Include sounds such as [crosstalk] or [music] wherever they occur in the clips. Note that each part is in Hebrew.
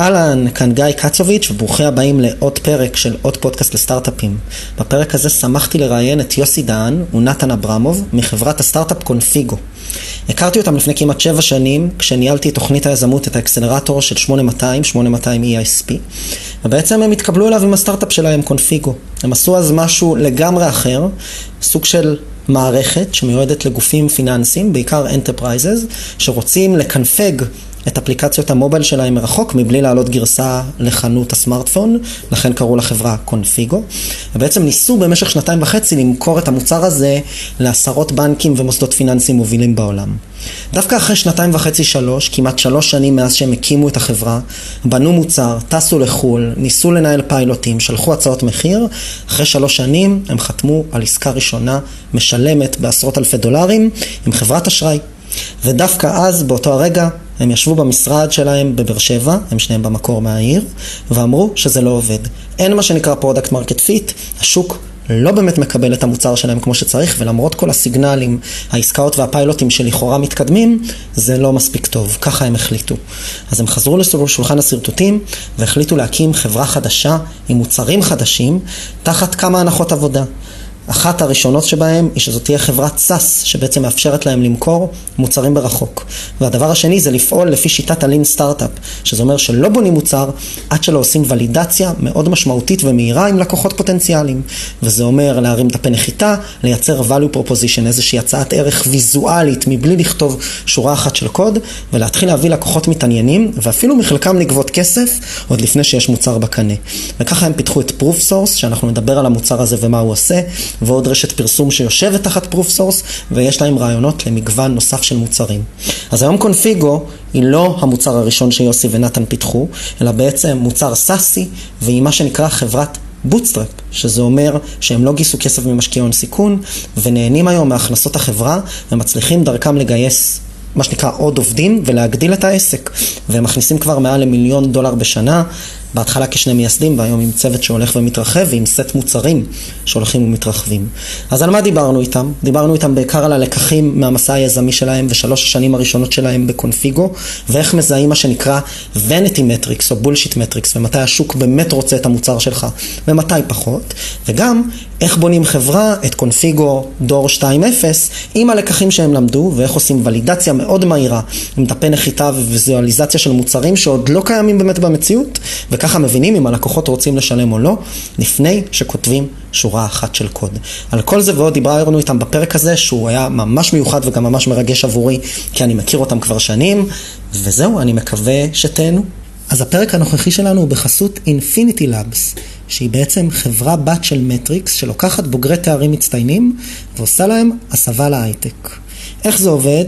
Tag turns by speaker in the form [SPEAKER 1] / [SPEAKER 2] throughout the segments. [SPEAKER 1] אהלן, כאן גיא קצוביץ', וברוכים הבאים לעוד פרק של עוד פודקאסט לסטארט-אפים. בפרק הזה שמחתי לראיין את יוסי דהן ונתן אברמוב מחברת הסטארט-אפ קונפיגו. הכרתי אותם לפני כמעט שבע שנים, כשניהלתי את תוכנית היזמות, את האקסלרטור של 8200, 8200 EISP, ובעצם הם התקבלו אליו עם הסטארט-אפ שלהם, קונפיגו. הם עשו אז משהו לגמרי אחר, סוג של מערכת שמיועדת לגופים פיננסיים, בעיקר Enterprises, שרוצים לקנפג את אפליקציות המובייל שלהם מרחוק מבלי להעלות גרסה לחנות הסמארטפון, לכן קראו לחברה קונפיגו. ובעצם ניסו במשך שנתיים וחצי למכור את המוצר הזה לעשרות בנקים ומוסדות פיננסיים מובילים בעולם. דווקא אחרי שנתיים וחצי שלוש, כמעט שלוש שנים מאז שהם הקימו את החברה, בנו מוצר, טסו לחו"ל, ניסו לנהל פיילוטים, שלחו הצעות מחיר, אחרי שלוש שנים הם חתמו על עסקה ראשונה משלמת בעשרות אלפי דולרים עם חברת אשראי. ודווקא אז, באותו הרגע, הם ישבו במשרד שלהם בבאר שבע, הם שניהם במקור מהעיר, ואמרו שזה לא עובד. אין מה שנקרא פרודקט מרקט פיט, השוק לא באמת מקבל את המוצר שלהם כמו שצריך, ולמרות כל הסיגנלים, העסקאות והפיילוטים שלכאורה מתקדמים, זה לא מספיק טוב. ככה הם החליטו. אז הם חזרו לשולחן השרטוטים, והחליטו להקים חברה חדשה עם מוצרים חדשים, תחת כמה הנחות עבודה. אחת הראשונות שבהם היא שזאת תהיה חברת סאס, שבעצם מאפשרת להם למכור מוצרים ברחוק. והדבר השני זה לפעול לפי שיטת הלין סטארט-אפ, שזה אומר שלא בונים מוצר עד שלא עושים ולידציה מאוד משמעותית ומהירה עם לקוחות פוטנציאליים. וזה אומר להרים דפי נחיתה, לייצר value proposition, איזושהי הצעת ערך ויזואלית מבלי לכתוב שורה אחת של קוד, ולהתחיל להביא לקוחות מתעניינים, ואפילו מחלקם לגבות כסף עוד לפני שיש מוצר בקנה. וככה הם פיתחו את proof source, שאנחנו נדבר על המוצר הזה ומה הוא עושה. ועוד רשת פרסום שיושבת תחת פרוף סורס, ויש להם רעיונות למגוון נוסף של מוצרים. אז היום קונפיגו היא לא המוצר הראשון שיוסי ונתן פיתחו, אלא בעצם מוצר סאסי, והיא מה שנקרא חברת בוטסטראפ, שזה אומר שהם לא גייסו כסף ממשקיעי הון סיכון, ונהנים היום מהכנסות החברה, ומצליחים דרכם לגייס מה שנקרא עוד עובדים ולהגדיל את העסק. והם מכניסים כבר מעל למיליון דולר בשנה, בהתחלה כשני מייסדים והיום עם צוות שהולך ומתרחב ועם סט מוצרים שהולכים ומתרחבים. אז על מה דיברנו איתם? דיברנו איתם בעיקר על הלקחים מהמסע היזמי שלהם ושלוש השנים הראשונות שלהם בקונפיגו, ואיך מזהים מה שנקרא vanity metrics או bullshit metrics, ומתי השוק באמת רוצה את המוצר שלך ומתי פחות, וגם איך בונים חברה, את קונפיגו דור 2.0, עם הלקחים שהם למדו, ואיך עושים ולידציה מאוד מהירה, עם דפי נחיתה וויזואליזציה של מוצרים שעוד לא קיימים באמת במציאות, וככה מבינים אם הלקוחות רוצים לשלם או לא, לפני שכותבים שורה אחת של קוד. על כל זה ועוד דיברנו איתם בפרק הזה, שהוא היה ממש מיוחד וגם ממש מרגש עבורי, כי אני מכיר אותם כבר שנים, וזהו, אני מקווה שתהנו. אז הפרק הנוכחי שלנו הוא בחסות אינפיניטי לאבס, שהיא בעצם חברה בת של מטריקס שלוקחת בוגרי תארים מצטיינים ועושה להם הסבה להייטק. איך זה עובד?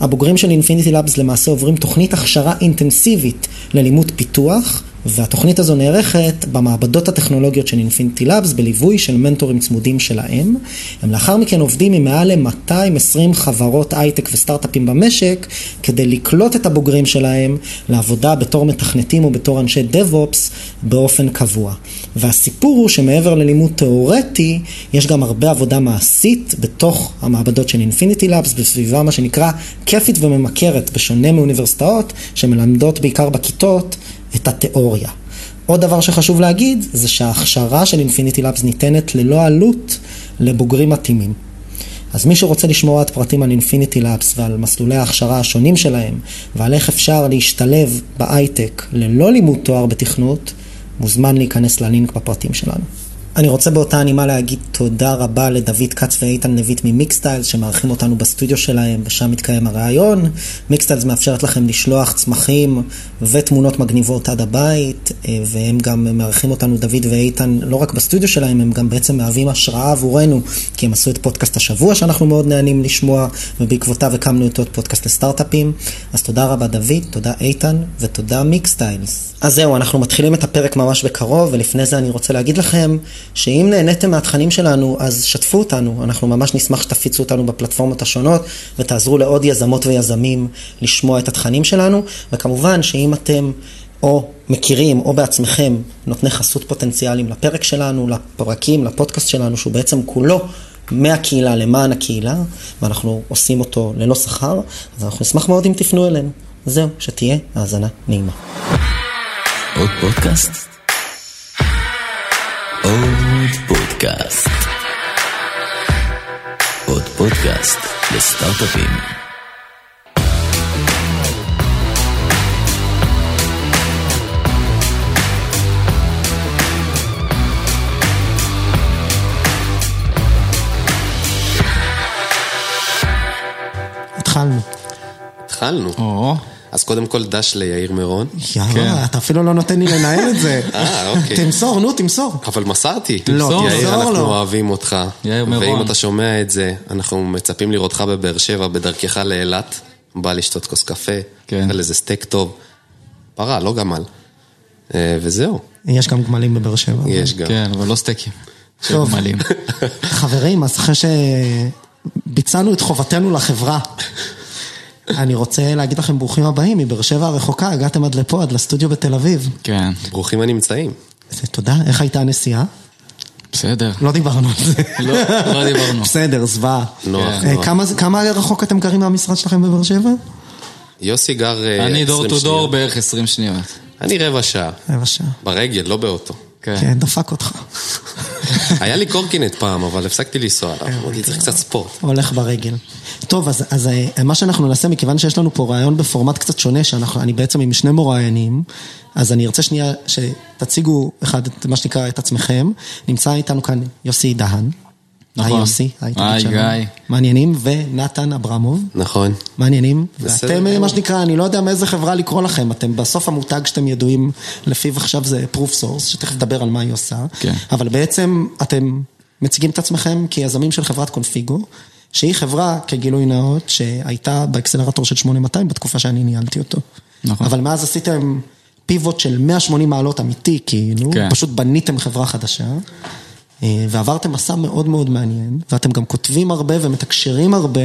[SPEAKER 1] הבוגרים של אינפיניטי לאבס למעשה עוברים תוכנית הכשרה אינטנסיבית ללימוד פיתוח, והתוכנית הזו נערכת במעבדות הטכנולוגיות של אינפיניטי לאבס בליווי של מנטורים צמודים שלהם. הם לאחר מכן עובדים עם מעל ל-220 חברות הייטק וסטארט-אפים במשק כדי לקלוט את הבוגרים שלהם לעבודה בתור מתכנתים או בתור אנשי DevOps באופן קבוע. והסיפור הוא שמעבר ללימוד תיאורטי, יש גם הרבה עבודה מעשית בתוך המעבדות של אינפיניטי לאבס בסביבה מה שנקרא כיפית וממכרת, בשונה מאוניברסיטאות שמלמדות בעיקר בכיתות את התיאוריה. עוד דבר שחשוב להגיד, זה שההכשרה של אינפיניטי לאבס ניתנת ללא עלות לבוגרים מתאימים. אז מי שרוצה לשמוע עד פרטים על אינפיניטי לאבס ועל מסלולי ההכשרה השונים שלהם, ועל איך אפשר להשתלב בהייטק ללא לימוד תואר בתכנות, מוזמן להיכנס ללינק בפרטים שלנו. אני רוצה באותה הנימה להגיד תודה רבה לדוד כץ ואיתן לויט ממיקסטיילס שמארחים אותנו בסטודיו שלהם ושם מתקיים הראיון. מיקסטיילס מאפשרת לכם לשלוח צמחים ותמונות מגניבות עד הבית אה, והם גם מארחים אותנו, דוד ואיתן, לא רק בסטודיו שלהם, הם גם בעצם מהווים השראה עבורנו כי הם עשו את פודקאסט השבוע שאנחנו מאוד נהנים לשמוע ובעקבותיו הקמנו את עוד פודקאסט לסטארט-אפים. אז תודה רבה דוד, תודה איתן ותודה מיקסטיילס. אז זהו, אנחנו מתחילים את הפרק ממש בקרוב ולפני זה אני רוצה להגיד לכם שאם נהניתם מהתכנים שלנו, אז שתפו אותנו. אנחנו ממש נשמח שתפיצו אותנו בפלטפורמות השונות, ותעזרו לעוד יזמות ויזמים לשמוע את התכנים שלנו. וכמובן, שאם אתם או מכירים או בעצמכם נותני חסות פוטנציאליים לפרק שלנו, לפרקים, לפודקאסט שלנו, שהוא בעצם כולו מהקהילה למען הקהילה, ואנחנו עושים אותו ללא שכר, אז אנחנו נשמח מאוד אם תפנו אלינו. זהו, שתהיה האזנה נעימה.
[SPEAKER 2] עוד פודקאסט? עוד פודקאסט. עוד פודקאסט לסטארט-אפים.
[SPEAKER 3] התחלנו.
[SPEAKER 4] התחלנו.
[SPEAKER 3] או,
[SPEAKER 4] אז קודם כל דש ליאיר מירון.
[SPEAKER 5] כן.
[SPEAKER 3] יאללה, אתה אפילו לא נותן לי לנהל את
[SPEAKER 5] [laughs]
[SPEAKER 3] זה.
[SPEAKER 4] אה, אוקיי.
[SPEAKER 3] תמסור, נו, תמסור.
[SPEAKER 4] אבל מסרתי.
[SPEAKER 3] תמסור
[SPEAKER 4] יאיר,
[SPEAKER 3] לו.
[SPEAKER 4] אנחנו אוהבים אותך.
[SPEAKER 5] לא, יאיר מירון.
[SPEAKER 4] ואם אתה שומע את זה, אנחנו מצפים לראותך בבאר שבע, בדרכך לאילת. בא לשתות כוס קפה,
[SPEAKER 5] כן.
[SPEAKER 4] אוכל איזה סטייק טוב. פרה, לא גמל. אה, וזהו,
[SPEAKER 1] יש גם גמלים בבאר שבע.
[SPEAKER 4] יש גם.
[SPEAKER 5] כן, אבל לא סטייקים.
[SPEAKER 1] טוב.
[SPEAKER 5] מלאים.
[SPEAKER 1] חברים, אז אחרי שביצענו את חובתנו לחברה, אני רוצה להגיד לכם ברוכים הבאים מבאר שבע הרחוקה, הגעתם עד לפה, עד לסטודיו בתל אביב.
[SPEAKER 5] כן,
[SPEAKER 4] ברוכים הנמצאים.
[SPEAKER 1] אז תודה, איך הייתה הנסיעה?
[SPEAKER 5] בסדר.
[SPEAKER 1] לא דיברנו על זה.
[SPEAKER 5] לא, לא דיברנו.
[SPEAKER 1] [laughs]
[SPEAKER 5] לא,
[SPEAKER 1] בסדר, זוועה.
[SPEAKER 4] נוח,
[SPEAKER 5] כן.
[SPEAKER 1] אה,
[SPEAKER 4] נוח.
[SPEAKER 1] כמה זה- כמה רחוק אתם גרים מהמשרד שלכם בבאר שבע?
[SPEAKER 4] יוסי גר אה, 20
[SPEAKER 5] אני דור טו דור
[SPEAKER 4] שניות.
[SPEAKER 5] בערך 20 שניות.
[SPEAKER 4] אני רבע שעה.
[SPEAKER 1] רבע שעה.
[SPEAKER 4] ברגל, לא באוטו.
[SPEAKER 5] כן.
[SPEAKER 1] כן, דפק אותך.
[SPEAKER 4] היה לי קורקינט פעם, אבל הפסקתי לנסוע
[SPEAKER 5] אה,
[SPEAKER 4] עליו. אמרתי, צריך קצת ספורט.
[SPEAKER 1] כן, הולך ברגל. טוב, אז, אז אה, מה שאנחנו נעשה, מכיוון שיש לנו פה רעיון בפורמט קצת שונה, שאני בעצם עם שני מוראיינים, אז אני ארצה שנייה שתציגו אחד, את מה שנקרא, את עצמכם. נמצא איתנו כאן יוסי דהן.
[SPEAKER 5] נכון.
[SPEAKER 1] היי יוסי. תגיד
[SPEAKER 5] היי,
[SPEAKER 1] שלום.
[SPEAKER 5] גיא.
[SPEAKER 1] מעניינים, ונתן אברמוב.
[SPEAKER 4] נכון.
[SPEAKER 1] מעניינים.
[SPEAKER 4] בסדר
[SPEAKER 1] ואתם, אה,
[SPEAKER 4] גמור.
[SPEAKER 1] מה שנקרא, אני לא יודע מאיזה חברה לקרוא לכם, אתם בסוף המותג שאתם ידועים לפיו עכשיו זה proof source, שתכף נדבר על מה היא עושה.
[SPEAKER 5] כן.
[SPEAKER 1] אבל בעצם אתם מציגים את עצמכם כיזמים של חברת קונפיגו, שהיא חברה, כגילוי נאות, שהייתה באקסלרטור של 8200 בתקופה שאני ניהלתי אותו.
[SPEAKER 5] נכון.
[SPEAKER 1] אבל מאז עשיתם פיבוט של 180 מעלות אמיתי, כאילו,
[SPEAKER 5] כן.
[SPEAKER 1] פשוט בניתם חברה חדשה. אה, ועברתם מסע מאוד מאוד מעניין, ואתם גם כותבים הרבה ומתקשרים הרבה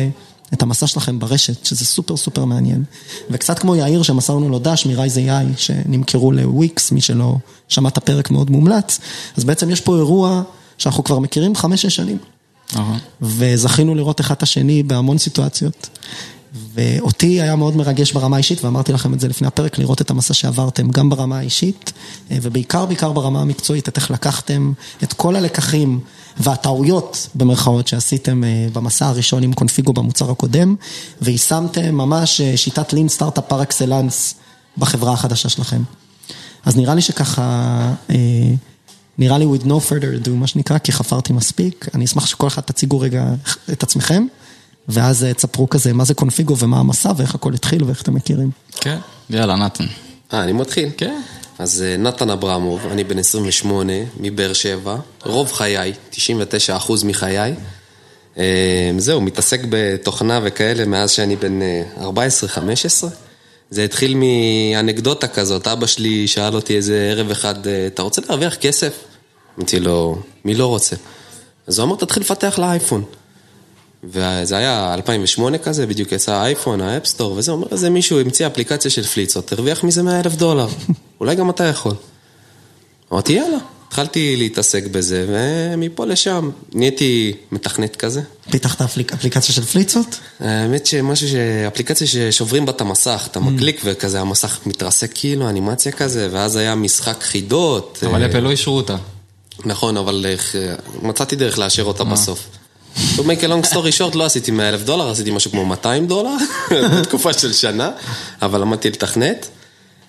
[SPEAKER 1] את המסע שלכם ברשת, שזה סופר סופר מעניין. וקצת כמו יאיר שמסרנו לו דש מרייז AI, שנמכרו לוויקס, מי שלא שמע את הפרק מאוד מומלץ, אז בעצם יש פה אירוע שאנחנו כבר מכירים חמש-שש שנים,
[SPEAKER 5] נכון.
[SPEAKER 1] וזכינו לראות אחד את השני בהמון סיטואציות. ואותי היה מאוד מרגש ברמה האישית, ואמרתי לכם את זה לפני הפרק, לראות את המסע שעברתם, גם ברמה האישית, אה, ובעיקר בעיקר ברמה המקצועית, את איך לקחתם את כל הלקחים והטעויות, במרכאות, שעשיתם אה, במסע הראשון עם קונפיגו במוצר הקודם, ויישמתם ממש אה, שיטת לין סטארט-אפ פר אקסלנס בחברה החדשה שלכם. אז נראה לי שככה, אה, נראה לי with no further ado, מה שנקרא, כי חפרתי מספיק. אני אשמח שכל אחד תציגו רגע את עצמכם, ואז אה, תספרו כזה מה זה קונפיגו ומה המסע ואיך הכל התחיל ואיך אתם מכירים.
[SPEAKER 5] כן. יאללה, נתן.
[SPEAKER 4] אה, אני מתחיל?
[SPEAKER 5] כן.
[SPEAKER 4] אז אה, נתן אברמוב, אני בן 28, מבאר שבע, רוב חיי, 99% מחיי. אה, זהו, מתעסק בתוכנה וכאלה מאז שאני בן אה, 14-15. זה התחיל מאנקדוטה כזאת, אבא שלי שאל אותי איזה ערב אחד, אה, אתה רוצה להרוויח כסף? אמרתי לו, מי לא רוצה? אז הוא אמר, תתחיל לפתח לאייפון. וזה היה 2008 כזה, בדיוק יצא האייפון, האפסטור וזה, אומר איזה מישהו המציא אפליקציה של פליצות, הרוויח מזה 100 אלף דולר, אולי גם אתה יכול. אמרתי יאללה, התחלתי להתעסק בזה, ומפה לשם נהייתי מתכנת כזה.
[SPEAKER 1] פיתחת אפליק- אפליקציה של פליצות?
[SPEAKER 4] האמת שמשהו ש... אפליקציה ששוברים בה את המסך, אתה מקליק וכזה המסך מתרסק כאילו, אנימציה כזה, ואז היה משחק חידות.
[SPEAKER 5] אבל
[SPEAKER 4] אה,
[SPEAKER 5] אפל לא אישרו אותה.
[SPEAKER 4] נכון, אבל אה, מצאתי דרך לאשר אותה בסוף. To make a long story short, לא עשיתי 100 אלף דולר, עשיתי משהו כמו 200 דולר, [laughs] בתקופה של שנה, אבל למדתי לתכנת.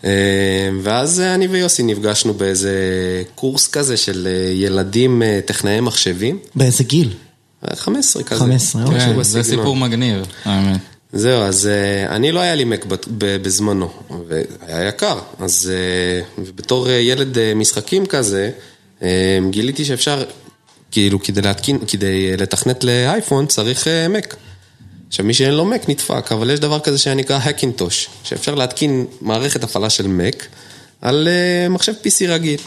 [SPEAKER 4] אה, ואז אה, אני ויוסי נפגשנו באיזה קורס כזה של אה, ילדים אה, טכנאי מחשבים,
[SPEAKER 1] באיזה גיל?
[SPEAKER 4] אה, 15 כזה.
[SPEAKER 1] 15, אוקיי.
[SPEAKER 4] משהו
[SPEAKER 5] כן, זה
[SPEAKER 4] בסגנון.
[SPEAKER 5] סיפור מגניב, האמת.
[SPEAKER 4] זהו, אז אה, אני לא היה לי מק בת- ב- בזמנו, והיה יקר. אז אה, בתור אה, ילד אה, משחקים כזה, אה, גיליתי שאפשר, כאילו, כדי להתקין, כדי אה, לתכנת לאייפון, צריך אה, מק. עכשיו, מי שאין לו מק נדפק, אבל יש דבר כזה שנקרא הקינטוש, שאפשר להתקין מערכת הפעלה של מק על אה, מחשב PC רגיל.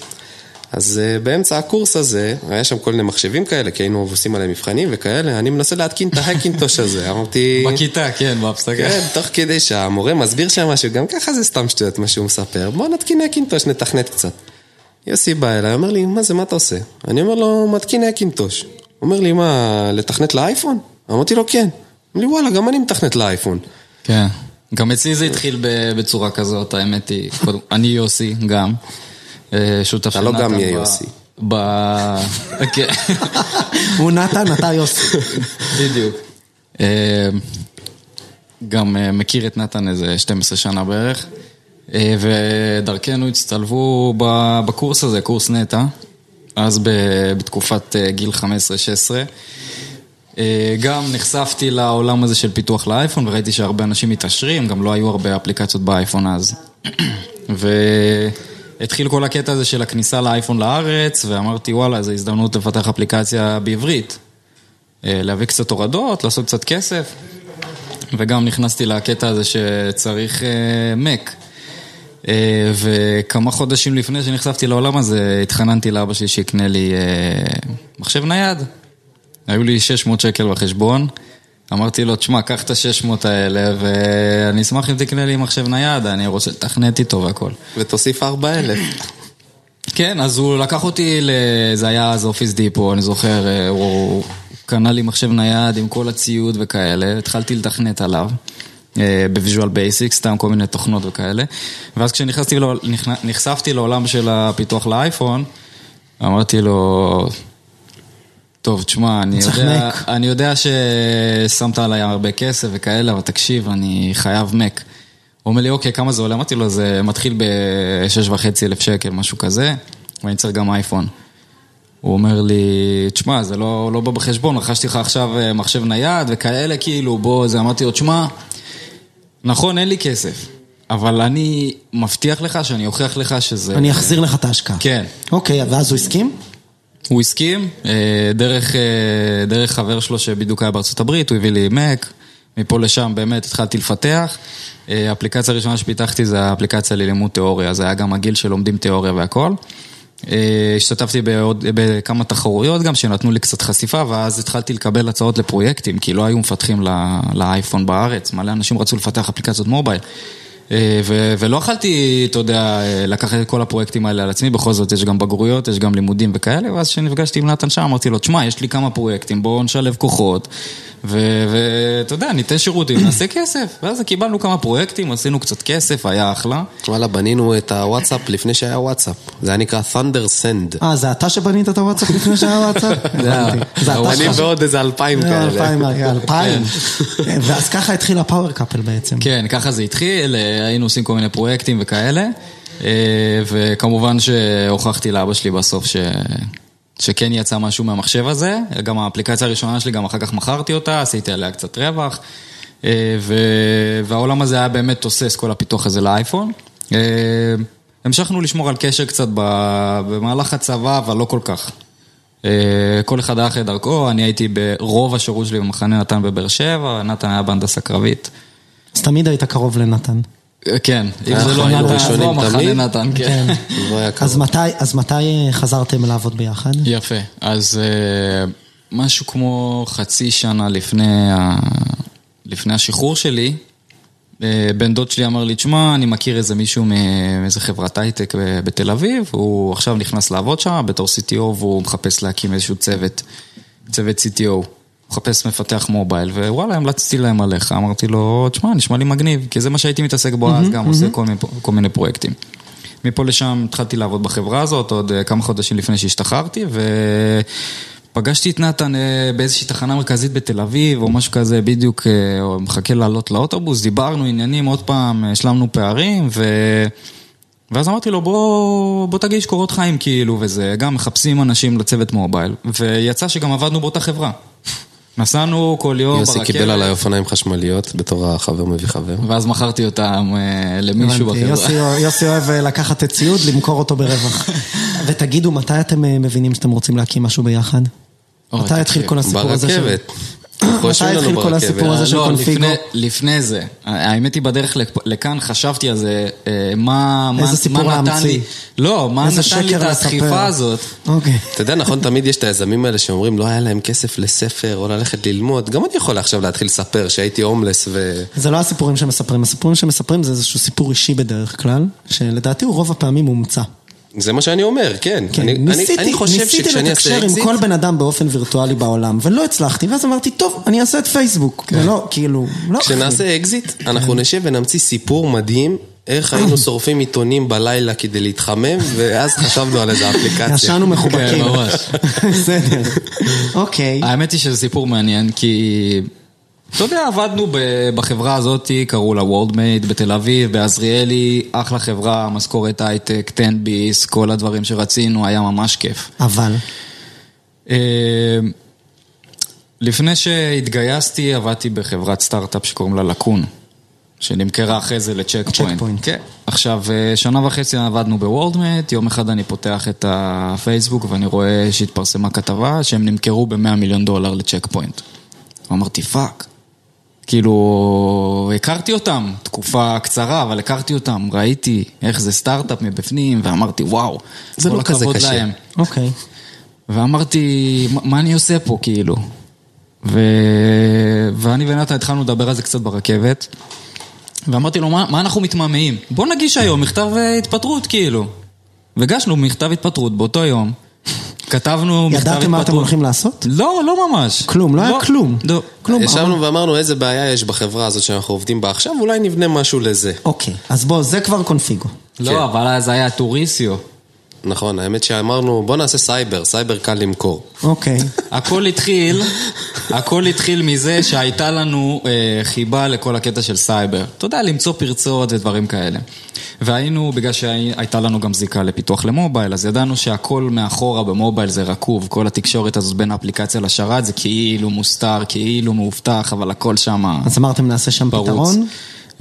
[SPEAKER 4] אז אה, באמצע הקורס הזה, היה שם כל מיני מחשבים כאלה, כי היינו עושים עליהם מבחנים וכאלה, אני מנסה להתקין את ההקינטוש הזה.
[SPEAKER 5] [laughs]
[SPEAKER 4] אמרתי...
[SPEAKER 5] בכיתה, כן, בהפסקה.
[SPEAKER 4] אה, כן, תוך כדי שהמורה מסביר שם משהו, גם ככה זה סתם שטויות מה שהוא מספר, בוא נתקין הקינטוש, נתכנת קצת. יוסי בא אליי, אומר לי, מה זה, מה אתה עושה? אני אומר לו, מתקין הקינטוש. הוא אומר לי, מה, לתכנת לאייפון? אמרתי לו, כן. אמר לי, וואלה, גם אני מתכנת לאייפון.
[SPEAKER 5] כן. גם אצלי זה התחיל ב- בצורה כזאת, האמת היא. קודם- אני יוסי, גם. אה, שותף
[SPEAKER 4] אתה
[SPEAKER 5] של
[SPEAKER 4] לא
[SPEAKER 5] נתן
[SPEAKER 4] גם יהיה
[SPEAKER 5] ב-
[SPEAKER 4] יוסי.
[SPEAKER 5] ב... [laughs] כן,
[SPEAKER 1] הוא נתן, אתה יוסי.
[SPEAKER 5] בדיוק. אה, גם אה, מכיר את נתן איזה 12 שנה בערך, אה, ודרכנו הצטלבו ב- בקורס הזה, קורס נטע, אז ב- בתקופת אה, גיל 15-16. אה, גם נחשפתי לעולם הזה של פיתוח לאייפון, וראיתי שהרבה אנשים מתעשרים, גם לא היו הרבה אפליקציות באייפון אז. [clears throat] והתחיל כל הקטע הזה של הכניסה לאייפון לארץ, ואמרתי, וואלה, זו הזדמנות לפתח אפליקציה בעברית. אה, להביא קצת הורדות, לעשות קצת כסף, וגם נכנסתי לקטע הזה שצריך אה, מק. אה, וכמה חודשים לפני שנחשפתי לעולם הזה, התחננתי לאבא שלי שיקנה לי אה, מחשב נייד. היו לי 600 שקל בחשבון. אמרתי לו, תשמע, קח את ה-600 האלה, ואני אשמח אם תקנה לי מחשב נייד, אני רוצה לתכנת איתו והכל.
[SPEAKER 4] ותוסיף 4,000.
[SPEAKER 5] כן, אז הוא לקח אותי ל... זה היה אז אופיס דיפו, אני זוכר, אה, הוא קנה לי מחשב נייד עם כל הציוד וכאלה, התחלתי לתכנת עליו. אה, בוויז'ואל בייסיק, סתם כל מיני תוכנות וכאלה. ואז כשנחשפתי לו, נכנ- נחשפתי לעולם של הפיתוח לאייפון, אמרתי לו, טוב, תשמע, אני
[SPEAKER 1] צריך
[SPEAKER 5] יודע,
[SPEAKER 1] Mac."
[SPEAKER 5] אני יודע ששמת עליי הרבה כסף וכאלה, אבל תקשיב, אני חייב מק. הוא אומר לי, אוקיי, כמה זה עולה? אמרתי לו, זה מתחיל ב-6.5 אלף שקל, משהו כזה, ואני צריך גם אייפון. הוא אומר לי, תשמע, זה לא, לא בא בחשבון, רכשתי לך עכשיו אה, מחשב נייד וכאלה, כאילו, בוא, זה, אמרתי לו, תשמע, נכון, אין לי כסף, אבל אני מבטיח לך שאני אוכיח לך שזה...
[SPEAKER 1] [laughs] אני אחזיר לך את ההשקעה.
[SPEAKER 5] כן.
[SPEAKER 1] אוקיי, ואז הוא הסכים?
[SPEAKER 5] הוא הסכים, אה, דרך, אה, דרך חבר שלו שבדיוק היה בארצות הברית, הוא הביא לי מק, מפה לשם באמת התחלתי לפתח. אה, האפליקציה הראשונה שפיתחתי זה האפליקציה ללימוד תיאוריה, זה היה גם הגיל שלומדים תיאוריה והכל. אה, השתתפתי בעוד, בכמה תחרויות גם, שנתנו לי קצת חשיפה, ואז התחלתי לקבל הצעות לפרויקטים, כי לא היו מפתחים לא, לאייפון בארץ, מלא אנשים רצו לפתח אפליקציות מובייל. אה, ו- ולא יכלתי, אתה יודע, אה, לקחת את כל הפרויקטים האלה על עצמי, בכל זאת יש גם בגרויות, יש גם לימודים וכאלה, ואז כשנפגשתי עם נתן שם אמרתי לו, תשמע, יש לי כמה פרויקטים, בואו נשלב כוחות, ו- ואתה יודע, ניתן שירותים, [clears throat] נעשה כסף. ואז קיבלנו כמה פרויקטים, עשינו קצת כסף, היה אחלה.
[SPEAKER 4] וואלה, בנינו את הוואטסאפ לפני שהיה וואטסאפ. זה היה נקרא Thunder Send.
[SPEAKER 1] אה, זה אתה שבנית את הוואטסאפ לפני שהיה וואטסאפ? הבנתי. זה אתה
[SPEAKER 4] אני
[SPEAKER 1] שלך.
[SPEAKER 4] ועוד איזה אלפיים
[SPEAKER 1] אה,
[SPEAKER 4] כאלה.
[SPEAKER 1] אלפיים, אה, אלפיים. ואז ככה התחיל הפאוור קאפל בעצם.
[SPEAKER 5] כן, ככה זה התחיל, אה, היינו עושים כל מיני פרויקטים וכאלה, אה, וכמובן שהוכחתי לאבא שלי בסוף ש... שכן יצא משהו מהמחשב הזה, גם האפליקציה הראשונה שלי, גם אחר כך מכרתי אותה, עשיתי עליה קצת רווח, אה, ו... והעולם הזה היה באמת תוסס כל הפיתוח הזה לאייפון. אה, המשכנו לשמור על קשר קצת ב- במהלך הצבא, אבל לא כל כך. אה, כל אחד היה אחרי דרכו, אני הייתי ברוב השירות שלי במחנה נתן בבאר שבע, נתן היה בהנדסה קרבית.
[SPEAKER 1] אז תמיד היית קרוב לנתן.
[SPEAKER 5] כן, אם
[SPEAKER 4] אנחנו
[SPEAKER 5] זה לא
[SPEAKER 4] היינו
[SPEAKER 5] נתן, אז
[SPEAKER 4] ראשונים
[SPEAKER 5] לא המחנה
[SPEAKER 4] תמיד.
[SPEAKER 5] נתן, כן.
[SPEAKER 4] לא היה כזה.
[SPEAKER 1] אז מתי- אז מתי אה, חזרתם לעבוד ביחד?
[SPEAKER 5] יפה, אז אה, משהו כמו חצי שנה לפני, ה... לפני השחרור שלי, אה, בן דוד שלי אמר לי, תשמע, אני מכיר איזה מישהו מאיזה חברת הייטק ב- בתל אביב, הוא עכשיו נכנס לעבוד שם בתור CTO והוא מחפש להקים איזשהו צוות, צוות CTO. הוא מחפש מפתח מובייל, ווואלה, המלצתי להם עליך. אמרתי לו, תשמע, נשמע לי מגניב, כי זה מה שהייתי מתעסק בו אז, גם עושה כל מיני- כל מיני פרויקטים. מפה לשם התחלתי לעבוד בחברה הזאת, עוד אה, כמה חודשים לפני שהשתחררתי, ופגשתי את נתן אה, באיזושהי תחנה מרכזית בתל אביב, או משהו כזה, בדיוק, אה, הוא מחכה לעלות לאוטובוס, דיברנו עניינים, עוד פעם, אה, השלמנו פערים, ו... ואז אמרתי לו, בוא, בוא תגיש קורות חיים כאילו, וזה, גם מחפשים אנשים לצוות מובייל, ויצא שגם עבדנו באותה חברה. [laughs] נסענו כל יום
[SPEAKER 4] יוסי קיבל עליי אופניים חשמליות בתור החבר מביא חבר.
[SPEAKER 5] ואז מכרתי אותם אה, למישהו
[SPEAKER 1] הבנתי,
[SPEAKER 5] בחברה.
[SPEAKER 1] יוסי- יוסי אוהב אה, לקחת את ציוד, למכור אותו
[SPEAKER 4] [laughs]
[SPEAKER 1] ברווח. ותגידו, מתי אתם אה, מבינים שאתם רוצים להקים משהו ביחד?
[SPEAKER 5] אוי,
[SPEAKER 1] מתי התחיל
[SPEAKER 5] תקשיב,
[SPEAKER 1] כל הסיפור הזה? של-
[SPEAKER 4] [coughs] ברכבת.
[SPEAKER 1] מתי התחיל כל הסיפור הזה של
[SPEAKER 5] לא,
[SPEAKER 1] קונפיגו?
[SPEAKER 5] לפני- לפני זה, האמת היא בדרך לכ- לכאן חשבתי על זה, אה, מה מה-
[SPEAKER 1] איזה סיפור
[SPEAKER 5] מה נתן
[SPEAKER 1] להמציא.
[SPEAKER 5] לי- לא, מה
[SPEAKER 1] איזה
[SPEAKER 5] נתן לי
[SPEAKER 1] שקר
[SPEAKER 5] את הדחיפה
[SPEAKER 1] לספר.
[SPEAKER 5] הזאת?
[SPEAKER 1] אוקיי.
[SPEAKER 4] אתה יודע, נכון, תמיד יש את היזמים האלה שאומרים, לא היה להם כסף לספר או ללכת ללמוד. גם אני יכול עכשיו להתחיל לספר שהייתי הומלס ו...
[SPEAKER 1] זה לא הסיפורים שמספרים, הסיפורים שמספרים זה איזשהו סיפור אישי בדרך כלל, שלדעתי הוא רוב הפעמים מומצא.
[SPEAKER 4] זה מה שאני אומר, כן.
[SPEAKER 1] כן,
[SPEAKER 4] אני- אני-
[SPEAKER 1] ניסיתי,
[SPEAKER 4] אני חושב
[SPEAKER 1] ניסיתי
[SPEAKER 4] שכשאני אעשה
[SPEAKER 1] לתקשר עם
[SPEAKER 4] אקזיט,
[SPEAKER 1] כל בן אדם באופן וירטואלי בעולם, ולא הצלחתי, ואז אמרתי, טוב, אני
[SPEAKER 4] כן.
[SPEAKER 1] אעשה את פייסבוק. ולא, כאילו, לא. אחי.
[SPEAKER 4] כשנעשה אקזיט, אנחנו נשב ונמציא סיפור מדהים
[SPEAKER 1] [laughs]
[SPEAKER 4] איך היינו שורפים עיתונים בלילה כדי להתחמם, ואז חשבנו על איזה אפליקציה.
[SPEAKER 1] ישנו מחובקים.
[SPEAKER 5] כן, ממש.
[SPEAKER 1] [laughs] בסדר. אוקיי.
[SPEAKER 5] האמת היא שזה סיפור מעניין, כי... אתה יודע, עבדנו ב- בחברה הזאת, קראו לה וורדמייד בתל אביב, בעזריאלי, אחלה חברה, משכורת הייטק, 10 ביס, כל הדברים שרצינו, היה ממש כיף.
[SPEAKER 1] אבל,
[SPEAKER 5] אה, לפני שהתגייסתי, עבדתי בחברת סטארט-אפ שקוראים לה לקון, שנמכרה אחרי זה לצ'ק
[SPEAKER 1] צ'ק
[SPEAKER 5] פוינט.
[SPEAKER 1] פוינט.
[SPEAKER 5] כן. עכשיו, אה, שנה וחצי עבדנו בוורדמט, יום אחד אני פותח את הפייסבוק ואני רואה שהתפרסמה כתבה שהם נמכרו ב-100 מיליון דולר לצ'ק פוינט. אמרתי, פאק. כאילו, הכרתי אותם, תקופה קצרה, אבל הכרתי אותם, ראיתי איך זה סטארט-אפ מבפנים, ואמרתי, וואו,
[SPEAKER 4] זה
[SPEAKER 5] כל
[SPEAKER 4] לא כזה
[SPEAKER 5] הכבוד
[SPEAKER 4] קשה."
[SPEAKER 5] להם.
[SPEAKER 1] אוקיי.
[SPEAKER 5] ואמרתי, "מה- מה אני עושה פה, כאילו? ו... ואני ונתן התחלנו לדבר על זה קצת ברכבת, ואמרתי לו, מה, מה אנחנו מתמהמהים? בוא נגיש היום מכתב אה, התפטרות, כאילו. והגשנו מכתב התפטרות באותו יום. כתבנו מכתב התפטרות.
[SPEAKER 1] ידעתם מה אתם הולכים לעשות?
[SPEAKER 5] לא, לא ממש.
[SPEAKER 1] כלום, לא היה כלום. כן.
[SPEAKER 5] לא.
[SPEAKER 1] כלום.
[SPEAKER 4] ישבנו ואמרנו איזה בעיה יש בחברה הזאת שאנחנו עובדים בה עכשיו, אולי נבנה משהו לזה.
[SPEAKER 1] אוקיי, אז בוא, זה כבר קונפיגו.
[SPEAKER 4] כן.
[SPEAKER 5] לא, אבל אז היה טוריסיו.
[SPEAKER 4] נכון, האמת שאמרנו, בוא נעשה סייבר, סייבר קל למכור.
[SPEAKER 1] אוקיי.
[SPEAKER 5] הכל התחיל, הכל התחיל מזה שהייתה לנו אה, חיבה לכל הקטע של סייבר. אתה יודע, למצוא פרצות ודברים כאלה. והיינו, בגלל שהייתה לנו גם זיקה לפיתוח למובייל, אז ידענו שהכל מאחורה במובייל זה רקוב, כל התקשורת הזאת בין האפליקציה לשרת זה כאילו מוסתר, כאילו מאובטח, אבל הכל שמה...
[SPEAKER 1] אז אמרתם נעשה שם
[SPEAKER 5] פרוץ.
[SPEAKER 1] פתרון?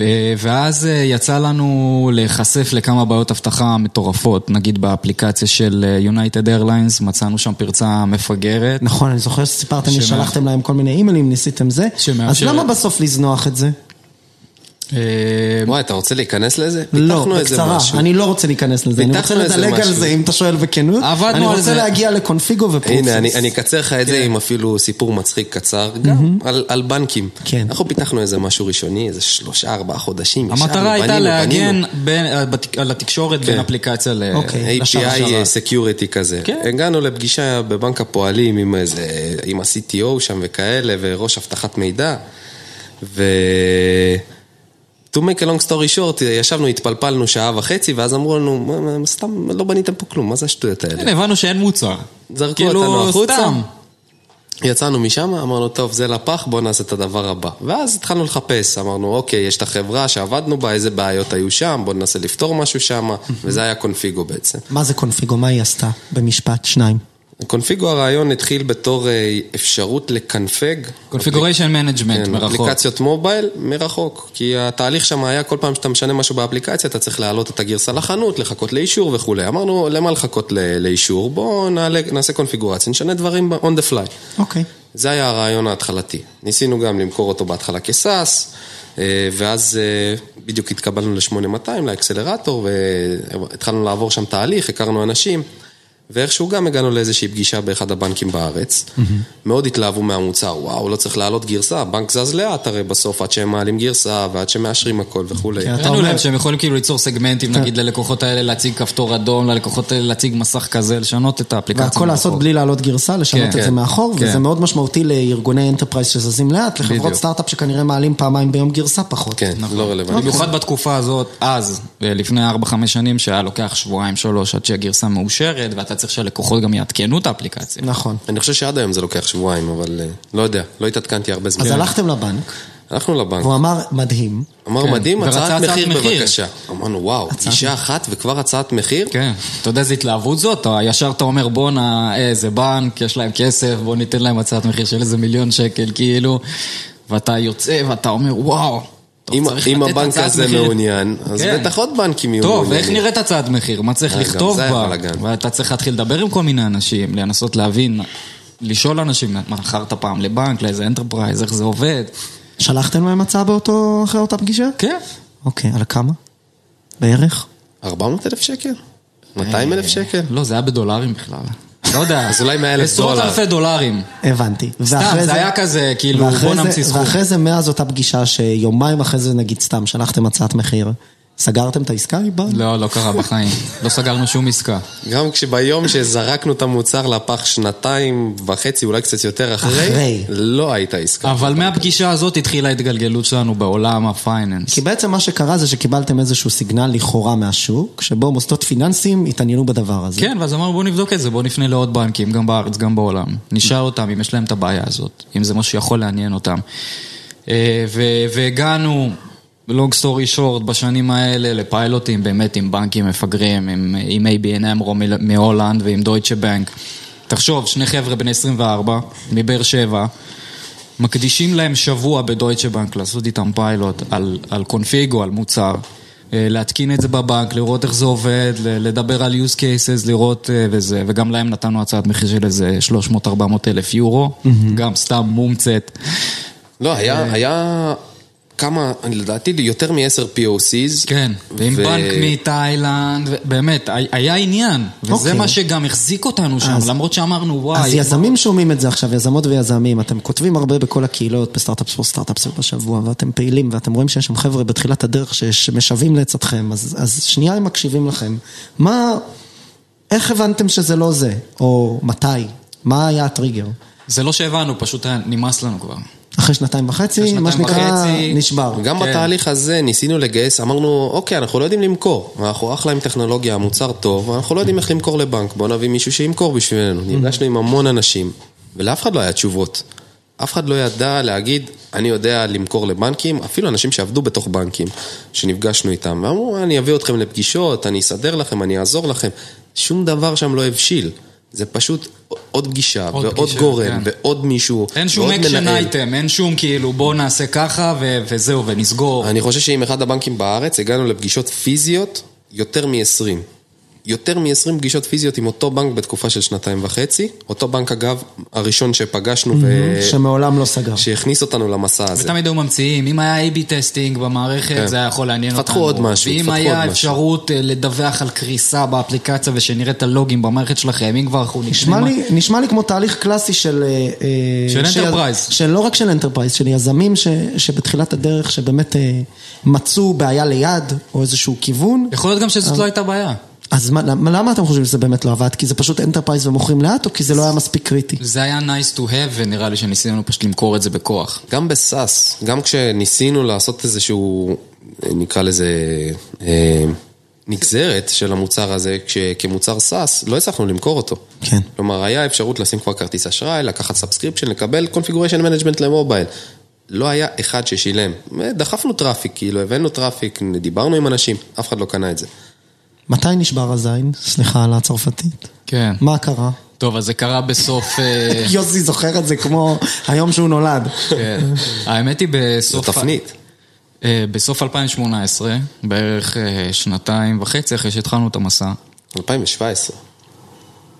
[SPEAKER 5] אה, ואז אה, יצא לנו להיחשף לכמה בעיות אבטחה מטורפות, נגיד באפליקציה של אה, United Airlines, מצאנו שם פרצה מפגרת.
[SPEAKER 1] נכון, אני זוכר שסיפרתם לי
[SPEAKER 5] שמאפ-
[SPEAKER 1] ששלחתם להם כל מיני אימיילים, ניסיתם זה. אז
[SPEAKER 5] שמאפשרת-
[SPEAKER 1] למה בסוף לזנוח את זה?
[SPEAKER 5] אה,
[SPEAKER 4] וואי, אתה רוצה להיכנס לזה?
[SPEAKER 1] לא,
[SPEAKER 4] פיתחנו איזה
[SPEAKER 1] בקצרה,
[SPEAKER 4] משהו.
[SPEAKER 1] אני לא רוצה להיכנס לזה. אני רוצה
[SPEAKER 4] פיתחנו איזה
[SPEAKER 1] לדלג על
[SPEAKER 4] משהו.
[SPEAKER 1] זה, אם אתה שואל בכנות.
[SPEAKER 5] עבדנו
[SPEAKER 1] אני
[SPEAKER 5] על
[SPEAKER 1] רוצה
[SPEAKER 5] זה.
[SPEAKER 1] להגיע לקונפיגו ופרופוס.
[SPEAKER 4] הנה, אני אני אקצר לך את
[SPEAKER 5] כן.
[SPEAKER 4] זה עם אפילו סיפור מצחיק קצר, גם על- על בנקים.
[SPEAKER 1] כן.
[SPEAKER 4] אנחנו פיתחנו איזה משהו ראשוני, איזה שלושה, ארבעה חודשים. ישבנו,
[SPEAKER 5] המטרה הייתה
[SPEAKER 4] בנינו, כן. בנינו.
[SPEAKER 5] להגן בין- אה, בת- על התקשורת בין אפליקציה ל...
[SPEAKER 1] אוקיי. לשאר
[SPEAKER 5] אה,
[SPEAKER 4] API סקיוריטי אה, כזה.
[SPEAKER 5] כן.
[SPEAKER 4] הגענו לפגישה בבנק הפועלים עם איזה, עם ה-CTO שם וכאלה, וראש אבטחת מידע, ו... To make a long story short, ישבנו, התפלפלנו שעה וחצי, ואז אמרו לנו, "מה, מה, סתם, לא בניתם פה כלום, מה זה השטויות האלה?
[SPEAKER 5] כן, הבנו שאין מוצר.
[SPEAKER 4] זרקו
[SPEAKER 5] כאילו,
[SPEAKER 4] אותנו החוצה. אוקיי.
[SPEAKER 5] סתם.
[SPEAKER 4] יצאנו משם, אמרנו, טוב, זה לפח, בואו נעשה את הדבר הבא. ואז התחלנו לחפש, אמרנו, אוקיי, יש את החברה שעבדנו בה, איזה בעיות היו שם, בואו ננסה לפתור משהו שם, וזה היה קונפיגו בעצם.
[SPEAKER 1] מה זה קונפיגו? מה היא עשתה? במשפט, שניים.
[SPEAKER 4] קונפיגו הרעיון התחיל בתור אה, אפשרות לקנפג.
[SPEAKER 5] Configuration management
[SPEAKER 4] כן,
[SPEAKER 5] מרחוק.
[SPEAKER 4] אפליקציות מובייל מרחוק, כי התהליך שם היה כל פעם שאתה משנה משהו באפליקציה, אתה צריך להעלות את הגרסה לחנות, לחכות לאישור וכולי. אמרנו, למה לחכות ל- לאישור? בואו נעלה- נעשה קונפיגורציה, נשנה דברים ב- on the fly.
[SPEAKER 1] אוקיי.
[SPEAKER 4] זה היה הרעיון ההתחלתי. ניסינו גם למכור אותו בהתחלה כסאס, אה, ואז אה, בדיוק התקבלנו ל-8200, לאקסלרטור, והתחלנו לעבור שם תהליך, הכרנו אנשים, ואיכשהו גם הגענו לאיזושהי פגישה באחד הבנקים בארץ. מאוד התלהבו מהמוצר, וואו, לא צריך להעלות גרסה, הבנק זז לאט הרי בסוף, עד שהם מעלים גרסה, ועד שמאשרים הכל וכולי.
[SPEAKER 1] כן, אתה
[SPEAKER 5] ראינו
[SPEAKER 1] אומר-
[SPEAKER 5] להם שהם יכולים כאילו ליצור
[SPEAKER 4] כן.
[SPEAKER 5] סגמנטים, נגיד ללקוחות האלה להציג כפתור אדום, ללקוחות האלה להציג מסך כזה, לשנות את האפליקציה.
[SPEAKER 1] והכל לעשות
[SPEAKER 5] מרחוק.
[SPEAKER 1] בלי להעלות גרסה, לשנות
[SPEAKER 5] כן,
[SPEAKER 1] את זה
[SPEAKER 4] כן,
[SPEAKER 1] מאחור,
[SPEAKER 5] כן.
[SPEAKER 1] וזה מאוד משמעותי לארגוני אנטרפרייז שזזים לאט, לחברות
[SPEAKER 5] בדיוק.
[SPEAKER 1] סטארט-אפ שכנראה מעלים פעמיים ביום גרסה פחות.
[SPEAKER 4] כן, לא רלוונטי.
[SPEAKER 1] אוקיי.
[SPEAKER 5] במיוחד בתקופה הזאת, אז, אה, לפני 4-5 שנים, שהיה לוקח שבועיים, שלוש, עד שהגרסה מאושרת, ואתה צריך שהלקוחות גם יעדכנו את האפליקציה.
[SPEAKER 1] נכון.
[SPEAKER 4] אני חושב שעד היום זה לוקח שבועיים, אבל אה, לא יודע, לא התעדכנתי הרבה
[SPEAKER 5] כן.
[SPEAKER 4] זמן.
[SPEAKER 1] אז הלכתם לבנק,
[SPEAKER 5] אוקיי.
[SPEAKER 4] הלכנו לבנק.
[SPEAKER 1] והוא אמר, מדהים,
[SPEAKER 4] אמר,
[SPEAKER 5] כן.
[SPEAKER 4] מדהים,
[SPEAKER 5] ורצה
[SPEAKER 4] הצעת
[SPEAKER 5] הצעת
[SPEAKER 4] מחיר
[SPEAKER 5] מחיר.
[SPEAKER 4] בבקשה. אמרנו, וואו, אישה אחת וכבר הצעת מחיר?
[SPEAKER 5] כן, אתה יודע איזה התלהבות זאת, אתה ישר אתה אומר בואנה, אה, זה בנק, יש להם כסף, בוא ניתן להם הצעת מחיר של איזה מיליון שקל, כאילו, ואתה יוצא ואתה אומר וואו, טוב,
[SPEAKER 4] אם-
[SPEAKER 5] צריך
[SPEAKER 4] אם
[SPEAKER 5] לתת
[SPEAKER 4] הבנק
[SPEAKER 5] הצעת
[SPEAKER 4] הזה
[SPEAKER 5] מחיר."
[SPEAKER 4] מעוניין, אז
[SPEAKER 5] כן.
[SPEAKER 4] בטח עוד בנקים יהיו
[SPEAKER 5] טוב,
[SPEAKER 4] מעוניינים.
[SPEAKER 5] ואיך נראית הצעת מחיר? מה צריך
[SPEAKER 4] אה, גם
[SPEAKER 5] לכתוב
[SPEAKER 4] זה היה
[SPEAKER 5] בה?
[SPEAKER 4] בלאגן.
[SPEAKER 5] ואתה צריך להתחיל לדבר עם כל מיני אנשים, לנסות להבין, לשאול אנשים, מה מכרת פעם לבנק, לאיזה אנטרפרייז, איך זה עובד?
[SPEAKER 1] שלחתם להם הצעה באותו, אחרי אותה פגישה?
[SPEAKER 5] כן.
[SPEAKER 1] אוקיי, על כמה? בערך?
[SPEAKER 4] 400 אלף שקל?
[SPEAKER 5] אה.
[SPEAKER 4] 200 אלף שקל?
[SPEAKER 5] לא, זה היה בדולרים בכלל.
[SPEAKER 4] [laughs]
[SPEAKER 5] לא יודע.
[SPEAKER 4] אז אולי 100,000 דולר.
[SPEAKER 5] עשרות אלפי דולרים.
[SPEAKER 1] הבנתי.
[SPEAKER 5] סתם,
[SPEAKER 1] ואחרי
[SPEAKER 5] זה היה כזה, כאילו,
[SPEAKER 1] ואחרי
[SPEAKER 5] בוא
[SPEAKER 1] זה-
[SPEAKER 5] נמציא סכום.
[SPEAKER 1] ואחרי זה, מאז אותה פגישה שיומיים אחרי זה, נגיד סתם, שלחתם הצעת מחיר, סגרתם את העסקה, יובל?
[SPEAKER 5] לא, לא קרה בחיים. לא סגרנו שום עסקה.
[SPEAKER 4] גם כשביום שזרקנו את המוצר לפח שנתיים וחצי, אולי קצת יותר אחרי,
[SPEAKER 1] אחרי.
[SPEAKER 4] לא הייתה עסקה.
[SPEAKER 5] [laughs] אבל מהפגישה הזאת התחילה ההתגלגלות שלנו בעולם הפייננס.
[SPEAKER 1] כי בעצם מה שקרה זה שקיבלתם איזשהו סיגנל לכאורה מהשוק, שבו מוסדות פיננסיים התעניינו בדבר הזה.
[SPEAKER 5] כן, ואז אמרנו בואו נבדוק את זה, בואו נפנה לעוד בנקים, גם בארץ, גם בעולם. נשאל אותם אם יש להם את הבעיה הזאת, אם זה משהו שיכול לעניין אותם. אה, ו- והגענו, long story short, בשנים האלה לפיילוטים באמת עם בנקים מפגרים, עם, עם ABN אמרו מל- מהולנד ועם דויטשה בנק. תחשוב, שני חבר'ה בני 24, מבאר שבע, מקדישים להם שבוע בדויטשה בנק לעשות איתם פיילוט על, על קונפיגו, על מוצר. אה, להתקין את זה בבנק, לראות איך זה עובד, ל- לדבר על use cases, לראות אה, וזה, וגם להם נתנו הצעת מחיר של איזה 300-400 אלף יורו, גם סתם מומצאת.
[SPEAKER 4] לא,
[SPEAKER 5] אה.
[SPEAKER 4] היה, היה כמה, אני לדעתי יותר מ-10 POCs.
[SPEAKER 5] כן, ועם
[SPEAKER 4] ו-
[SPEAKER 5] בנק מתאילנד, ו- באמת, ה- היה עניין, וזה
[SPEAKER 1] אוקיי.
[SPEAKER 5] מה שגם החזיק אותנו שם,
[SPEAKER 1] אז-
[SPEAKER 5] למרות שאמרנו, וואי,
[SPEAKER 1] אז יזמים שומעים את זה עכשיו, יזמות ויזמים, אתם כותבים הרבה בכל הקהילות, בסטארט-אפס פור סטארט-אפס בשבוע, ואתם פעילים, ואתם רואים שיש שם חבר'ה בתחילת הדרך ש- שמשוועים לעצתכם, אז, אז שנייה הם מקשיבים לכם. מה, איך הבנתם שזה לא זה? או מתי? מה היה הטריגר?
[SPEAKER 5] זה לא שהבנו, פשוט היה נמאס לנו כבר.
[SPEAKER 1] אחרי שנתיים וחצי,
[SPEAKER 5] אחרי שנתיים
[SPEAKER 1] מה שנקרא,
[SPEAKER 5] וחצי.
[SPEAKER 1] נשבר.
[SPEAKER 4] גם
[SPEAKER 5] כן.
[SPEAKER 4] בתהליך הזה ניסינו לגייס, אמרנו, אוקיי, אנחנו לא יודעים למכור. אנחנו אחלה עם טכנולוגיה, המוצר טוב, אנחנו לא יודעים איך למכור לבנק, בואו נביא מישהו שימכור בשבילנו.
[SPEAKER 5] Mm-hmm.
[SPEAKER 4] נפגשנו עם המון אנשים, ולאף אחד לא היה תשובות. אף אחד לא ידע להגיד, אני יודע למכור לבנקים, אפילו אנשים שעבדו בתוך בנקים, שנפגשנו איתם, ואמרו, אני אביא אתכם לפגישות, אני אסדר לכם, אני אעזור לכם. שום דבר שם לא הבשיל. זה פשוט עוד פגישה,
[SPEAKER 5] עוד
[SPEAKER 4] ועוד
[SPEAKER 5] פגישה,
[SPEAKER 4] גורם,
[SPEAKER 5] כן.
[SPEAKER 4] ועוד מישהו,
[SPEAKER 5] אין שום
[SPEAKER 4] ועוד
[SPEAKER 5] אקשן
[SPEAKER 4] מנהל.
[SPEAKER 5] אייטם, אין שום כאילו בואו נעשה ככה ו- וזהו ונסגור.
[SPEAKER 4] אני חושב שעם אחד הבנקים בארץ הגענו לפגישות פיזיות יותר מ-20. יותר מ-20 פגישות פיזיות עם אותו בנק בתקופה של שנתיים וחצי. אותו בנק, אגב, הראשון שפגשנו ו...
[SPEAKER 1] שמעולם
[SPEAKER 5] אה,
[SPEAKER 1] לא סגר.
[SPEAKER 4] שהכניס אותנו למסע הזה.
[SPEAKER 5] ותמיד היו ממציאים, אם היה A-B טסטינג במערכת,
[SPEAKER 4] כן.
[SPEAKER 5] זה היה יכול לעניין אותנו.
[SPEAKER 4] פתחו עוד משהו,
[SPEAKER 5] ואם
[SPEAKER 4] פתחו עוד
[SPEAKER 5] היה
[SPEAKER 4] משהו.
[SPEAKER 5] אפשרות אה, לדווח על קריסה באפליקציה ושנראה את הלוגים במערכת שלכם, אם כבר אנחנו
[SPEAKER 1] נשמע
[SPEAKER 5] נשמע-
[SPEAKER 1] לי, נשמע לי כמו תהליך קלאסי של... אה, אה,
[SPEAKER 5] של
[SPEAKER 1] ש-
[SPEAKER 5] אנטרפרייז.
[SPEAKER 1] של לא רק של אנטרפרייז, של יזמים ש, שבתחילת הדרך שבאמת אה, מצאו בעיה ליד או איזשהו כיוון.
[SPEAKER 5] יכול להיות גם
[SPEAKER 4] אה.
[SPEAKER 5] שזאת לא הייתה בעיה.
[SPEAKER 1] אז מה, למה למה אתם חושבים שזה באמת לא עבד? כי זה פשוט אנטרפרייז ומוכרים לאט או כי זה לא היה מספיק קריטי?
[SPEAKER 5] זה היה nice to have, ונראה לי שניסינו פשוט למכור את זה בכוח.
[SPEAKER 4] גם בסאס, גם כשניסינו לעשות איזשהו, נקרא לזה, אה, נגזרת של המוצר הזה, כש- כמוצר סאס, לא הצלחנו למכור אותו.
[SPEAKER 1] כן.
[SPEAKER 4] כלומר, היה אפשרות לשים כבר כרטיס אשראי, לקחת סאבסקריפשן, לקבל קונפיגוריישן מנג'מנט למובייל. לא היה אחד ששילם. דחפנו טראפיק, כאילו, הבאנו טראפיק, דיברנו עם אנשים, אף אחד לא קנה את זה.
[SPEAKER 1] מתי נשבר הזין? סליחה על הצרפתית.
[SPEAKER 5] כן.
[SPEAKER 1] מה קרה?
[SPEAKER 5] טוב, אז זה קרה בסוף...
[SPEAKER 4] [laughs]
[SPEAKER 5] אה,
[SPEAKER 1] יוסי זוכר את זה כמו היום שהוא נולד.
[SPEAKER 5] כן. האמת היא
[SPEAKER 4] זו
[SPEAKER 5] בסוף...
[SPEAKER 4] תפנית.
[SPEAKER 5] אה, בסוף 2018, בערך אה, שנתיים וחצי אחרי שהתחלנו את המסע.
[SPEAKER 4] 2017.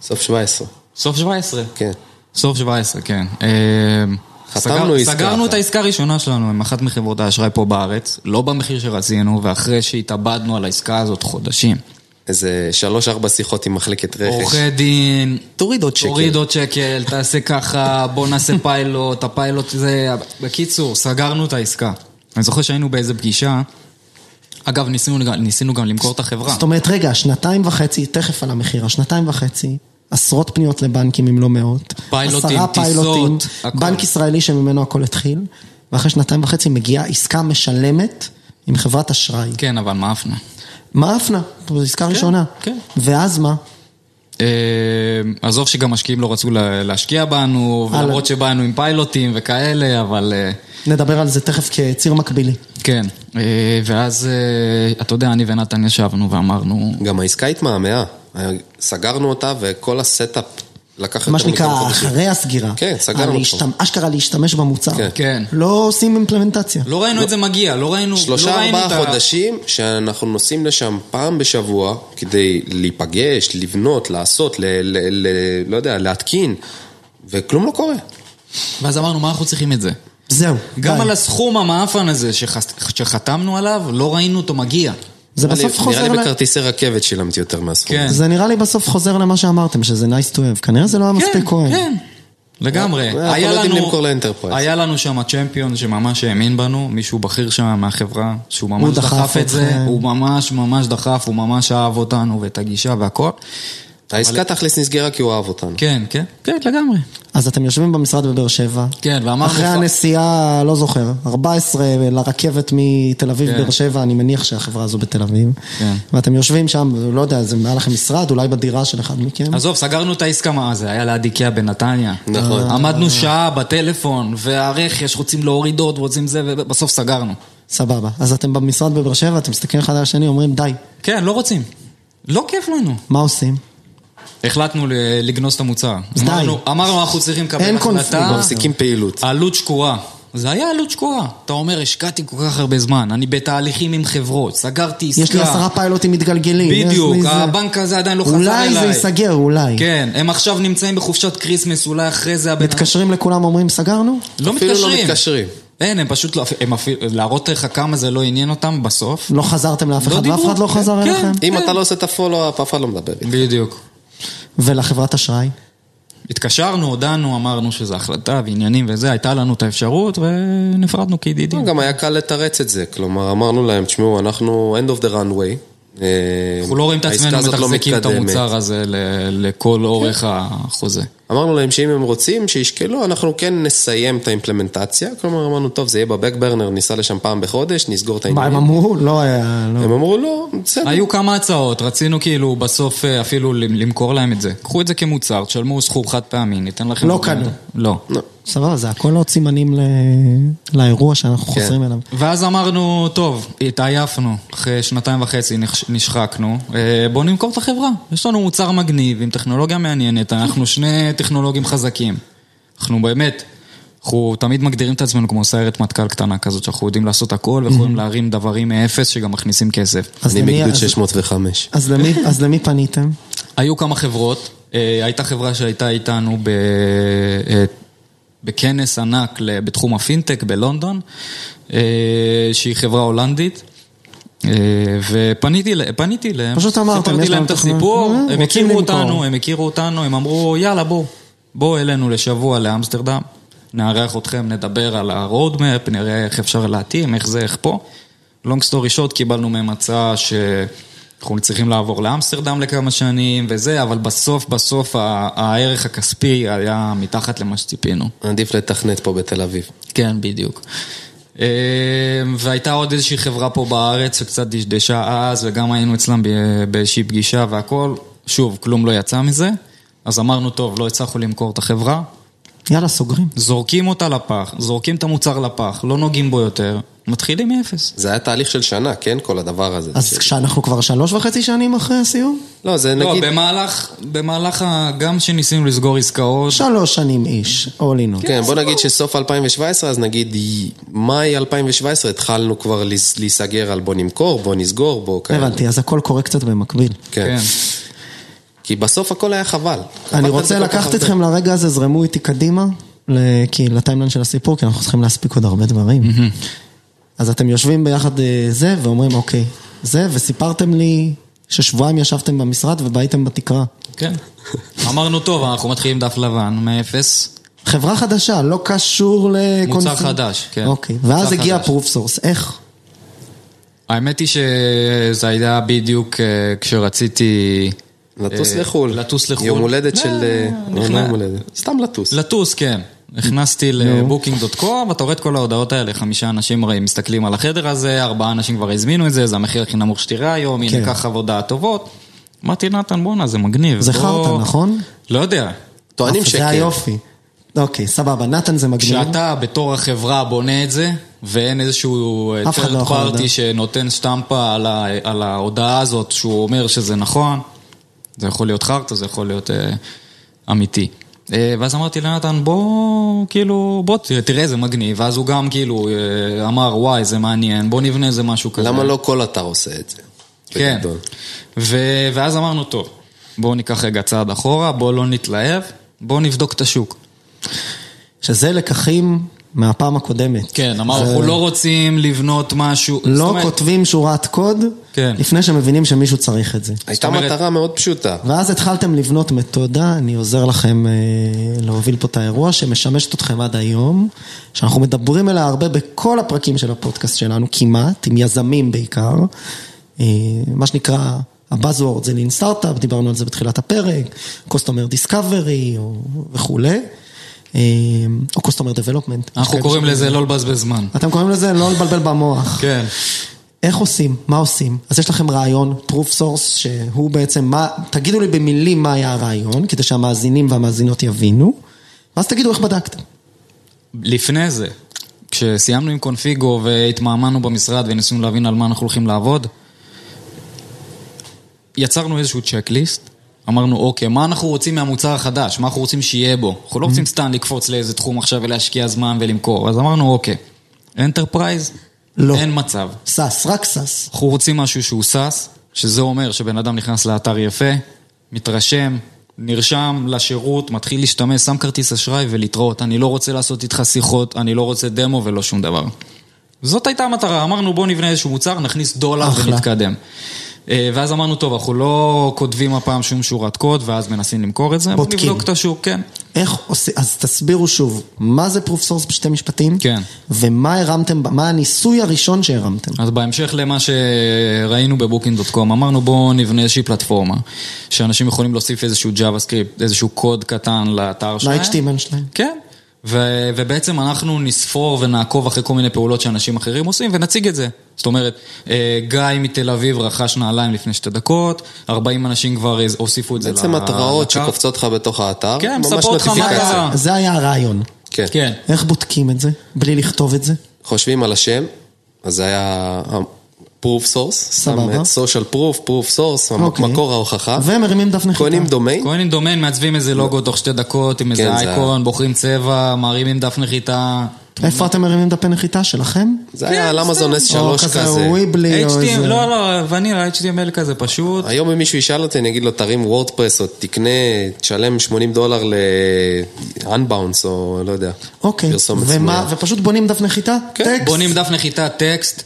[SPEAKER 4] סוף 17,
[SPEAKER 5] סוף 17.
[SPEAKER 4] כן.
[SPEAKER 5] סוף 17, כן. אה,
[SPEAKER 4] חתמנו
[SPEAKER 5] סגר-
[SPEAKER 4] עסקה
[SPEAKER 5] סגרנו
[SPEAKER 4] אחת.
[SPEAKER 5] את העסקה הראשונה שלנו עם אחת מחברות האשראי פה בארץ, לא במחיר שרצינו, ואחרי שהתאבדנו על העסקה הזאת חודשים.
[SPEAKER 4] איזה שלוש-ארבע שיחות עם מחלקת רכש.
[SPEAKER 5] עורכי דין,
[SPEAKER 4] תוריד עוד שקל.
[SPEAKER 5] תוריד עוד שקל, תעשה ככה, בוא נעשה פיילוט, הפיילוט זה... בקיצור, סגרנו את העסקה. אני זוכר שהיינו באיזה פגישה, אגב, ניסינו, ניסינו גם למכור את החברה.
[SPEAKER 1] זאת אומרת, רגע, שנתיים וחצי, תכף על המכירה, שנתיים וחצי, עשרות פניות לבנקים אם לא מאות.
[SPEAKER 5] פיילוטים,
[SPEAKER 1] עשרה
[SPEAKER 5] טיסות,
[SPEAKER 1] פיילוטים,
[SPEAKER 5] הכל.
[SPEAKER 1] בנק ישראלי שממנו הכל התחיל, ואחרי שנתיים וחצי מגיעה עסקה משלמת עם חברת אשראי.
[SPEAKER 5] כן, אבל מעפנה.
[SPEAKER 1] מה עפנה? זו עסקה ראשונה.
[SPEAKER 5] כן.
[SPEAKER 1] ואז מה?
[SPEAKER 5] אה, עזוב שגם משקיעים לא רצו לה- להשקיע בנו,
[SPEAKER 1] הלאה.
[SPEAKER 5] ולמרות שבאנו עם פיילוטים וכאלה, אבל אה,
[SPEAKER 1] נדבר על זה תכף כציר מקבילי.
[SPEAKER 5] כן. אה, ואז, אה, אתה יודע, אני ונתן ישבנו ואמרנו...
[SPEAKER 4] גם העסקה התמהמהה. סגרנו אותה וכל הסטאפ לקח
[SPEAKER 1] מה
[SPEAKER 4] יותר מכמה
[SPEAKER 1] שנקרא,
[SPEAKER 4] חודשים.
[SPEAKER 1] אחרי הסגירה.
[SPEAKER 4] כן, סגרנו
[SPEAKER 1] על
[SPEAKER 4] אותו.
[SPEAKER 1] להשתמ- אשכרה להשתמש במוצר.
[SPEAKER 4] כן.
[SPEAKER 5] כן.
[SPEAKER 1] לא עושים אימפלמנטציה.
[SPEAKER 5] לא ראינו את זה מגיע, לא ראינו... לא
[SPEAKER 4] שלושה
[SPEAKER 5] ראינו את ה-
[SPEAKER 4] ארבעה חודשים שאנחנו נוסעים לשם פעם בשבוע כדי להיפגש, לבנות, לעשות, ל, ל, ל, לא יודע, להתקין, וכלום לא קורה.
[SPEAKER 5] ואז אמרנו, מה אנחנו צריכים את זה?
[SPEAKER 1] זהו,
[SPEAKER 5] גם
[SPEAKER 1] די.
[SPEAKER 5] על הסכום המאפן הזה שחס- שחתמנו עליו, לא ראינו אותו מגיע.
[SPEAKER 1] זה
[SPEAKER 4] נראה לי-
[SPEAKER 1] בסוף חוזר
[SPEAKER 4] נראה
[SPEAKER 1] ל-
[SPEAKER 4] לי בכרטיסי רכבת שילמתי יותר מהסכום.
[SPEAKER 5] כן.
[SPEAKER 1] זה נראה לי בסוף חוזר למה שאמרתם, שזה nice to have. כנראה זה לא היה מספיק כהן.
[SPEAKER 5] כן. לגמרי.
[SPEAKER 4] אנחנו לא
[SPEAKER 5] היה
[SPEAKER 4] יודעים
[SPEAKER 5] לנו-
[SPEAKER 4] למכור לאנטרפרייז.
[SPEAKER 5] היה לנו שם צ'מפיון שממש האמין בנו, מישהו בכיר שם מהחברה, שהוא
[SPEAKER 1] הוא
[SPEAKER 5] ממש
[SPEAKER 1] דחף
[SPEAKER 5] דחף את זה,
[SPEAKER 1] אתכם.
[SPEAKER 5] הוא ממש ממש דחף, הוא ממש אהב אותנו ואת הגישה והכל.
[SPEAKER 4] העסקה תכלס נסגרה כי הוא אהב אותנו.
[SPEAKER 5] כן, כן, כן, לגמרי.
[SPEAKER 1] אז אתם יושבים במשרד בבאר שבע.
[SPEAKER 5] כן, ואמרנו...
[SPEAKER 1] אחרי
[SPEAKER 5] "פאק".
[SPEAKER 1] הנסיעה, לא זוכר, 14 לרכבת מתל אביב,
[SPEAKER 5] כן.
[SPEAKER 1] באר שבע, אני מניח שהחברה הזו בתל אביב.
[SPEAKER 5] כן.
[SPEAKER 1] ואתם יושבים שם, לא יודע, זה היה לכם משרד, אולי בדירה של אחד מכם.
[SPEAKER 5] עזוב, סגרנו את העסקה, מה זה היה ליד איקאה בנתניה. אה,
[SPEAKER 4] נכון.
[SPEAKER 5] עמדנו שעה בטלפון, והרכש, רוצים להוריד עוד, רוצים זה, ובסוף סגרנו.
[SPEAKER 1] סבבה. אז אתם במשרד בבאר שבע, אתם מסתכלים אחד על השני, אומרים, די,
[SPEAKER 5] כן, לא רוצים. לא כיף לנו.
[SPEAKER 1] מה עושים?
[SPEAKER 5] החלטנו ל- לגנוז את המוצר.
[SPEAKER 1] אז די.
[SPEAKER 5] אמרנו, אמרנו, אנחנו צריכים לקבל
[SPEAKER 1] אין
[SPEAKER 5] החלטה.
[SPEAKER 1] קונפליקט.
[SPEAKER 4] מפסיקים פעילות.
[SPEAKER 5] עלות שקועה. זה היה עלות שקועה. אתה אומר, השקעתי כל כך הרבה זמן, אני בתהליכים עם חברות, סגרתי עסקה.
[SPEAKER 1] יש לי עשרה פיילוטים מתגלגלים. יש לי
[SPEAKER 5] בדיוק,
[SPEAKER 1] זה.
[SPEAKER 5] הבנק הזה עדיין לא חזר אליי.
[SPEAKER 1] אולי זה ייסגר, אולי.
[SPEAKER 5] כן, הם עכשיו נמצאים בחופשת כריסמס, אולי אחרי זה הבן...
[SPEAKER 1] מתקשרים לכולם, אומרים, סגרנו?
[SPEAKER 5] לא
[SPEAKER 4] אפילו
[SPEAKER 5] מתקשרים.
[SPEAKER 4] לא מתקשרים.
[SPEAKER 5] אין, הם פשוט לא... הם אפילו... להראות לך כמה זה לא עניין אותם בסוף.
[SPEAKER 1] לא חזרתם לאף
[SPEAKER 5] לא
[SPEAKER 1] אחד, ואף
[SPEAKER 5] דיברו.
[SPEAKER 1] אחד לא חזר
[SPEAKER 5] כן.
[SPEAKER 1] אליכם?
[SPEAKER 4] אם אתה לא עושה את הפולו-אפ, אף אחד לא מדבר איתך.
[SPEAKER 5] בדיוק.
[SPEAKER 1] ולחברת אשראי?
[SPEAKER 5] התקשרנו, הודענו, אמרנו שזו החלטה ועניינים וזה, הייתה לנו את האפשרות ונפרדנו כידידים.
[SPEAKER 4] לא, גם היה קל לתרץ את זה, כלומר אמרנו להם, תשמעו, אנחנו end of the runway. אה,
[SPEAKER 5] אנחנו לא רואים את
[SPEAKER 4] העסקה
[SPEAKER 5] עצמנו
[SPEAKER 4] הזאת לא
[SPEAKER 5] מתחזקים את
[SPEAKER 4] מתקדמת.
[SPEAKER 5] המוצר הזה ל- לכל אורך החוזה.
[SPEAKER 4] אמרנו להם שאם הם רוצים, שישקלו, אנחנו כן נסיים את האימפלמנטציה. כלומר, אמרנו, טוב, זה יהיה בבקברנר, ניסע לשם פעם בחודש, נסגור את
[SPEAKER 1] מה, הם
[SPEAKER 4] העניינים.
[SPEAKER 1] אמרו? לא היה... לא.
[SPEAKER 4] הם אמרו, לא, בסדר.
[SPEAKER 5] היו כמה הצעות, רצינו כאילו בסוף אה, אפילו למ- למכור להם את זה. קחו את זה כמוצר, תשלמו סכום חד פעמי, ניתן לכם...
[SPEAKER 1] לא
[SPEAKER 5] את זה.
[SPEAKER 1] קנו.
[SPEAKER 5] לא.
[SPEAKER 1] סבבה, זה הכל עוד סימנים ל... לאירוע שאנחנו
[SPEAKER 4] כן.
[SPEAKER 1] חוזרים אליו.
[SPEAKER 5] כן. ואז אמרנו, טוב, התעייפנו, אחרי שנתיים וחצי נש- נשחקנו, אה, בואו נמכור את החברה. יש לנו מוצר מגניב עם טכנולוגיה מעניינת, אנחנו שני טכנולוגים חזקים. אנחנו באמת, אנחנו תמיד מגדירים את עצמנו כמו סיירת מטכ"ל קטנה כזאת, שאנחנו יודעים לעשות הכל ויכולים להרים דברים מאפס שגם מכניסים כסף.
[SPEAKER 1] אז
[SPEAKER 4] אני
[SPEAKER 1] למי-
[SPEAKER 4] מגדוד
[SPEAKER 1] אז-
[SPEAKER 4] 605.
[SPEAKER 1] אז למי- אז למי פניתם?
[SPEAKER 5] היו כמה חברות, אה, הייתה חברה שהייתה איתנו ב... אה, בכנס ענק ל- בתחום הפינטק בלונדון, אה, שהיא חברה הולנדית. אה, ופניתי ל- פניתי אליהם,
[SPEAKER 1] פשוט אמרתם,
[SPEAKER 5] סיפרתי
[SPEAKER 1] יש
[SPEAKER 5] להם
[SPEAKER 1] לנו
[SPEAKER 5] את
[SPEAKER 1] תוכנית.
[SPEAKER 5] הסיפור,
[SPEAKER 1] אה,
[SPEAKER 5] הם
[SPEAKER 1] רוצים
[SPEAKER 5] הכירו
[SPEAKER 1] למכור.
[SPEAKER 5] אותנו, הם הכירו אותנו, הם אמרו יאללה בואו, בואו אלינו לשבוע לאמסטרדם, נארח אתכם, נדבר על ה-road map, נראה איך אפשר להתאים, איך זה, איך פה. long story short קיבלנו מהם הצעה שאנחנו צריכים לעבור לאמסטרדם לכמה שנים וזה, אבל בסוף בסוף ה- הערך הכספי היה מתחת למה שציפינו.
[SPEAKER 4] עדיף לתכנת פה בתל אביב.
[SPEAKER 5] כן, בדיוק. אה, והייתה עוד איזושהי חברה פה בארץ שקצת דשדשה אז, וגם היינו אצלם ב- באיזושהי פגישה והכל. שוב, כלום לא יצא מזה. אז אמרנו, טוב, לא הצלחנו למכור את החברה,
[SPEAKER 1] יאללה, סוגרים.
[SPEAKER 5] זורקים אותה לפח, זורקים את המוצר לפח, לא נוגעים בו יותר, מתחילים מאפס.
[SPEAKER 4] זה היה תהליך של שנה, כן? כל הדבר הזה.
[SPEAKER 1] אז כשאנחנו כבר שלוש וחצי שנים אחרי הסיום?
[SPEAKER 4] לא, זה
[SPEAKER 5] לא,
[SPEAKER 4] נגיד...
[SPEAKER 5] במהלך, במהלך ה... גם שניסינו לסגור עסקאות,
[SPEAKER 1] שלוש שנים איש, all in all.
[SPEAKER 4] כן, בוא נגיד שסוף 2017, אז נגיד י- מאי 2017 התחלנו כבר לס- להיסגר על בוא נמכור, בוא נסגור, בוא כאלה.
[SPEAKER 1] הבנתי, אז הכל קורה קצת במקביל.
[SPEAKER 4] כן.
[SPEAKER 5] כן.
[SPEAKER 4] כי בסוף הכל היה חבל.
[SPEAKER 1] אני
[SPEAKER 4] חבל
[SPEAKER 1] רוצה
[SPEAKER 4] על זה כל כך
[SPEAKER 1] לקחת
[SPEAKER 4] הרבה.
[SPEAKER 1] אתכם לרגע הזה, זרמו איתי קדימה, ל- כי לטיימליין של הסיפור, כי אנחנו צריכים להספיק עוד הרבה דברים. אז אתם יושבים ביחד אה, זה, ואומרים, אוקיי, זה, וסיפרתם לי ששבועיים ישבתם במשרד ובהיתם בתקרה.
[SPEAKER 5] כן. אמרנו, טוב, אנחנו מתחילים דף לבן, מאפס.
[SPEAKER 1] חברה חדשה, לא קשור לקונס...
[SPEAKER 5] מוצר חדש, כן.
[SPEAKER 1] אוקיי,
[SPEAKER 5] מוצר
[SPEAKER 1] ואז הגיע
[SPEAKER 5] חדש.
[SPEAKER 1] proof source, איך?
[SPEAKER 5] האמת היא שזה היה בדיוק אה, כשרציתי...
[SPEAKER 4] לטוס
[SPEAKER 5] אה,
[SPEAKER 4] לחו"ל.
[SPEAKER 5] לטוס לחו"ל.
[SPEAKER 4] יום הולדת של... אה,
[SPEAKER 5] נכנע.
[SPEAKER 4] לא יום הולדת. סתם לטוס.
[SPEAKER 5] לטוס, כן. נכנסתי לבוקינג.קום, ואתה רואה את כל ההודעות האלה, חמישה אנשים הרי מסתכלים על החדר הזה, ארבעה אנשים כבר הזמינו את זה, זה המחיר הכי נמוך שתראה היום,
[SPEAKER 1] כן.
[SPEAKER 5] הנה ככה הודעה טובות. אמרתי, נתן, בואנה, זה מגניב.
[SPEAKER 1] זה
[SPEAKER 5] בוא-
[SPEAKER 1] חרטא, נכון?
[SPEAKER 5] לא יודע.
[SPEAKER 4] טוענים
[SPEAKER 1] אוף,
[SPEAKER 4] שכן.
[SPEAKER 1] זה היופי. אוקיי, סבבה, נתן זה מגניב.
[SPEAKER 5] כשאתה בתור החברה בונה את זה, ואין איזשהו אה,
[SPEAKER 1] אף אחד לא
[SPEAKER 5] third
[SPEAKER 1] יכול
[SPEAKER 5] party
[SPEAKER 1] לדעת.
[SPEAKER 5] שנותן שטמפה על ה- על ההודעה הזאת, שהוא אומר שזה נכון, זה יכול להיות חרטא, זה יכול להיות אה, אמיתי. אה, ואז אמרתי לנתן, בוא, כאילו, בוא, תראה, תראה, זה מגניב. ואז הוא גם, כאילו, אה, אמר, וואי, זה מעניין, בוא נבנה איזה משהו כזה.
[SPEAKER 4] למה לא כל אתר עושה את זה?
[SPEAKER 5] כן.
[SPEAKER 4] בגדול.
[SPEAKER 5] ו- ואז אמרנו, טוב, בואו ניקח רגע צעד אחורה, בואו לא נתלהב, בואו נבדוק את השוק.
[SPEAKER 1] שזה לקחים מהפעם הקודמת.
[SPEAKER 5] כן, אמרנו, אנחנו לא רוצים לבנות משהו. זאת
[SPEAKER 1] לא
[SPEAKER 5] אומרת,
[SPEAKER 1] כותבים שורת קוד,
[SPEAKER 5] כן.
[SPEAKER 1] לפני שמבינים שמישהו צריך את זה.
[SPEAKER 4] הייתה
[SPEAKER 5] אומרת-
[SPEAKER 4] מטרה מאוד פשוטה.
[SPEAKER 1] ואז התחלתם לבנות מתודה, אני עוזר לכם אה, להוביל פה את האירוע שמשמשת אתכם עד היום, שאנחנו מדברים עליה הרבה בכל הפרקים של הפודקאסט שלנו, כמעט, עם יזמים בעיקר. אה, מה שנקרא, הבאזוורד זה לין סטארט-אפ, דיברנו על זה בתחילת הפרק, קוסטומר דיסקאברי וכולי, אה, או קוסטומר דבלופמנט.
[SPEAKER 5] אנחנו קוראים לזה לא לבזבז זמן.
[SPEAKER 1] אתם קוראים לזה לא לבלבל במוח.
[SPEAKER 5] כן.
[SPEAKER 1] איך עושים? מה עושים? אז יש לכם רעיון, proof source, שהוא בעצם מה, תגידו לי במילים מה היה הרעיון, כדי שהמאזינים והמאזינות יבינו, ואז תגידו איך בדקתם.
[SPEAKER 5] לפני זה, כשסיימנו עם קונפיגו והתמהמהנו במשרד וניסינו להבין על מה אנחנו הולכים לעבוד, יצרנו איזשהו צ'קליסט, אמרנו, אוקיי, מה אנחנו רוצים מהמוצר החדש? מה אנחנו רוצים שיהיה בו? אנחנו לא רוצים סתם לקפוץ לאיזה תחום עכשיו ולהשקיע זמן ולמכור. אז אמרנו, אוקיי, אנטרפרייז?
[SPEAKER 1] לא.
[SPEAKER 5] אין מצב.
[SPEAKER 1] סאס, רק סאס.
[SPEAKER 5] אנחנו רוצים משהו שהוא סאס, שזה אומר שבן אדם נכנס לאתר יפה, מתרשם, נרשם לשירות, מתחיל להשתמש, שם כרטיס אשראי ולהתראות. אני לא רוצה לעשות איתך שיחות, אני לא רוצה דמו ולא שום דבר. זאת הייתה המטרה, אמרנו בואו נבנה איזשהו מוצר, נכניס דולר
[SPEAKER 1] אחלה.
[SPEAKER 5] ונתקדם. אה, ואז אמרנו, טוב, אנחנו לא כותבים הפעם שום שורת קוד, ואז מנסים למכור את זה,
[SPEAKER 1] בודקים.
[SPEAKER 5] נבדוק את השוק, כן.
[SPEAKER 1] איך עושים, אז תסבירו שוב, מה זה proof source בשתי משפטים?
[SPEAKER 5] כן. אה,
[SPEAKER 1] ומה הרמתם, ב- מה הניסוי הראשון שהרמתם?
[SPEAKER 5] אז בהמשך למה שראינו בבוקינג.קום, אמרנו בואו נבנה איזושהי פלטפורמה, שאנשים יכולים להוסיף איזשהו JavaScript, איזשהו קוד קטן לאתר שלהם.
[SPEAKER 1] ל-HTML שלהם.
[SPEAKER 5] כן. ו- ובעצם אנחנו נספור ונעקוב אחרי כל מיני פעולות שאנשים אחרים עושים ונציג את זה. זאת אומרת, אה, גיא מתל אביב רכש נעליים לפני שתי דקות, 40 אנשים כבר אה, הוסיפו את זה
[SPEAKER 4] בעצם
[SPEAKER 5] ל-
[SPEAKER 4] התראות
[SPEAKER 5] לקארט.
[SPEAKER 4] שקופצות לך בתוך האתר,
[SPEAKER 5] כן,
[SPEAKER 4] ממש
[SPEAKER 5] מספרות לך מה
[SPEAKER 4] נוטיפיקציה.
[SPEAKER 5] קרה. אה.
[SPEAKER 1] זה היה הרעיון.
[SPEAKER 4] כן.
[SPEAKER 5] כן.
[SPEAKER 1] איך בודקים את זה? בלי לכתוב את זה?
[SPEAKER 4] חושבים על השם, אז זה היה proof source,
[SPEAKER 1] סבבה.
[SPEAKER 4] סושיאל proof, proof source,
[SPEAKER 1] אוקיי.
[SPEAKER 4] מקור ההוכחה,
[SPEAKER 1] ומרימים דף נחיתה.
[SPEAKER 4] קונים דומיין,
[SPEAKER 5] כהנים דומיין, מעצבים איזה לוגו תוך שתי דקות, עם
[SPEAKER 4] כן,
[SPEAKER 5] איזה
[SPEAKER 4] זה-
[SPEAKER 5] אייקון, בוחרים צבע, מערימים דף נחיתה.
[SPEAKER 1] איפה אתם מרימים דפי נחיתה שלכם?
[SPEAKER 4] זה היה על אמזון S3
[SPEAKER 1] או
[SPEAKER 4] כזה.
[SPEAKER 1] וויבלי או
[SPEAKER 5] HTML,
[SPEAKER 1] איזה...
[SPEAKER 5] לא, לא, ונילה, HTML כזה פשוט.
[SPEAKER 4] היום אם מישהו ישאל אותי, אני אגיד לו, תרים וורדפרס, או תקנה, תשלם 80 דולר ל-unbounce, או לא יודע.
[SPEAKER 1] אוקיי,
[SPEAKER 4] פרסומת
[SPEAKER 1] ומה,
[SPEAKER 4] סמויה.
[SPEAKER 1] ופשוט בונים דף נחיתה?
[SPEAKER 4] כן,
[SPEAKER 1] טקסט?
[SPEAKER 5] בונים דף נחיתה, טקסט,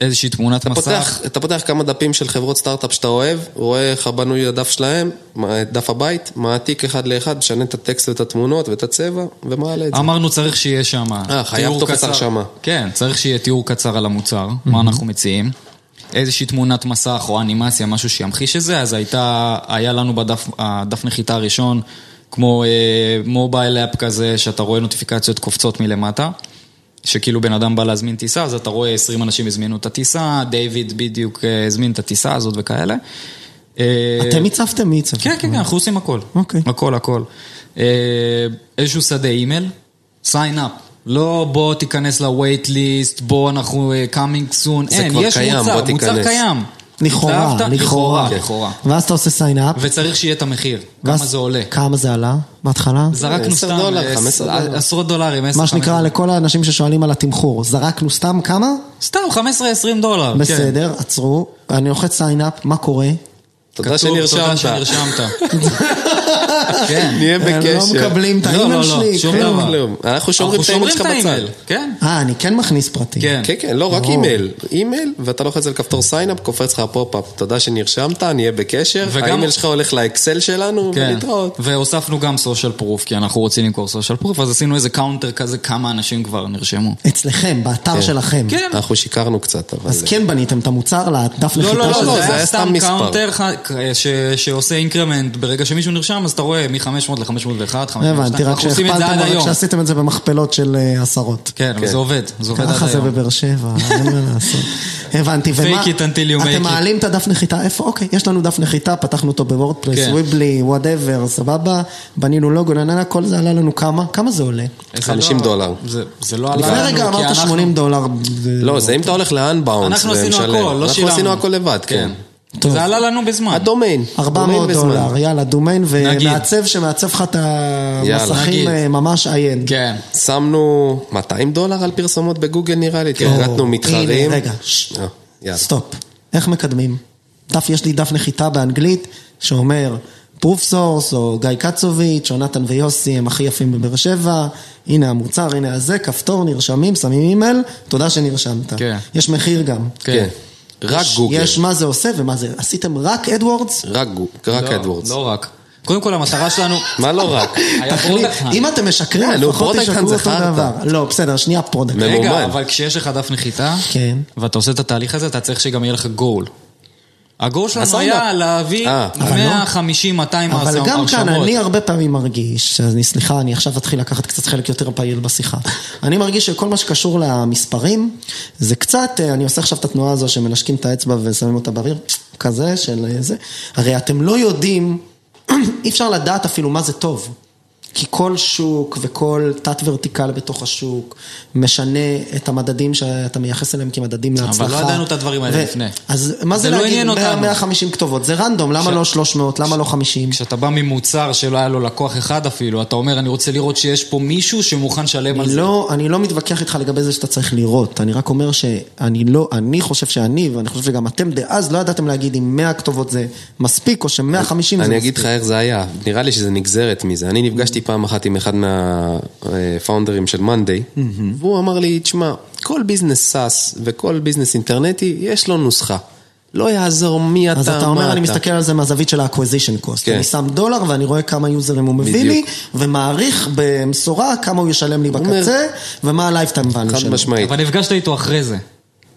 [SPEAKER 5] איזושהי תמונת
[SPEAKER 4] אתה פותח,
[SPEAKER 5] מסך.
[SPEAKER 4] אתה פותח כמה דפים של חברות סטארט-אפ שאתה אוהב, רואה איך הבנוי הדף שלהם, מה- דף הבית, מעתיק אחד לאחד, משנה את הטקסט ואת התמונות ואת הצבע, ומעלה
[SPEAKER 1] אה,
[SPEAKER 4] את זה.
[SPEAKER 5] אמרנו צריך שיהיה שם
[SPEAKER 4] אה, חייב
[SPEAKER 5] תיאור
[SPEAKER 4] טופס הרשמה.
[SPEAKER 5] כן, צריך שיהיה תיאור קצר על המוצר, מה אנחנו מציעים. איזושהי תמונת מסך או אנימציה, משהו שימחיש את זה, אז הייתה, היה לנו בדף הדף נחיתה הראשון, כמו מובייל אפ כזה, שאתה רואה נוטיפיקציות קופצות מלמטה. שכאילו בן אדם בא להזמין טיסה, אז אתה רואה 20 אנשים הזמינו את הטיסה, דיוויד בדיוק אה, הזמין את הטיסה הזאת וכאלה. אה,
[SPEAKER 1] אתם הצפתם? מי הצפתם?
[SPEAKER 5] כן, כן, כן, אנחנו עושים הכל.
[SPEAKER 1] אוקיי.
[SPEAKER 5] הכל, הכל. אה, איזשהו שדה אימייל, sign up. לא בוא תיכנס ל-wait list, בוא אנחנו אה, coming soon.
[SPEAKER 4] זה
[SPEAKER 5] אין,
[SPEAKER 4] כבר
[SPEAKER 5] יש
[SPEAKER 4] קיים,
[SPEAKER 5] מוצר,
[SPEAKER 4] בוא
[SPEAKER 5] מוצר
[SPEAKER 4] תיכנס. כן.
[SPEAKER 5] קיים.
[SPEAKER 1] לכאורה,
[SPEAKER 5] התלהבת?
[SPEAKER 1] לכאורה.
[SPEAKER 5] לכאורה.
[SPEAKER 1] ואז אתה עושה סיינאפ.
[SPEAKER 5] וצריך שיהיה את המחיר, כמה זה עולה.
[SPEAKER 1] כמה זה עלה בהתחלה?
[SPEAKER 5] זרקנו
[SPEAKER 4] עשר
[SPEAKER 5] סתם
[SPEAKER 4] דולר,
[SPEAKER 5] אה,
[SPEAKER 4] חמש עשרה דולר.
[SPEAKER 5] עשרות דולרים, עשר,
[SPEAKER 1] מה
[SPEAKER 5] חמש
[SPEAKER 1] שנקרא,
[SPEAKER 5] עשרה.
[SPEAKER 1] לכל האנשים ששואלים על התמחור, זרקנו סתם כמה?
[SPEAKER 5] סתם 15-20 דולר. כן.
[SPEAKER 1] בסדר, עצרו, אני לוחץ סיינאפ, מה קורה?
[SPEAKER 4] תודה
[SPEAKER 5] כתוב, תודה
[SPEAKER 4] שנרשמת.
[SPEAKER 5] שנרשמת.
[SPEAKER 4] [laughs]
[SPEAKER 5] כן.
[SPEAKER 4] [coughs] נהיה בקשר.
[SPEAKER 1] הם לא מקבלים את
[SPEAKER 5] לא,
[SPEAKER 1] האימייל
[SPEAKER 5] לא, לא,
[SPEAKER 1] שלי, כן.
[SPEAKER 5] שום
[SPEAKER 1] כלום.
[SPEAKER 5] דבר.
[SPEAKER 4] כלום. אנחנו שומרים
[SPEAKER 5] אנחנו
[SPEAKER 4] את האימייל שלך בצד.
[SPEAKER 5] האימייל, כן.
[SPEAKER 1] אה, אני כן מכניס פרטים.
[SPEAKER 5] כן.
[SPEAKER 4] כן, כן, לא רק אימייל, אימייל, ואתה לוחץ על כפתור סיינאפ, קופץ לך הפופ-אפ, תודה שנרשמת, נהיה בקשר,
[SPEAKER 5] וגם-
[SPEAKER 4] האימייל שלך הולך לאקסל שלנו,
[SPEAKER 5] כן.
[SPEAKER 4] ולהתראות.
[SPEAKER 5] והוספנו גם סושיאל פרוף, כי אנחנו רוצים למכור סושיאל פרוף, אז עשינו איזה קאונטר כזה, כמה אנשים כבר נרשמו.
[SPEAKER 1] אצלכם, באתר שלכם.
[SPEAKER 5] כן.
[SPEAKER 4] אנחנו שיקרנו קצת, אבל...
[SPEAKER 1] אז כן בניתם את המוצר לדף
[SPEAKER 5] לא, לא,
[SPEAKER 1] נחיתה
[SPEAKER 5] לא,
[SPEAKER 1] שלכם.
[SPEAKER 5] זה היה
[SPEAKER 4] סתם
[SPEAKER 5] סתם
[SPEAKER 4] מספר.
[SPEAKER 5] קאונטר ח- ש- שעושה אינקרמנט, ברגע שמישהו נרשם, אז אתה רואה מ-500 ל-501, 502,
[SPEAKER 1] הבנתי, רק
[SPEAKER 5] אנחנו עושים את זה עד
[SPEAKER 1] שהכפלתם, רק
[SPEAKER 5] היום.
[SPEAKER 1] שעשיתם את זה במכפלות של אה, עשרות.
[SPEAKER 5] כן, אבל
[SPEAKER 4] כן.
[SPEAKER 5] זה עובד, זה עובד עד
[SPEAKER 1] ככה זה
[SPEAKER 5] היום.
[SPEAKER 1] בבאר שבע, אין מה לעשות. הבנתי, ומה...
[SPEAKER 5] Fake it until you make
[SPEAKER 1] אתם
[SPEAKER 5] it.
[SPEAKER 1] מעלים את הדף נחיתה, איפה? אוקיי, יש לנו דף נחיתה, פתחנו אותו בוורדפלס,
[SPEAKER 5] כן.
[SPEAKER 1] וויבלי, וואטאבר, סבבה, בנינו לוגו, נננה, כל זה עלה לנו כמה? כמה זה עולה?
[SPEAKER 5] זה
[SPEAKER 4] 50
[SPEAKER 5] לא-
[SPEAKER 4] דולר.
[SPEAKER 5] זה- זה לא עלה
[SPEAKER 1] לפני
[SPEAKER 5] לנו,
[SPEAKER 1] רגע
[SPEAKER 5] כי
[SPEAKER 1] אמרת
[SPEAKER 5] אנחנו-
[SPEAKER 1] 80 דולר.
[SPEAKER 4] לא, זה אם אתה הולך לאנבאונס
[SPEAKER 5] אנחנו
[SPEAKER 4] ומשלם.
[SPEAKER 5] עשינו הכל, לא שילמנו.
[SPEAKER 4] אנחנו עשינו הכל לבד, כן.
[SPEAKER 1] טוב.
[SPEAKER 5] זה עלה לנו בזמן.
[SPEAKER 4] הדומיין.
[SPEAKER 1] 400
[SPEAKER 4] דומיין וזמן.
[SPEAKER 1] דולר, יאללה, דומיין,
[SPEAKER 5] נגיד.
[SPEAKER 1] ומעצב שמעצב לך את
[SPEAKER 4] יאללה,
[SPEAKER 1] המסכים
[SPEAKER 5] נגיד.
[SPEAKER 1] אה, ממש עיין.
[SPEAKER 5] כן.
[SPEAKER 4] שמנו 200 דולר על פרסומות בגוגל נראה לי, כי הרגטנו
[SPEAKER 1] או,
[SPEAKER 4] כן, מתחרים.
[SPEAKER 1] כן. הנה, רגע, ששש.
[SPEAKER 4] אה, יאללה.
[SPEAKER 1] סטופ. איך מקדמים? דף, יש לי דף נחיתה באנגלית שאומר פרוף סורס, או גיא קצוביץ', או נתן ויוסי, הם הכי יפים בבאר שבע. הנה המוצר, הנה הזה, כפתור, נרשמים, שמים אימייל, תודה שנרשמת.
[SPEAKER 5] כן.
[SPEAKER 1] יש מחיר גם.
[SPEAKER 4] כן. רק
[SPEAKER 1] יש-
[SPEAKER 4] גוגל.
[SPEAKER 1] יש מה זה עושה ומה זה, עשיתם רק אדוורדס?
[SPEAKER 4] רק גוגל. רק
[SPEAKER 5] לא,
[SPEAKER 4] אדוורדס.
[SPEAKER 5] לא רק. קודם כל, המטרה שלנו...
[SPEAKER 4] מה לא רק?
[SPEAKER 5] היה
[SPEAKER 1] תחליט,
[SPEAKER 5] פרודקט-האנט.
[SPEAKER 1] אם אתם משקרים,
[SPEAKER 4] כן, נו,
[SPEAKER 1] לפחות
[SPEAKER 4] פרודקט-האנט
[SPEAKER 1] תשקרו
[SPEAKER 4] זה
[SPEAKER 1] אותו
[SPEAKER 4] חרטא.
[SPEAKER 1] דבר. לא, בסדר, שנייה פרודקט.
[SPEAKER 4] ממומן.
[SPEAKER 5] רגע, אבל כשיש לך דף נחיתה,
[SPEAKER 1] כן.
[SPEAKER 5] ואתה עושה את התהליך הזה, אתה צריך שגם יהיה לך גול. הגול שלנו
[SPEAKER 4] הסאונד אפ.
[SPEAKER 5] היה להביא
[SPEAKER 4] אה,
[SPEAKER 5] 150-200
[SPEAKER 1] אבל לא. אבל
[SPEAKER 5] הרשמות.
[SPEAKER 1] גם כאן אני הרבה פעמים מרגיש, אני סליחה, אני עכשיו אתחיל לקחת קצת חלק יותר פעיל בשיחה. אני מרגיש שכל מה שקשור למספרים, זה קצת, אה, אני עושה עכשיו את התנועה הזו שמנשקים את האצבע ושמים אותה באוויר, כזה של אה, זה. הרי אתם לא יודעים, [clears throat] אי אפשר לדעת אפילו מה זה טוב. כי כל שוק וכל תת ורטיקל בתוך השוק משנה את המדדים שאתה מייחס אליהם כמדדים להצלחה.
[SPEAKER 5] לא ידענו את הדברים האלה
[SPEAKER 1] ו-
[SPEAKER 5] לפני.
[SPEAKER 1] אז מה זה,
[SPEAKER 5] זה לא
[SPEAKER 1] להגיד
[SPEAKER 5] עניין
[SPEAKER 1] 100,
[SPEAKER 5] אותנו.
[SPEAKER 1] 150 כתובות? זה רנדום, למה
[SPEAKER 5] ש-
[SPEAKER 1] לא 300? למה לא 50?
[SPEAKER 5] כשאתה בא ממוצר שלא היה לו לקוח אחד אפילו, אתה אומר, אני רוצה לראות שיש פה מישהו שמוכן לשלם על
[SPEAKER 1] אני
[SPEAKER 5] זה.
[SPEAKER 1] לא, אני לא מתווכח איתך לגבי זה שאתה צריך לראות, אני רק אומר שאני לא, אני חושב שאני, ואני חושב שגם אתם דאז לא ידעתם להגיד אם 100 כתובות זה מספיק, או ש-150 זה מספיק.
[SPEAKER 4] אני אגיד לך איך זה היה, נראה לי שזה נגזרת מזה. אני נפגשתי פעם אחת עם אחד מהפאונדרים של מאנדיי, והוא אמר לי, תשמע, כל ביזנס סאס וכל ביזנס אינטרנטי, יש לו נוסחה. לא יעזור מי אתה,
[SPEAKER 1] אז אתה
[SPEAKER 4] מה
[SPEAKER 1] אומר, אני מסתכל על זה מהזווית של ה-acquisition cost.
[SPEAKER 4] כן.
[SPEAKER 1] אני שם דולר ואני רואה כמה יוזרים הוא מביא לי,
[SPEAKER 4] בדיוק.
[SPEAKER 1] ומעריך במשורה כמה הוא ישלם לי
[SPEAKER 4] אומר-
[SPEAKER 1] בקצה, ומה ה-lifetime value
[SPEAKER 4] חד
[SPEAKER 1] שלו.
[SPEAKER 4] משמעית.
[SPEAKER 5] אבל נפגשת איתו אחרי זה.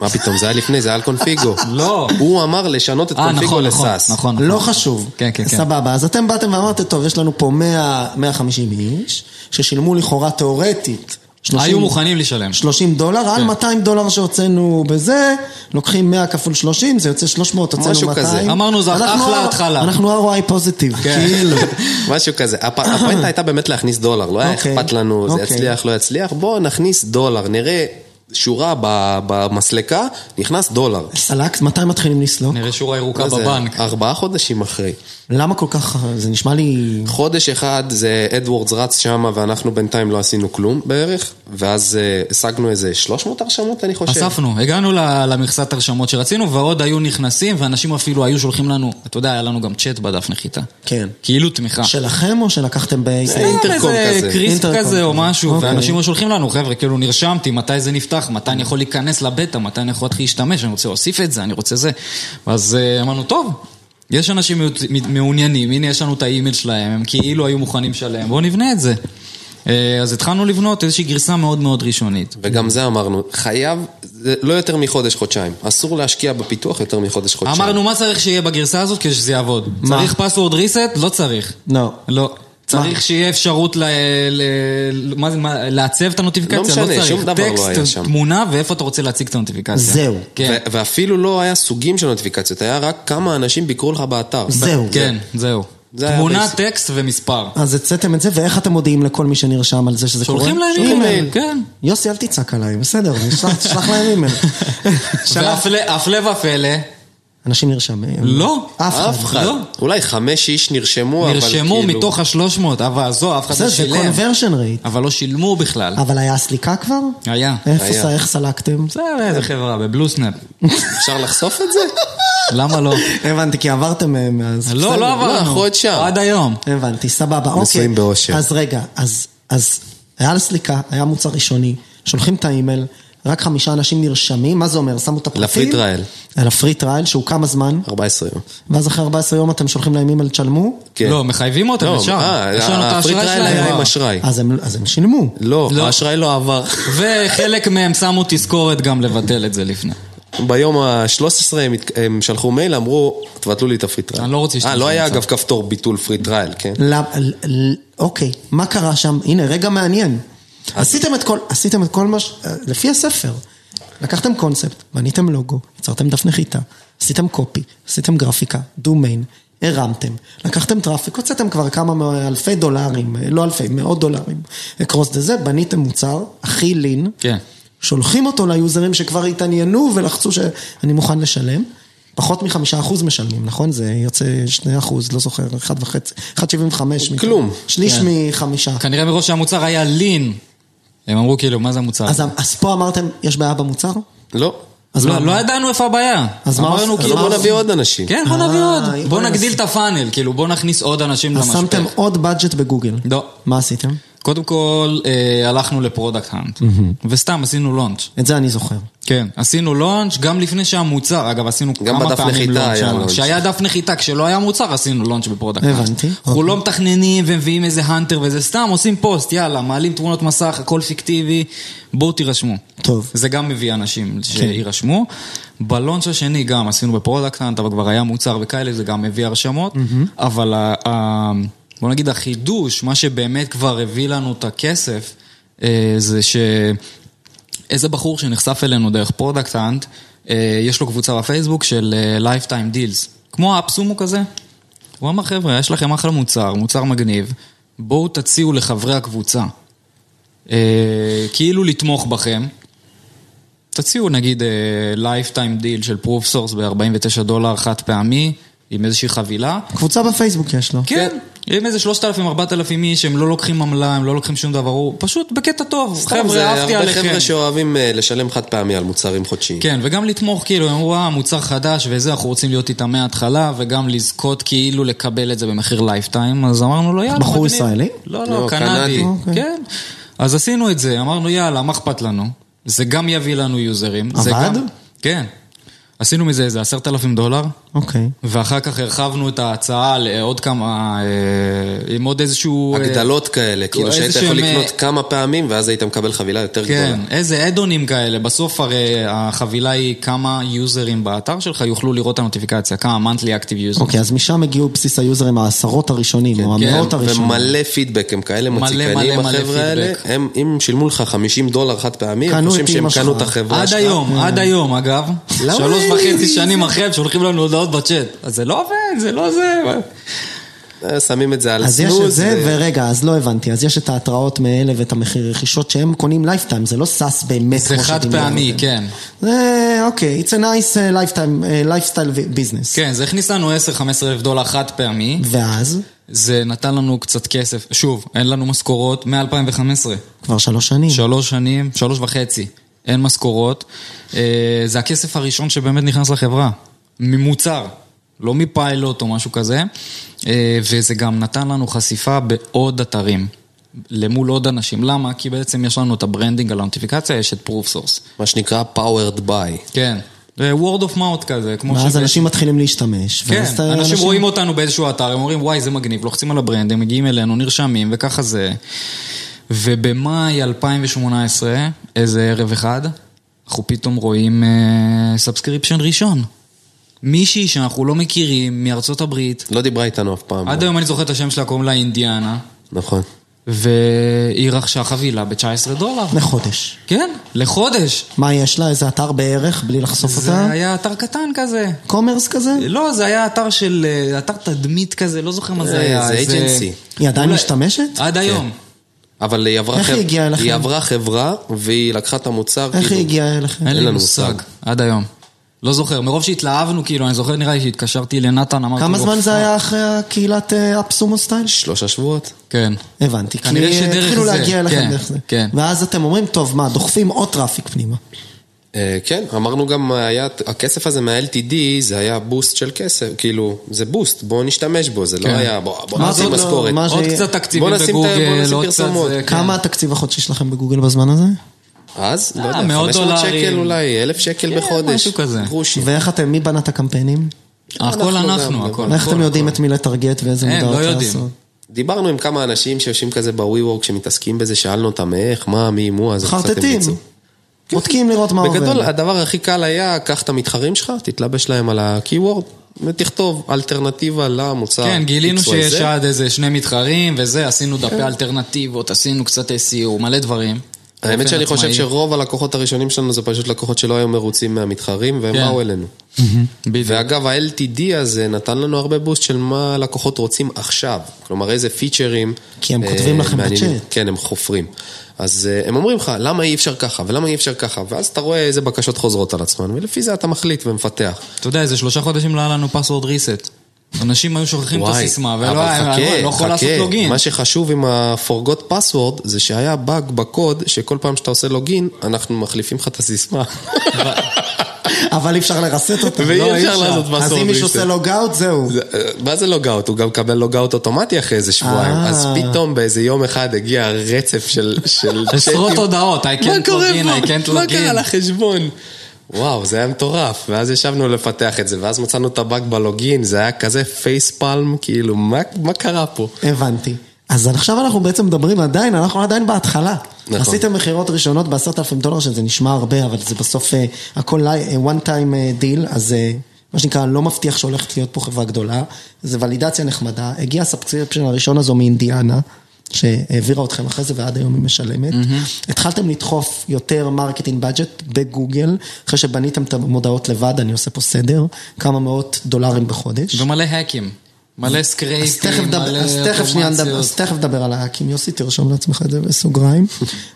[SPEAKER 4] מה פתאום, זה היה לפני, זה היה על
[SPEAKER 1] [laughs]
[SPEAKER 4] קונפיגו.
[SPEAKER 5] לא.
[SPEAKER 4] הוא אמר לשנות את
[SPEAKER 5] אה,
[SPEAKER 4] קונפיגו
[SPEAKER 5] נכון, נכון,
[SPEAKER 4] לסאס.
[SPEAKER 5] נכון.
[SPEAKER 1] לא חשוב.
[SPEAKER 5] כן, כן, כן.
[SPEAKER 1] סבבה, אז אתם באתם ואמרתם, טוב, יש לנו פה 100, 150 איש, ששילמו לכאורה תיאורטית. 30
[SPEAKER 5] היו מוכנים לשלם.
[SPEAKER 1] 30 דולר, על
[SPEAKER 5] כן.
[SPEAKER 1] 200 דולר שהוצאנו בזה, לוקחים 100 כפול 30, זה יוצא 300, הוצאנו 200.
[SPEAKER 4] משהו כזה.
[SPEAKER 5] אמרנו, זה
[SPEAKER 1] אנחנו-
[SPEAKER 5] אחלה התחלה.
[SPEAKER 1] אנחנו ROI פוזיטיב,
[SPEAKER 5] כן.
[SPEAKER 1] כאילו.
[SPEAKER 4] [laughs] משהו כזה. הפ- הפואנטה הייתה באמת להכניס דולר, לא היה
[SPEAKER 1] אוקיי.
[SPEAKER 4] אכפת לנו, זה
[SPEAKER 1] אוקיי.
[SPEAKER 4] יצליח, לא יצליח, בואו נכניס דולר, נראה שורה ב- במסלקה, נכנס דולר.
[SPEAKER 1] סלקס, מתי מתחילים לסלוק?
[SPEAKER 5] נראה שורה ירוקה
[SPEAKER 1] לא
[SPEAKER 4] מה זה?
[SPEAKER 5] בבנק.
[SPEAKER 4] ארבעה חודשים אחרי.
[SPEAKER 5] כן.
[SPEAKER 1] למה כל כך, זה נשמע לי...
[SPEAKER 4] חודש אחד זה אדוורדס רץ שמה ואנחנו בינתיים לא עשינו כלום בערך, ואז אה, השגנו איזה 300 הרשמות אני
[SPEAKER 1] לא
[SPEAKER 4] חושב.
[SPEAKER 5] אספנו, הגענו ל- למכסת הרשמות שרצינו, ועוד היו נכנסים, ואנשים אפילו היו שולחים לנו, אתה יודע, היה לנו גם צ'אט בדף נחיתה.
[SPEAKER 1] כן.
[SPEAKER 5] כאילו תמיכה.
[SPEAKER 1] שלכם או שלקחתם ב...
[SPEAKER 4] אינטרקום
[SPEAKER 5] איזה
[SPEAKER 4] כזה.
[SPEAKER 5] לא, קריספ
[SPEAKER 1] אינטרקום.
[SPEAKER 5] כזה או משהו,
[SPEAKER 1] אוקיי.
[SPEAKER 5] ואנשים היו שולחים לנו, חבר'ה, כאילו נרשמתי, מתי זה נפתח, מתי אני יכול להיכנס לבטא, מתי אני יכול להתחיל להשתמש, אני רוצה להוסיף את זה, אני רוצה זה. ואז אה, אמרנו, טוב, יש אנשים מעוט- מעוניינים, הנה יש לנו את האימייל שלהם, הם כאילו היו מוכנים לשלם, בואו נבנה את זה. אה, אז התחלנו לבנות איזושהי גרסה מאוד מאוד ראשונית.
[SPEAKER 4] וגם זה אמרנו, חייב, זה לא יותר מחודש חודשיים, אסור להשקיע בפיתוח יותר מחודש חודשיים.
[SPEAKER 5] אמרנו, מה צריך שיהיה בגרסה הזאת כדי שזה יעבוד?
[SPEAKER 1] מה?
[SPEAKER 5] צריך password reset? לא צריך.
[SPEAKER 1] לא.
[SPEAKER 5] לא. צריך שיהיה אפשרות ל- ל- ל- מה זה- מה- לעצב את הנוטיפיקציה,
[SPEAKER 4] לא משנה, שום דבר לא
[SPEAKER 5] טקסט,
[SPEAKER 4] היה שם.
[SPEAKER 5] תמונה ואיפה אתה רוצה להציג את הנוטיפיקציה.
[SPEAKER 1] זהו.
[SPEAKER 5] כן,
[SPEAKER 4] ו- ואפילו לא היה סוגים של נוטיפיקציות, היה רק כמה אנשים ביקרו לך באתר.
[SPEAKER 1] זהו.
[SPEAKER 5] כן, זהו.
[SPEAKER 4] זה היה
[SPEAKER 5] תמונה,
[SPEAKER 4] basic.
[SPEAKER 5] טקסט ומספר.
[SPEAKER 1] אז הוצאתם את זה, ואיך אתם מודיעים לכל מי שנרשם על זה שזה קורה?
[SPEAKER 5] שולחים להם אימייל, כן.
[SPEAKER 1] יוסי, אל תצעק עליי, בסדר, שלח-
[SPEAKER 5] [laughs]
[SPEAKER 1] שלח להם אימייל. שלח-
[SPEAKER 5] והפלא ופלא,
[SPEAKER 1] אנשים נרשמים.
[SPEAKER 5] לא.
[SPEAKER 1] אף אחד.
[SPEAKER 5] לא.
[SPEAKER 4] אולי חמש איש נרשמו, אבל
[SPEAKER 5] נרשמו
[SPEAKER 4] כאילו...
[SPEAKER 5] מתוך השלוש מאות, אבל עזוב, אף אחד
[SPEAKER 1] בסדר,
[SPEAKER 5] לא
[SPEAKER 1] זה
[SPEAKER 5] שילם.
[SPEAKER 1] conversion rate.
[SPEAKER 5] אבל לא שילמו בכלל.
[SPEAKER 1] אבל היה סליקה כבר?
[SPEAKER 5] היה.
[SPEAKER 1] איפה
[SPEAKER 4] היה.
[SPEAKER 1] זה, איך סלקתם?
[SPEAKER 5] בסדר, איזה חברה, בבלוסנאפ.
[SPEAKER 4] אפשר לחשוף את זה?
[SPEAKER 5] [laughs] למה לא?
[SPEAKER 1] הבנתי, כי עברתם אה, מאז.
[SPEAKER 5] לא,
[SPEAKER 1] בסדר.
[SPEAKER 5] לא עברנו.
[SPEAKER 4] אנחנו עוד שם.
[SPEAKER 5] עד היום.
[SPEAKER 1] הבנתי, סבבה, אוקיי.
[SPEAKER 4] נשואים באושר.
[SPEAKER 1] אז רגע, אז, אז היה לה סליקה, היה מוצר ראשוני, שולחים את האימייל, רק חמישה אנשים נרשמים, מה זה אומר? שמו את הפרטים?
[SPEAKER 4] לפרי טרייל.
[SPEAKER 1] לפרי טרייל, שהוא כמה זמן?
[SPEAKER 4] 14 יום.
[SPEAKER 1] ואז אחרי 14 יום אתם שולחים להם אימייל, תשלמו?
[SPEAKER 4] כן.
[SPEAKER 5] לא, מחייבים אותם
[SPEAKER 4] לא,
[SPEAKER 5] ישר.
[SPEAKER 4] אה,
[SPEAKER 5] יש לנו את
[SPEAKER 4] הפרי
[SPEAKER 5] האשראי
[SPEAKER 4] טרייל
[SPEAKER 5] שלהם.
[SPEAKER 4] היה עם אשראי.
[SPEAKER 1] אז הם, אז הם שילמו.
[SPEAKER 4] לא,
[SPEAKER 5] לא.
[SPEAKER 4] האשראי לא עבר.
[SPEAKER 5] [laughs] וחלק מהם שמו תזכורת גם לבטל את זה לפני.
[SPEAKER 4] ביום ה-13 הם, הת- הם שלחו מייל, אמרו, תבטלו לי את הפרי טרייל.
[SPEAKER 5] אני לא רוצה
[SPEAKER 4] אה,
[SPEAKER 5] להשתמש
[SPEAKER 4] לא היה
[SPEAKER 5] במצב.
[SPEAKER 4] אגב כפתור ביטול פרי טרייל, כן?
[SPEAKER 1] למ- ל- ל- אוקיי, מה קרה שם? הנה, רגע מעניין. עשיתם את כל, עשיתם את כל מה ש... אה, לפי הספר. לקחתם קונספט, בניתם לוגו, יצרתם דף נחיתה, עשיתם קופי, עשיתם גרפיקה, דומיין, הרמתם, לקחתם טראפיק, הוצאתם כבר כמה מא- אלפי דולרים, לא אלפי, מאות דולרים, אקרוס דזה, בניתם מוצר הכי לין,
[SPEAKER 5] כן.
[SPEAKER 1] שולחים אותו ליוזרים שכבר התעניינו ולחצו שאני מוכן לשלם. פחות מחמישה אחוז משלמים, נכון? זה יוצא שני אחוז, לא זוכר, אחד וחצי, אחד שבעים וחמש.
[SPEAKER 4] כלום.
[SPEAKER 1] שליש
[SPEAKER 5] כן.
[SPEAKER 1] מחמישה.
[SPEAKER 5] כנראה מראש שהמוצר היה לין. הם אמרו כאילו, מה זה המוצר?
[SPEAKER 1] אז, אז פה אמרתם, יש בעיה במוצר?
[SPEAKER 4] לא.
[SPEAKER 1] אז
[SPEAKER 5] לא,
[SPEAKER 1] מה?
[SPEAKER 5] לא ידענו איפה הבעיה.
[SPEAKER 1] אז מה
[SPEAKER 5] אמרנו
[SPEAKER 1] עושים?
[SPEAKER 5] כאילו...
[SPEAKER 1] אז מה
[SPEAKER 4] בוא
[SPEAKER 1] עושים?
[SPEAKER 4] נביא עוד אנשים.
[SPEAKER 5] כן, בוא נביא
[SPEAKER 1] אה,
[SPEAKER 5] עוד.
[SPEAKER 1] בוא
[SPEAKER 5] בוא
[SPEAKER 1] נעשה.
[SPEAKER 5] נגדיל את הפאנל, כאילו, בוא נכניס עוד אנשים
[SPEAKER 1] אז
[SPEAKER 5] למשפך.
[SPEAKER 1] שמתם עוד בדג'ט בגוגל.
[SPEAKER 5] לא.
[SPEAKER 1] מה עשיתם?
[SPEAKER 5] קודם כל, אה, הלכנו לפרודקט האנט, וסתם עשינו לונץ'.
[SPEAKER 1] את זה אני זוכר.
[SPEAKER 5] כן, עשינו לונץ' גם לפני שהיה מוצר, אגב עשינו
[SPEAKER 4] גם
[SPEAKER 5] כמה
[SPEAKER 4] בדף
[SPEAKER 5] פעמים
[SPEAKER 4] נחיתה
[SPEAKER 5] לונץ',
[SPEAKER 4] היה
[SPEAKER 5] שם.
[SPEAKER 4] לונץ'.
[SPEAKER 5] כשהיה דף נחיתה, כשלא היה מוצר עשינו לונץ' בפרודקט.
[SPEAKER 1] הבנתי. אוקיי.
[SPEAKER 5] אנחנו לא מתכננים ומביאים איזה האנטר וזה, סתם עושים פוסט, יאללה, מעלים תמונות מסך, הכל פיקטיבי, בואו תירשמו.
[SPEAKER 1] טוב.
[SPEAKER 5] זה גם מביא אנשים שיירשמו. בלונץ' השני גם עשינו בפרודקט האנט, אבל כבר היה מוצר וכאלה, זה גם הביא הרשמות, אבל ה- ה- בוא נגיד החידוש, מה שבאמת כבר הביא לנו את הכסף, אה, זה ש... איזה בחור שנחשף אלינו דרך פרודקט האנט, אה, יש לו קבוצה בפייסבוק של אה, Lifetime Deals, כמו האפסומו כזה. הוא אמר, חבר'ה, יש לכם אחלה מוצר, מוצר מגניב, בואו תציעו לחברי הקבוצה, אה, כאילו לתמוך בכם. תציעו נגיד אה, Lifetime Deal של Proof Source ב-49 דולר חד פעמי, עם איזושהי חבילה.
[SPEAKER 1] קבוצה בפייסבוק יש לו.
[SPEAKER 5] כן, עם איזה 3,000-4,000 איש, הם לא לוקחים עמלה, הם לא לוקחים שום דבר, הוא פשוט בקטע טוב.
[SPEAKER 4] סתם, זה
[SPEAKER 5] חבר'ה, אהבתי
[SPEAKER 4] הרבה
[SPEAKER 5] עליכם.
[SPEAKER 4] חבר'ה שאוהבים אה, לשלם חד פעמי על מוצרים חודשיים.
[SPEAKER 5] כן, וגם לתמוך, כאילו, הם אמרו, אה, מוצר חדש וזה, אנחנו רוצים להיות איתם מההתחלה, וגם לזכות כאילו לקבל את זה במחיר לייפטיים, אז אמרנו לו, יאללה,
[SPEAKER 1] בחור
[SPEAKER 5] מגניב."
[SPEAKER 1] ישראלי?
[SPEAKER 5] לא, לא,
[SPEAKER 4] לא,
[SPEAKER 5] קנדי.
[SPEAKER 4] קנדי.
[SPEAKER 1] אוקיי.
[SPEAKER 5] כן. אז עשינו את זה, אמרנו, יאללה, מה אכפת לנו? זה גם יביא לנו יוזרים. זה
[SPEAKER 1] עבד?
[SPEAKER 5] גם- כן. עשינו מזה איזה עשרת אלפים דולר.
[SPEAKER 1] אוקיי.
[SPEAKER 5] ואחר כך הרחבנו את ההצעה לעוד כמה, אה, עם עוד איזשהו... אה,
[SPEAKER 4] הגדלות כאלה, כאילו שהיית
[SPEAKER 5] איזשהם,
[SPEAKER 4] יכול
[SPEAKER 5] אה,
[SPEAKER 4] לקנות כמה פעמים ואז היית מקבל חבילה יותר גדולה.
[SPEAKER 5] כן, איזה אדונים כאלה. בסוף הרי החבילה היא כמה יוזרים באתר שלך יוכלו לראות את הנוטיפיקציה, כמה monthly active users.
[SPEAKER 1] אוקיי, אז משם הגיעו בסיס היוזרים העשרות הראשונים, או
[SPEAKER 5] כן,
[SPEAKER 1] המאות הראשונים.
[SPEAKER 4] ומלא פידבק, הם כאלה
[SPEAKER 5] מלא,
[SPEAKER 4] מציקנים,
[SPEAKER 5] מלא, מלא
[SPEAKER 4] החבר'ה האלה.
[SPEAKER 5] פידבק.
[SPEAKER 4] הם, אם שילמו לך 50 דולר חד פעמי,
[SPEAKER 1] קנו
[SPEAKER 4] הם חושבים
[SPEAKER 1] את
[SPEAKER 4] שהם
[SPEAKER 1] אמא
[SPEAKER 4] קנו
[SPEAKER 1] שלך.
[SPEAKER 4] את החברה
[SPEAKER 5] עד
[SPEAKER 4] שלך.
[SPEAKER 5] היום, עד היום אגב,
[SPEAKER 1] אה. למה?
[SPEAKER 5] שלוש וחצי שנים אחרי, הם שולחים לנו הודעות בצ'אט. אז זה לא עובד, זה לא זה. מה-
[SPEAKER 4] אה, שמים את זה על
[SPEAKER 1] אז יש את
[SPEAKER 4] סנוז.
[SPEAKER 1] זה,
[SPEAKER 4] ו-
[SPEAKER 1] ורגע, אז לא הבנתי, אז יש את ההתראות מאלה ואת המחיר רכישות שהם קונים לייפטיים, זה לא סאס באמת
[SPEAKER 5] זה
[SPEAKER 1] כמו
[SPEAKER 5] חד
[SPEAKER 1] שדמיינו.
[SPEAKER 5] פעמי, כן.
[SPEAKER 1] זה אוקיי, it's a nice uh, lifetime, uh, lifestyle business.
[SPEAKER 5] כן, זה הכניס לנו 10-15 אלף דולר חד פעמי.
[SPEAKER 1] ואז,
[SPEAKER 5] זה נתן לנו קצת כסף. שוב, אין לנו משכורות מ-2015.
[SPEAKER 1] כבר שלוש שנים.
[SPEAKER 5] שלוש שנים, שלוש וחצי, אין משכורות. אה, זה הכסף הראשון שבאמת נכנס לחברה, ממוצר, לא מפיילוט או משהו כזה. אה, וזה גם נתן לנו חשיפה בעוד אתרים, למול עוד אנשים. למה? כי בעצם יש לנו את הברנדינג על הנוטיפיקציה, יש את פרוף סורס.
[SPEAKER 4] מה שנקרא powered by.
[SPEAKER 5] כן. זה word of mouth כזה, כמו
[SPEAKER 1] ואז
[SPEAKER 5] שבעצם-
[SPEAKER 1] אנשים מתחילים להשתמש.
[SPEAKER 5] כן,
[SPEAKER 1] ואז אתה-
[SPEAKER 5] אנשים, אנשים רואים אותנו באיזשהו אתר, הם אומרים, וואי, זה מגניב, לוחצים על הברנד, הם מגיעים אלינו, נרשמים, וככה זה. ובמאי 2018, איזה ערב אחד, אנחנו פתאום רואים סאבסקריפשן ראשון. מישהי שאנחנו לא מכירים, מארצות הברית,
[SPEAKER 4] לא דיברה איתנו אף פעם.
[SPEAKER 5] עד היום אני זוכר את השם שלה, קוראים לה אינדיאנה,
[SPEAKER 4] נכון.
[SPEAKER 5] והיא רכשה חבילה ב-19 דולר.
[SPEAKER 1] לחודש.
[SPEAKER 5] כן, לחודש.
[SPEAKER 1] מה יש לה? איזה אתר בערך, בלי לחשוף אותה?
[SPEAKER 5] זה היה אתר קטן כזה.
[SPEAKER 1] קומרס כזה?
[SPEAKER 5] לא, זה היה אתר של, אה, אתר תדמית כזה, לא זוכר מה זה
[SPEAKER 4] אה,
[SPEAKER 5] היה.
[SPEAKER 4] זה agency.
[SPEAKER 1] היא עדיין
[SPEAKER 5] אולי-
[SPEAKER 1] משתמשת?
[SPEAKER 5] עד היום.
[SPEAKER 4] אבל היא עברה
[SPEAKER 1] אה, איך היא
[SPEAKER 4] חב-
[SPEAKER 1] הגיעה אליכם?
[SPEAKER 4] היא עברה חברה והיא לקחה את המוצר.
[SPEAKER 1] איך
[SPEAKER 4] כאילו,
[SPEAKER 1] היא הגיעה אליכם?
[SPEAKER 5] אין לי
[SPEAKER 4] לנו
[SPEAKER 5] מושג.
[SPEAKER 4] מושג.
[SPEAKER 5] עד היום. לא זוכר, מרוב שהתלהבנו, כאילו, אני זוכר נראה לי שהתקשרתי לנתן, אמרתי לו...
[SPEAKER 1] כמה זמן זה
[SPEAKER 5] "פאק".
[SPEAKER 1] היה אחרי הקהילת אה, אפסומו סטייל?
[SPEAKER 4] שלושה שבועות.
[SPEAKER 5] כן.
[SPEAKER 1] הבנתי, כי
[SPEAKER 5] כנראה שדרך
[SPEAKER 1] התחילו
[SPEAKER 5] זה,
[SPEAKER 1] להגיע
[SPEAKER 5] כן,
[SPEAKER 1] אליכם דרך זה.
[SPEAKER 5] כן.
[SPEAKER 1] ואז אתם אומרים, טוב, מה, דוחפים עוד טראפיק פנימה.
[SPEAKER 4] אה, כן, אמרנו גם, היה, הכסף הזה מה-LTD זה היה בוסט של כסף, כאילו, זה בוסט, בואו נשתמש בו, זה לא
[SPEAKER 5] כן.
[SPEAKER 4] היה, בואו בוא
[SPEAKER 1] מה
[SPEAKER 4] נעשה
[SPEAKER 1] זאת לא-
[SPEAKER 4] משכורת.
[SPEAKER 1] מה
[SPEAKER 5] עוד
[SPEAKER 1] זה-
[SPEAKER 5] קצת תקציבים
[SPEAKER 4] בוא נשים את ה- בוא
[SPEAKER 5] בגוגל,
[SPEAKER 4] נשים
[SPEAKER 5] עוד קצת
[SPEAKER 4] פרסומות.
[SPEAKER 5] זה... כן.
[SPEAKER 1] כמה התקציב החודשי שלכם בגוגל בזמן הזה?
[SPEAKER 4] אז, לא
[SPEAKER 5] אה,
[SPEAKER 4] יודע,
[SPEAKER 5] מאות
[SPEAKER 4] 500 שקל
[SPEAKER 5] דולרים.
[SPEAKER 4] אולי, 1,000 שקל
[SPEAKER 5] כן,
[SPEAKER 4] בחודש.
[SPEAKER 5] משהו כזה.
[SPEAKER 4] גרושים.
[SPEAKER 1] ואיך אתם, מי בנה את הקמפיינים?
[SPEAKER 5] הכל
[SPEAKER 4] אנחנו
[SPEAKER 5] אנחנו,
[SPEAKER 4] גם,
[SPEAKER 5] הכל.
[SPEAKER 1] איך
[SPEAKER 5] הכל,
[SPEAKER 1] אתם יודעים
[SPEAKER 5] הכל.
[SPEAKER 1] את מי לטרגט ואיזה
[SPEAKER 5] אין,
[SPEAKER 1] מודעות
[SPEAKER 5] לא יודעים.
[SPEAKER 1] לעשות?
[SPEAKER 4] דיברנו עם כמה אנשים שיושבים כזה ב-WeWork שמתעסקים בזה, שאלנו אותם איך, מה, מי, מו, אז קצת
[SPEAKER 1] חרטטים.
[SPEAKER 4] המליצו.
[SPEAKER 1] בודקים לראות מה עובר.
[SPEAKER 4] בגדול, הדבר הכי קל היה, קח את המתחרים שלך, תתלבש להם על ה-Keyword, ותכתוב אלטרנטיבה למוצר.
[SPEAKER 5] כן, גילינו
[SPEAKER 4] XYZ.
[SPEAKER 5] שיש עד איזה שני מתחרים וזה, עשינו דפי אלטרנטיבות, עשינו קצת SEO, מלא דברים.
[SPEAKER 4] האמת
[SPEAKER 5] באופן
[SPEAKER 4] שאני חושב
[SPEAKER 5] עצמאי.
[SPEAKER 4] שרוב הלקוחות הראשונים שלנו זה פשוט לקוחות שלא היו מרוצים מהמתחרים, והם
[SPEAKER 5] כן.
[SPEAKER 4] באו אלינו.
[SPEAKER 5] Mm-hmm. בדיוק.
[SPEAKER 4] ואגב, ה-LTD הזה נתן לנו הרבה בוסט של מה הלקוחות רוצים עכשיו. כלומר, איזה פיצ'רים.
[SPEAKER 1] כי הם
[SPEAKER 4] אה,
[SPEAKER 1] כותבים לכם
[SPEAKER 4] מעניינים.
[SPEAKER 1] בצ'אט.
[SPEAKER 4] כן, הם חופרים. אז אה, הם אומרים לך, למה אי אפשר ככה, ולמה אי אפשר ככה, ואז אתה רואה איזה בקשות חוזרות על עצמן, ולפי זה אתה מחליט ומפתח.
[SPEAKER 5] אתה יודע, איזה שלושה חודשים לא היה לנו password reset. אנשים היו שוכחים את הסיסמה, ולא
[SPEAKER 4] אבל
[SPEAKER 5] היה, אני לא יכול לעשות לוגין.
[SPEAKER 4] מה שחשוב עם ה-forgot password, זה
[SPEAKER 5] [laughs]
[SPEAKER 4] שהיה באג בקוד, שכל פעם שאתה עושה לוגין, אנחנו מחליפים לך את הסיסמה.
[SPEAKER 1] אבל אי אפשר לרסט אותו.
[SPEAKER 4] ואי
[SPEAKER 1] לא, אי
[SPEAKER 4] אפשר לעשות מסורת,
[SPEAKER 1] אז
[SPEAKER 4] אי
[SPEAKER 1] אם מישהו
[SPEAKER 4] אפשר.
[SPEAKER 1] עושה לוגאוט, זהו.
[SPEAKER 4] זה- מה זה לוגאוט? הוא גם מקבל לוגאוט אוטומטי אחרי איזה שבועיים.
[SPEAKER 1] אה.
[SPEAKER 4] אז פתאום באיזה יום אחד הגיע רצף של... של
[SPEAKER 5] [laughs] עשרות
[SPEAKER 4] צ'קים.
[SPEAKER 5] הודעות, I
[SPEAKER 4] מה
[SPEAKER 5] can't
[SPEAKER 4] קורה
[SPEAKER 5] log in, I can't
[SPEAKER 4] פה? מה
[SPEAKER 5] log
[SPEAKER 4] קרה
[SPEAKER 5] in.
[SPEAKER 4] לחשבון? וואו, זה היה מטורף. ואז ישבנו לפתח את זה, ואז מצאנו את הבאג בלוגין, זה היה כזה פייספלם, כאילו, מה, מה קרה פה?
[SPEAKER 1] הבנתי. אז עכשיו אנחנו בעצם מדברים עדיין, אנחנו עדיין בהתחלה.
[SPEAKER 4] נכון.
[SPEAKER 1] עשיתם מכירות ראשונות בעשרת אלפים דולר, שזה נשמע הרבה, אבל זה בסוף אה, הכל לי- אה, one time אה, deal, אז אה, מה שנקרא, לא מבטיח שהולכת להיות פה חברה גדולה. זה ולידציה נחמדה. הגיע הסאבסקריפשן הראשון הזו מאינדיאנה, שהעבירה אתכם אחרי זה ועד היום היא משלמת. התחלתם לדחוף יותר מרקטינג בדג'ט בגוגל, אחרי שבניתם את המודעות לבד, אני עושה פה סדר, כמה מאות דולרים בחודש.
[SPEAKER 5] ומלא האקים. מלא
[SPEAKER 1] אז תכף,
[SPEAKER 5] סקרייפים,
[SPEAKER 1] דבר,
[SPEAKER 5] מלא
[SPEAKER 1] אז, תכף שנייה, נדבר- אז
[SPEAKER 5] אוטומציות.
[SPEAKER 1] תכף נדבר על ההאקים, יוסי תרשום לעצמך את זה בסוגריים.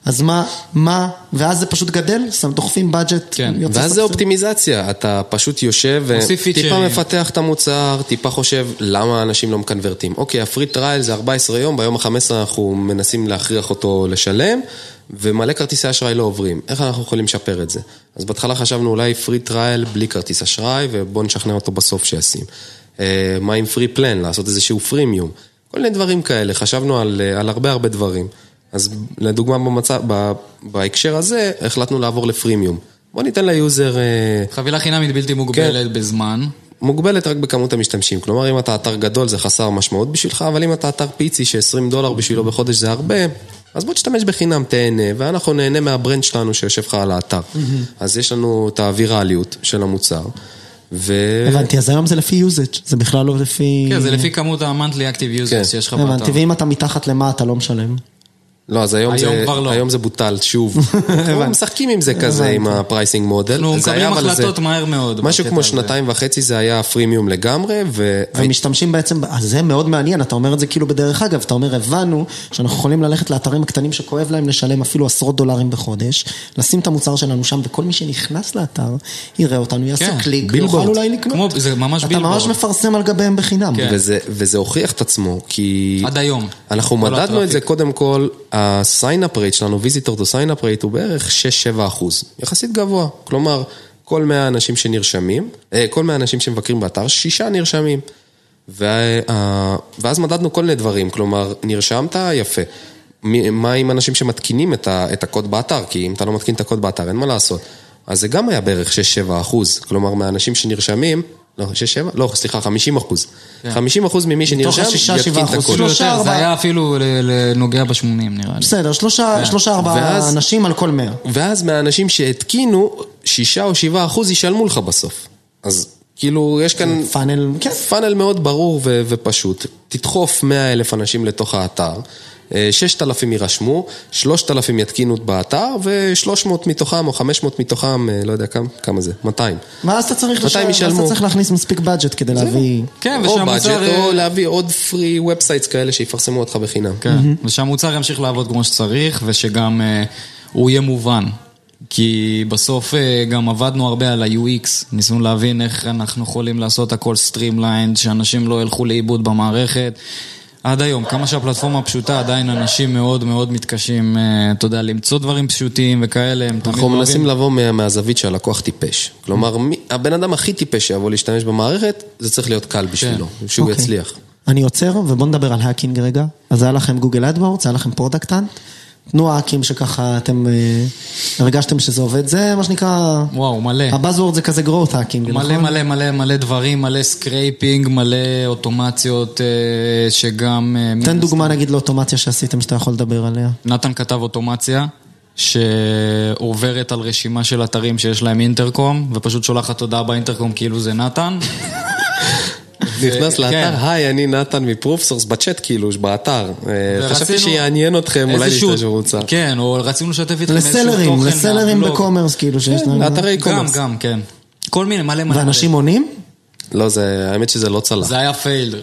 [SPEAKER 1] אז מה, מה, ואז זה פשוט גדל, שם דוחפים בדג'ט.
[SPEAKER 5] כן,
[SPEAKER 1] יוצא
[SPEAKER 4] ואז זה
[SPEAKER 1] סבסוד.
[SPEAKER 4] אופטימיזציה, אתה פשוט יושב
[SPEAKER 5] מוסיף
[SPEAKER 4] וטיפה
[SPEAKER 5] פיצ'רים.
[SPEAKER 4] מפתח את המוצר, טיפה חושב למה אנשים לא מקנברטים. אוקיי, הפרי טרייל זה 14 יום, ביום ה-15 אנחנו מנסים להכריח אותו לשלם, ומלא כרטיסי אשראי לא עוברים. איך אנחנו יכולים לשפר את זה? אז בהתחלה חשבנו אולי פרי טרייל בלי כרטיס אשראי, ובואו נשכנע אותו בסוף שישים. אה, מה עם פרי פלן, לעשות איזשהו פרימיום. כל מיני דברים כאלה, חשבנו על, אה, על הרבה הרבה דברים. אז לדוגמה במצב, ב- בהקשר הזה, החלטנו לעבור לפרימיום. בוא ניתן ליוזר אה,
[SPEAKER 5] חבילה חינמית בלתי
[SPEAKER 4] כן.
[SPEAKER 5] מוגבלת בזמן.
[SPEAKER 4] מוגבלת רק בכמות המשתמשים. כלומר, אם אתה אתר גדול זה חסר משמעות בשבילך, אבל אם אתה אתר פיצי ש-20 דולר בשבילו בחודש זה הרבה, אז בוא תשתמש בחינם, תהנה, ואנחנו נהנה מהברנד שלנו שיושב לך על האתר. אז יש לנו את הווירליות של המוצר, ו...
[SPEAKER 1] הבנתי, אז היום זה לפי יוזג', זה בכלל לא לפי...
[SPEAKER 5] כן, זה לפי כמות ה-monthly active
[SPEAKER 4] כן.
[SPEAKER 5] users שיש לך באתר.
[SPEAKER 1] הבנתי, ואם אתה מתחת למה אתה לא משלם.
[SPEAKER 4] לא, אז היום,
[SPEAKER 5] היום
[SPEAKER 4] זה,
[SPEAKER 5] כבר לא.
[SPEAKER 4] היום זה בוטל שוב. אנחנו משחקים עם זה כזה, עם הפרייסינג מודל.
[SPEAKER 5] אנחנו
[SPEAKER 4] זה
[SPEAKER 5] מקבלים
[SPEAKER 4] היה, אבל
[SPEAKER 5] החלטות
[SPEAKER 4] זה-
[SPEAKER 5] מהר מאוד
[SPEAKER 4] משהו
[SPEAKER 5] בקטע
[SPEAKER 4] כמו
[SPEAKER 5] הזה.
[SPEAKER 4] שנתיים וחצי זה היה פרימיום לגמרי, ו...
[SPEAKER 1] ומשתמשים בעצם, אז זה מאוד מעניין, אתה אומר את זה כאילו בדרך אגב, אתה אומר, הבנו שאנחנו יכולים ללכת לאתרים הקטנים שכואב להם לשלם אפילו עשרות דולרים בחודש, לשים את המוצר שלנו שם, וכל מי שנכנס לאתר יראה אותנו, יעשה
[SPEAKER 5] כן,
[SPEAKER 1] קליק,
[SPEAKER 4] בילבורד.
[SPEAKER 1] יוכל אולי לקנות.
[SPEAKER 5] כמו- זה ממש
[SPEAKER 1] אתה
[SPEAKER 5] בילבורד.
[SPEAKER 1] ממש מפרסם על גביהם בחינם.
[SPEAKER 5] כן.
[SPEAKER 4] וזה, וזה הוכיח את עצמו, כי...
[SPEAKER 5] עד היום.
[SPEAKER 4] אנחנו
[SPEAKER 5] כל
[SPEAKER 4] מדדנו את זה,
[SPEAKER 5] הטראפיק.
[SPEAKER 4] קודם כל, ה-sign-up rate שלנו, visitor to sign-up rate, הוא בערך 6-7 אחוז. יחסית גבוה. כלומר, כל 100 אנשים שנרשמים, אה, כל 100 אנשים שמבקרים באתר, שישה נרשמים. וה- ה- ואז מדדנו כל מיני דברים, כלומר, נרשמת, יפה. מי- מה עם אנשים שמתקינים את ה- את הקוד באתר? כי אם אתה לא מתקין את הקוד באתר, אין מה לעשות. אז זה גם היה בערך 6-7 אחוז. כלומר, מהאנשים שנרשמים, לא, 6-7? לא, סליחה, 50 אחוז. 50 אחוז ממי שנרשם,
[SPEAKER 1] השישה,
[SPEAKER 4] יתקין
[SPEAKER 1] שבעה
[SPEAKER 4] את
[SPEAKER 1] אחוז.
[SPEAKER 4] הקוד.
[SPEAKER 5] אפילו
[SPEAKER 1] שלושה,
[SPEAKER 5] יותר, זה
[SPEAKER 1] ארבעה.
[SPEAKER 5] היה אפילו ל- ל- נוגע בשמונים נראה לי.
[SPEAKER 1] בסדר,
[SPEAKER 5] כן.
[SPEAKER 1] שלושה, שלושה ארבעה
[SPEAKER 4] ואז-
[SPEAKER 1] אנשים על כל מאה.
[SPEAKER 4] ואז מהאנשים שהתקינו, שישה או שבעה אחוז ישלמו לך בסוף. אז כאילו, יש כאן
[SPEAKER 1] פאנל, כן.
[SPEAKER 4] פאנל מאוד ברור ו- ופשוט. תדחוף 100 אלף אנשים לתוך האתר, אה, 6,000 יירשמו, 3,000 יתקינו באתר, ו-300 מתוכם או 500 מתוכם, אה, לא יודע כמה, כמה זה, 200.
[SPEAKER 1] ואז אתה צריך,
[SPEAKER 4] מתי
[SPEAKER 1] לשלם-
[SPEAKER 4] הם
[SPEAKER 1] ואז
[SPEAKER 4] ישלמו?
[SPEAKER 1] אתה צריך להכניס מספיק בדג'ט כדי להביא...
[SPEAKER 5] כן,
[SPEAKER 4] או
[SPEAKER 5] ושהמוצר...
[SPEAKER 4] budget, או
[SPEAKER 5] אה,
[SPEAKER 4] להביא עוד פרי ובסייטס כאלה שיפרסמו אותך בחינם.
[SPEAKER 5] כן, ושהמוצר ימשיך לעבוד כמו שצריך, ושגם אה, הוא יהיה מובן. כי בסוף אה, גם עבדנו הרבה על ה-UX, ניסינו להבין איך אנחנו יכולים לעשות הכל סטרימליינד, שאנשים לא ילכו לאיבוד במערכת. עד היום, כמה שהפלטפורמה פשוטה, עדיין אנשים מאוד מאוד מתקשים, אה, אתה יודע, למצוא דברים פשוטים וכאלה, הם תמיד
[SPEAKER 4] אנחנו
[SPEAKER 5] אוהבים.
[SPEAKER 4] מנסים לבוא מה- מהזווית שהלקוח טיפש. כלומר, מי- הבן אדם הכי טיפש שיבוא להשתמש במערכת, זה צריך להיות קל בשבילו,
[SPEAKER 5] כן.
[SPEAKER 4] שהוא
[SPEAKER 1] אוקיי.
[SPEAKER 4] יצליח.
[SPEAKER 1] אני עוצר, ובואו נדבר על האקינג רגע. אז היה לכם גוגל אדוורדס, היה לכם פרודקטן. תנו האקים שככה אתם אה, הרגשתם שזה עובד, זה מה שנקרא...
[SPEAKER 5] וואו, מלא.
[SPEAKER 1] הבאזוורד זה כזה growth האקינג,
[SPEAKER 5] מלא
[SPEAKER 1] נכון?
[SPEAKER 5] מלא מלא מלא דברים, מלא סקרייפינג, מלא אוטומציות אה, שגם... אה, מן
[SPEAKER 1] תן
[SPEAKER 5] הסתם-
[SPEAKER 1] דוגמה נגיד לאוטומציה שעשיתם שאתה יכול לדבר עליה.
[SPEAKER 5] נתן כתב אוטומציה שעוברת על רשימה של אתרים שיש להם אינטרקום, ופשוט שולחת הודעה באינטרקום כאילו זה
[SPEAKER 4] [laughs]
[SPEAKER 5] נתן.
[SPEAKER 4] נכנס
[SPEAKER 5] כן.
[SPEAKER 4] לאתר, היי, אני נתן מפרופסורס, בצ'אט כאילו, באתר. אה, חשבתי
[SPEAKER 5] ורצינו-
[SPEAKER 4] שיעניין אתכם, אולי
[SPEAKER 5] איזשהו-
[SPEAKER 4] להשתמש במוצר.
[SPEAKER 5] כן, או רצינו לשתף איתכם איזשהו תוכן.
[SPEAKER 1] לסלרים, לסלרים
[SPEAKER 5] לבלוג. כן,
[SPEAKER 1] בקומרס כאילו שיש להם.
[SPEAKER 4] לאתרי
[SPEAKER 5] גם,
[SPEAKER 4] קומרס.
[SPEAKER 5] גם, כן. כל מיני, מלא מלא.
[SPEAKER 1] ואנשים
[SPEAKER 5] מלא.
[SPEAKER 1] עונים?
[SPEAKER 5] כן.
[SPEAKER 4] לא, זה- האמת שזה לא צלח.
[SPEAKER 1] [laughs]
[SPEAKER 5] זה היה פייל.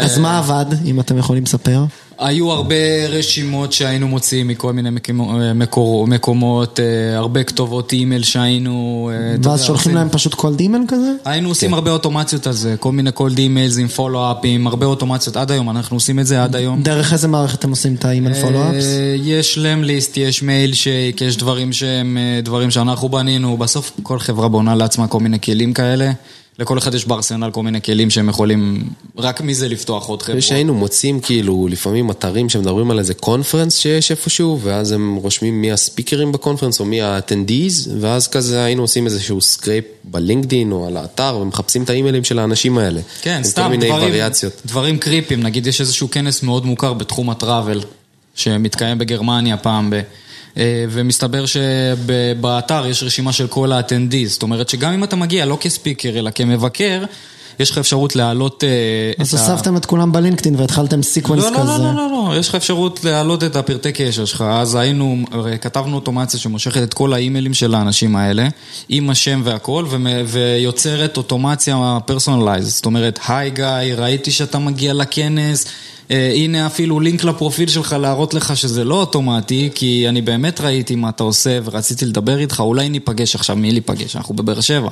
[SPEAKER 1] אז מה עבד, אם אתם יכולים לספר?
[SPEAKER 5] היו הרבה רשימות שהיינו מוציאים מכל מיני מקימו- מקור- מקומות, אה, הרבה כתובות אימייל שהיינו... אה, אתה
[SPEAKER 1] ואז
[SPEAKER 5] יודע,
[SPEAKER 1] שולחים
[SPEAKER 5] עושים-
[SPEAKER 1] להם פשוט כל דימן כזה?
[SPEAKER 5] היינו עושים הרבה אוטומציות על זה, כל מיני קולד אימיילס עם פולו-אפים, הרבה אוטומציות עד היום, אנחנו עושים את זה עד היום.
[SPEAKER 1] דרך איזה מערכת אתם עושים את האימייל פולו-אפס?
[SPEAKER 5] אה, יש למליסט, יש מייל שייק, יש דברים שהם אה, דברים שאנחנו בנינו, בסוף כל חברה בונה לעצמה כל מיני כלים כאלה, לכל אחד יש בארסנל כל מיני כלים שהם יכולים רק מזה לפתוח עוד חברה.
[SPEAKER 4] אני חושב שהיינו מוצאים כאילו לפעמים אתרים שמדברים על איזה קונפרנס שיש איפשהו, ואז הם רושמים מי הספיקרים בקונפרנס או מי ה-attendees, ואז כזה היינו עושים איזשהו סקרייפ בלינקדין או על האתר, ומחפשים את האימיילים של האנשים האלה.
[SPEAKER 5] כן,
[SPEAKER 4] עם
[SPEAKER 5] סתם
[SPEAKER 4] כל מיני
[SPEAKER 5] דברים,
[SPEAKER 4] וריאציות.
[SPEAKER 5] דברים קריפים, נגיד יש איזשהו כנס מאוד מוכר בתחום הטראבל, שמתקיים בגרמניה פעם, ב, אה, ומסתבר שבאתר יש רשימה של כל האטנדיז, זאת אומרת שגם אם אתה מגיע לא כספיקר אלא כמבקר, יש לך אפשרות להעלות אה,
[SPEAKER 1] אז
[SPEAKER 5] את ה...
[SPEAKER 1] הוספתם את כולם בלינקדאין והתחלתם סיקוונס
[SPEAKER 5] לא, לא, לא,
[SPEAKER 1] כזה.
[SPEAKER 5] לא, לא, לא, יש לך אפשרות להעלות את הפרטי קשר שלך. אז היינו, הרי כתבנו אוטומציה שמושכת את כל האימיילים של האנשים האלה, עם השם והכל, ומ- ויוצרת אוטומציה פרסונלייז. זאת אומרת, היי גיא, ראיתי שאתה מגיע לכנס. אה, הנה אפילו לינק לפרופיל שלך להראות לך שזה לא אוטומטי, כי אני באמת ראיתי מה אתה עושה ורציתי לדבר איתך, אולי ניפגש עכשיו, מי ניפגש? אנחנו בבאר שבע.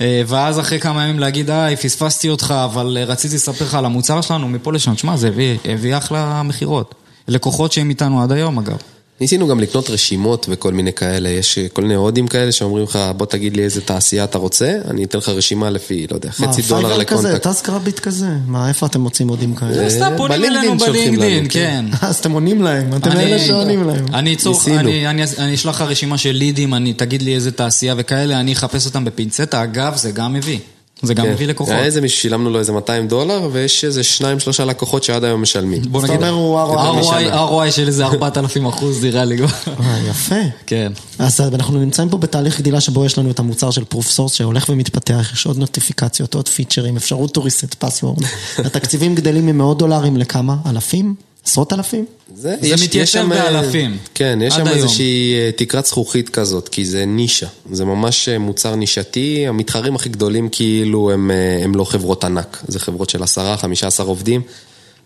[SPEAKER 5] אה, ואז אחרי כמה ימים להגיד, היי, פספסתי אותך, אבל אה, רציתי לספר לך על המוצר שלנו מפה לשם. תשמע, זה הביא, הביא אחלה מכירות. לקוחות שהם איתנו עד היום, אגב.
[SPEAKER 4] ניסינו גם לקנות רשימות וכל מיני כאלה, יש כל מיני הודים כאלה שאומרים לך, בוא תגיד לי איזה תעשייה אתה רוצה, אני אתן לך רשימה לפי, לא יודע,
[SPEAKER 1] מה,
[SPEAKER 4] חצי
[SPEAKER 5] אה,
[SPEAKER 4] דולר
[SPEAKER 1] פייבר כזה,
[SPEAKER 4] לקונטקט.
[SPEAKER 1] טס קרביט כזה? מה, איפה אתם מוצאים מודים כאלה? אה,
[SPEAKER 4] אה,
[SPEAKER 5] סתם פונים
[SPEAKER 4] בלינקדאין
[SPEAKER 5] אלינו
[SPEAKER 4] שולחים
[SPEAKER 5] בלינקדאין,
[SPEAKER 4] לנו,
[SPEAKER 5] כן.
[SPEAKER 1] אז אתם עונים להם, אתם
[SPEAKER 5] אני-
[SPEAKER 1] אלה
[SPEAKER 4] אה,
[SPEAKER 1] שעונים להם.
[SPEAKER 5] אני אצור,
[SPEAKER 4] ניסינו.
[SPEAKER 5] אני, אני, אני אשלח לך רשימה של לידים, אני, תגיד לי איזה תעשייה וכאלה, אני אחפש אותם בפינצטה. אגב, זה גם מביא. זה גם
[SPEAKER 4] כן.
[SPEAKER 5] מביא לקוחות.
[SPEAKER 4] היה איזה מישהו ששילמנו לו איזה 200 דולר, ויש איזה שניים, שלושה לקוחות שעד היום משלמים.
[SPEAKER 5] בוא
[SPEAKER 1] זאת
[SPEAKER 5] נגיד,
[SPEAKER 1] אומרת, הוא
[SPEAKER 4] אה,
[SPEAKER 1] ROI.
[SPEAKER 5] ROI ROI של איזה 4,000 אחוז נראה לי כבר.
[SPEAKER 1] אה, יפה.
[SPEAKER 5] כן.
[SPEAKER 1] אז אנחנו נמצאים פה בתהליך גדילה שבו יש לנו את המוצר של proof source שהולך ומתפתח, יש עוד נוטיפיקציות, עוד פיצ'רים, אפשרות to reset
[SPEAKER 4] [laughs]
[SPEAKER 1] password. התקציבים גדלים ממאות דולרים לכמה? אלפים? עשרות אלפים?
[SPEAKER 4] זה,
[SPEAKER 5] זה מתיישב
[SPEAKER 4] יש שם,
[SPEAKER 5] באלפים.
[SPEAKER 4] כן, יש
[SPEAKER 5] עד
[SPEAKER 4] שם
[SPEAKER 5] היום.
[SPEAKER 4] איזושהי אה, תקרת זכוכית כזאת, כי זה נישה. זה ממש אה, מוצר נישתי, המתחרים הכי גדולים כאילו הם, אה, הם לא חברות ענק, זה חברות של עשרה, חמישה עשר עובדים.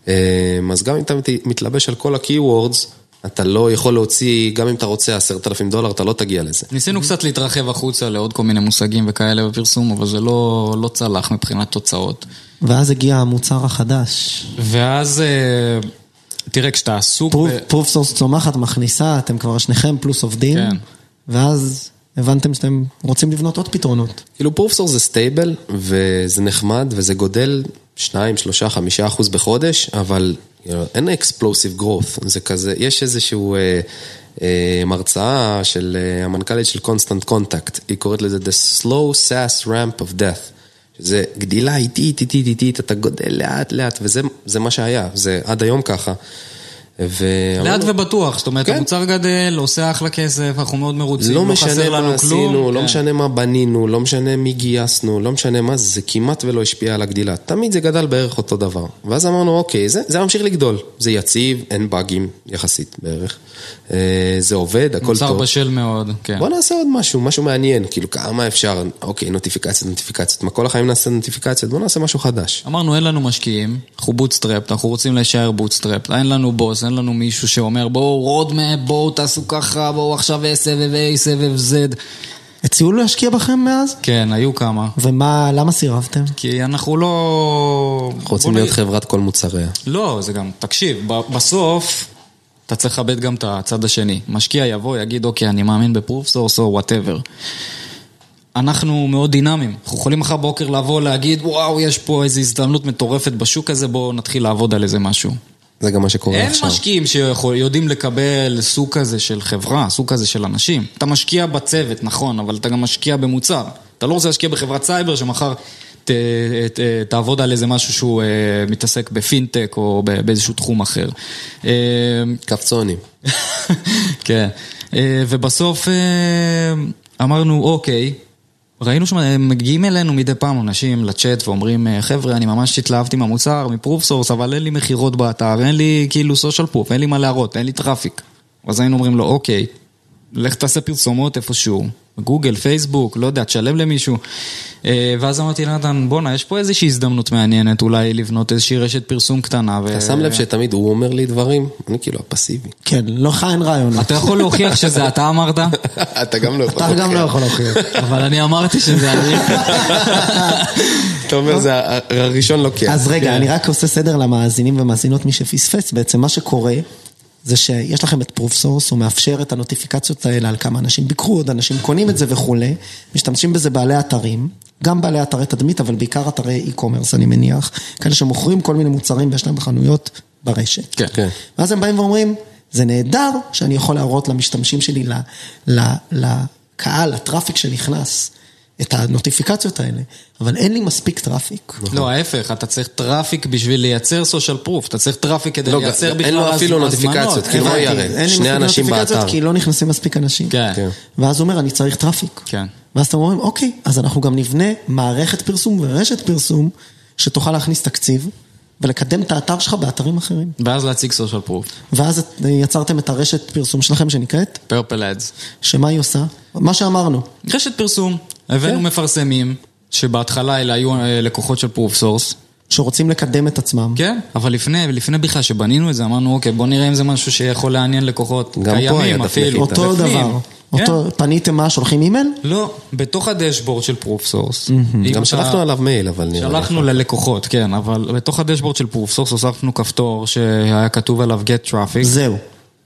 [SPEAKER 4] אה, אז גם אם אתה מת- מתלבש על כל ה-Keywords, אתה לא יכול להוציא, גם אם אתה רוצה עשרת אלפים דולר, אתה לא תגיע לזה.
[SPEAKER 5] ניסינו קצת להתרחב החוצה לעוד כל מיני מושגים וכאלה בפרסום, אבל זה לא, לא צלח מבחינת תוצאות.
[SPEAKER 1] ואז הגיע המוצר החדש.
[SPEAKER 5] ואז, אה, תראה, כשאתה עסוק... ב...
[SPEAKER 1] proof proof source צומחת, מכניסה, אתם כבר שניכם פלוס עובדים,
[SPEAKER 5] כן.
[SPEAKER 1] ואז הבנתם שאתם רוצים לבנות עוד פתרונות.
[SPEAKER 4] כאילו פרופסור זה סטייבל, וזה נחמד, וזה גודל 2, 3, 5 אחוז בחודש, אבל you know, אין אקספלוסיב growth, זה כזה, יש איזשהו אה, אה, מרצאה של אה, המנכ"לית של קונסטנט קונטקט, היא קוראת לזה The Slow SAS Ramp of Death. זה גדילה איטית, איטית, איטית, אתה גודל לאט לאט, וזה זה מה שהיה, זה עד היום ככה.
[SPEAKER 5] לאט ובטוח, זאת אומרת,
[SPEAKER 4] כן.
[SPEAKER 5] המוצר גדל, עושה אחלה כסף, אנחנו מאוד מרוצים,
[SPEAKER 4] לא
[SPEAKER 5] לא,
[SPEAKER 4] משנה
[SPEAKER 5] חסר לנו
[SPEAKER 4] מה
[SPEAKER 5] כלום.
[SPEAKER 4] עשינו, לא
[SPEAKER 5] כן.
[SPEAKER 4] משנה מה בנינו, לא משנה מי גייסנו, לא משנה מה, זה כמעט ולא השפיע על הגדילה. תמיד זה גדל בערך אותו דבר. ואז אמרנו, אוקיי, זה, זה ממשיך לגדול. זה יציב, אין באגים, יחסית בערך. אה, זה עובד, הכל
[SPEAKER 5] מוצר
[SPEAKER 4] טוב.
[SPEAKER 5] בשל מאוד, כן.
[SPEAKER 4] בוא נעשה עוד משהו, משהו מעניין, כאילו כמה אפשר, אוקיי, נוטיפיקציות, נוטיפיקציות, מה כל החיים נעשה נוטיפיקציות, בוא נעשה משהו חדש.
[SPEAKER 5] אמרנו, אין לנו משקיעים, אנחנו בוטסטראפט, אנחנו רוצים להישאר בוטסטראפט, אין לנו בוס, אין לנו מישהו שאומר, בואו רודמפ, בואו תעשו ככה, בואו עכשיו סבב A, סבב Z.
[SPEAKER 1] הציעו להשקיע בכם מאז?
[SPEAKER 5] כן, היו כמה.
[SPEAKER 1] ומה, למה סירבתם?
[SPEAKER 5] כי אנחנו לא...
[SPEAKER 4] אנחנו רוצים
[SPEAKER 5] בוא
[SPEAKER 4] להיות
[SPEAKER 5] נגיד-
[SPEAKER 4] חברת כל מוצריה.
[SPEAKER 5] לא, זה גם, תקשיב, ב- בסוף אתה צריך לכבד גם את הצד השני. משקיע יבוא, יגיד, אוקיי, אני מאמין בפרופ סורס או וואטאבר. אנחנו מאוד דינמיים, אנחנו יכולים מחר בוקר לבוא, להגיד, וואו, יש פה איזו הזדמנות מטורפת בשוק הזה, בואו נתחיל לעבוד על איזה משהו.
[SPEAKER 4] זה גם מה שקורה
[SPEAKER 5] אין
[SPEAKER 4] עכשיו.
[SPEAKER 5] משקיעים שיודעים לקבל סוג כזה של חברה, סוג כזה של אנשים. אתה משקיע בצוות, נכון, אבל אתה גם משקיע במוצר. אתה לא רוצה להשקיע בחברת סייבר שמחר ת, ת, תעבוד על איזה משהו שהוא אה, מתעסק בפינטק או ב- באיזשהו תחום אחר. אה,
[SPEAKER 4] קפצונים.
[SPEAKER 5] [laughs] כן. אה, ובסוף אה, אמרנו, אוקיי. ראינו שהם מגיעים אלינו מדי פעם אנשים לצ'אט ואומרים, "אה, חבר'ה, אני ממש התלהבתי מהמוצר, מפרוף סורס, אבל אין לי מכירות באתר, אין לי כאילו סושיאל פרוף, אין לי מה להראות, אין לי טראפיק. אז היינו אומרים לו, אוקיי, לך תעשה פרסומות איפשהו, גוגל, פייסבוק, לא יודע, תשלם למישהו. אה, ואז אמרתי לנתן, בואנה, יש פה איזושהי הזדמנות מעניינת, אולי לבנות איזושהי רשת פרסום קטנה. ו-
[SPEAKER 4] אתה שם לב שתמיד הוא אומר לי דברים, אני כאילו הפסיבי. [laughs]
[SPEAKER 1] כן, לא לך אין רעיון.
[SPEAKER 5] אתה יכול להוכיח שזה אתה אמרת,
[SPEAKER 4] אתה גם לא
[SPEAKER 1] [laughs]
[SPEAKER 4] יכול.
[SPEAKER 1] אתה גם לא יכול להוכיח.
[SPEAKER 5] אבל אני אמרתי שזה אני.
[SPEAKER 4] אתה אומר, זה ה- הראשון לא לוקח.
[SPEAKER 5] אוקיי.
[SPEAKER 1] אז
[SPEAKER 5] אה.
[SPEAKER 1] רגע, אני רק עושה סדר למאזינים ומאזינות, מי שפספס. בעצם מה שקורה, זה שיש לכם את פרוף סורס, הוא מאפשר את הנוטיפיקציות האלה על כמה אנשים ביקרו, עוד אנשים קונים את זה וכולי. משתמשים בזה בעלי אתרים, גם בעלי אתרי תדמית, אבל בעיקר אתרי אי-קומרס, אני מניח. כאלה שמוכרים כל מיני מוצרים ויש להם חנויות ברשת.
[SPEAKER 5] כן.
[SPEAKER 4] כן.
[SPEAKER 1] ואז הם באים ואומרים, זה נהדר שאני יכול להראות למשתמשים שלי, ל- ל- לקהל, לטראפיק שנכנס, את הנוטיפיקציות האלה, אבל אין לי מספיק טראפיק.
[SPEAKER 5] [laughs] לא, ההפך, אתה צריך טראפיק בשביל לייצר סושיאל proof, אתה צריך טראפיק כדי
[SPEAKER 4] לא,
[SPEAKER 5] לייצר
[SPEAKER 4] אין
[SPEAKER 5] בכלל
[SPEAKER 4] לו
[SPEAKER 5] הזמנות.
[SPEAKER 4] אפילו נוטיפיקציות,
[SPEAKER 5] לא
[SPEAKER 4] כאילו, מה
[SPEAKER 1] הבנתי,
[SPEAKER 4] יראה?
[SPEAKER 1] אין לי
[SPEAKER 4] שני
[SPEAKER 1] מספיק
[SPEAKER 4] אנשים
[SPEAKER 1] נוטיפיקציות,
[SPEAKER 4] באתר.
[SPEAKER 1] כי לא נכנסים מספיק אנשים.
[SPEAKER 5] כן.
[SPEAKER 1] ואז הוא אומר, אני צריך טראפיק.
[SPEAKER 5] כן.
[SPEAKER 1] ואז אתם אומרים, אוקיי, אז אנחנו גם נבנה מערכת פרסום ורשת פרסום, שתוכל להכניס תקציב, ולקדם את האתר שלך באתרים אחרים.
[SPEAKER 5] ואז להציג סושיאל proof,
[SPEAKER 1] ואז את- אה, יצרתם את הרשת פרסום שלכם שנקראת,
[SPEAKER 5] פרפל אדס.
[SPEAKER 1] שמה היא עושה? מה שאמרנו.
[SPEAKER 5] רשת פרסום, הבאנו
[SPEAKER 1] כן.
[SPEAKER 5] מפרסמים, שבהתחלה אלה היו אה, לקוחות של proof source.
[SPEAKER 1] שרוצים לקדם את עצמם.
[SPEAKER 5] כן, אבל לפני, לפני בכלל שבנינו את זה, אמרנו, אוקיי, בוא נראה אם זה משהו שיכול לעניין לקוחות.
[SPEAKER 4] גם פה היה
[SPEAKER 5] קיימים
[SPEAKER 4] דף
[SPEAKER 5] אפילו.
[SPEAKER 4] נחיתה.
[SPEAKER 1] אותו
[SPEAKER 5] בפנים.
[SPEAKER 1] דבר.
[SPEAKER 5] כן.
[SPEAKER 1] אותו, פניתם מה? שולחים אימייל?
[SPEAKER 5] לא, בתוך הדשבורד של proof source. אם
[SPEAKER 4] גם
[SPEAKER 5] אתה-
[SPEAKER 4] שלחנו עליו מייל, אבל נראה לי.
[SPEAKER 5] שלחנו ללקוחות, כן, אבל בתוך הדשבורד של proof source הוספנו כפתור שהיה כתוב עליו get traffic.
[SPEAKER 1] זהו.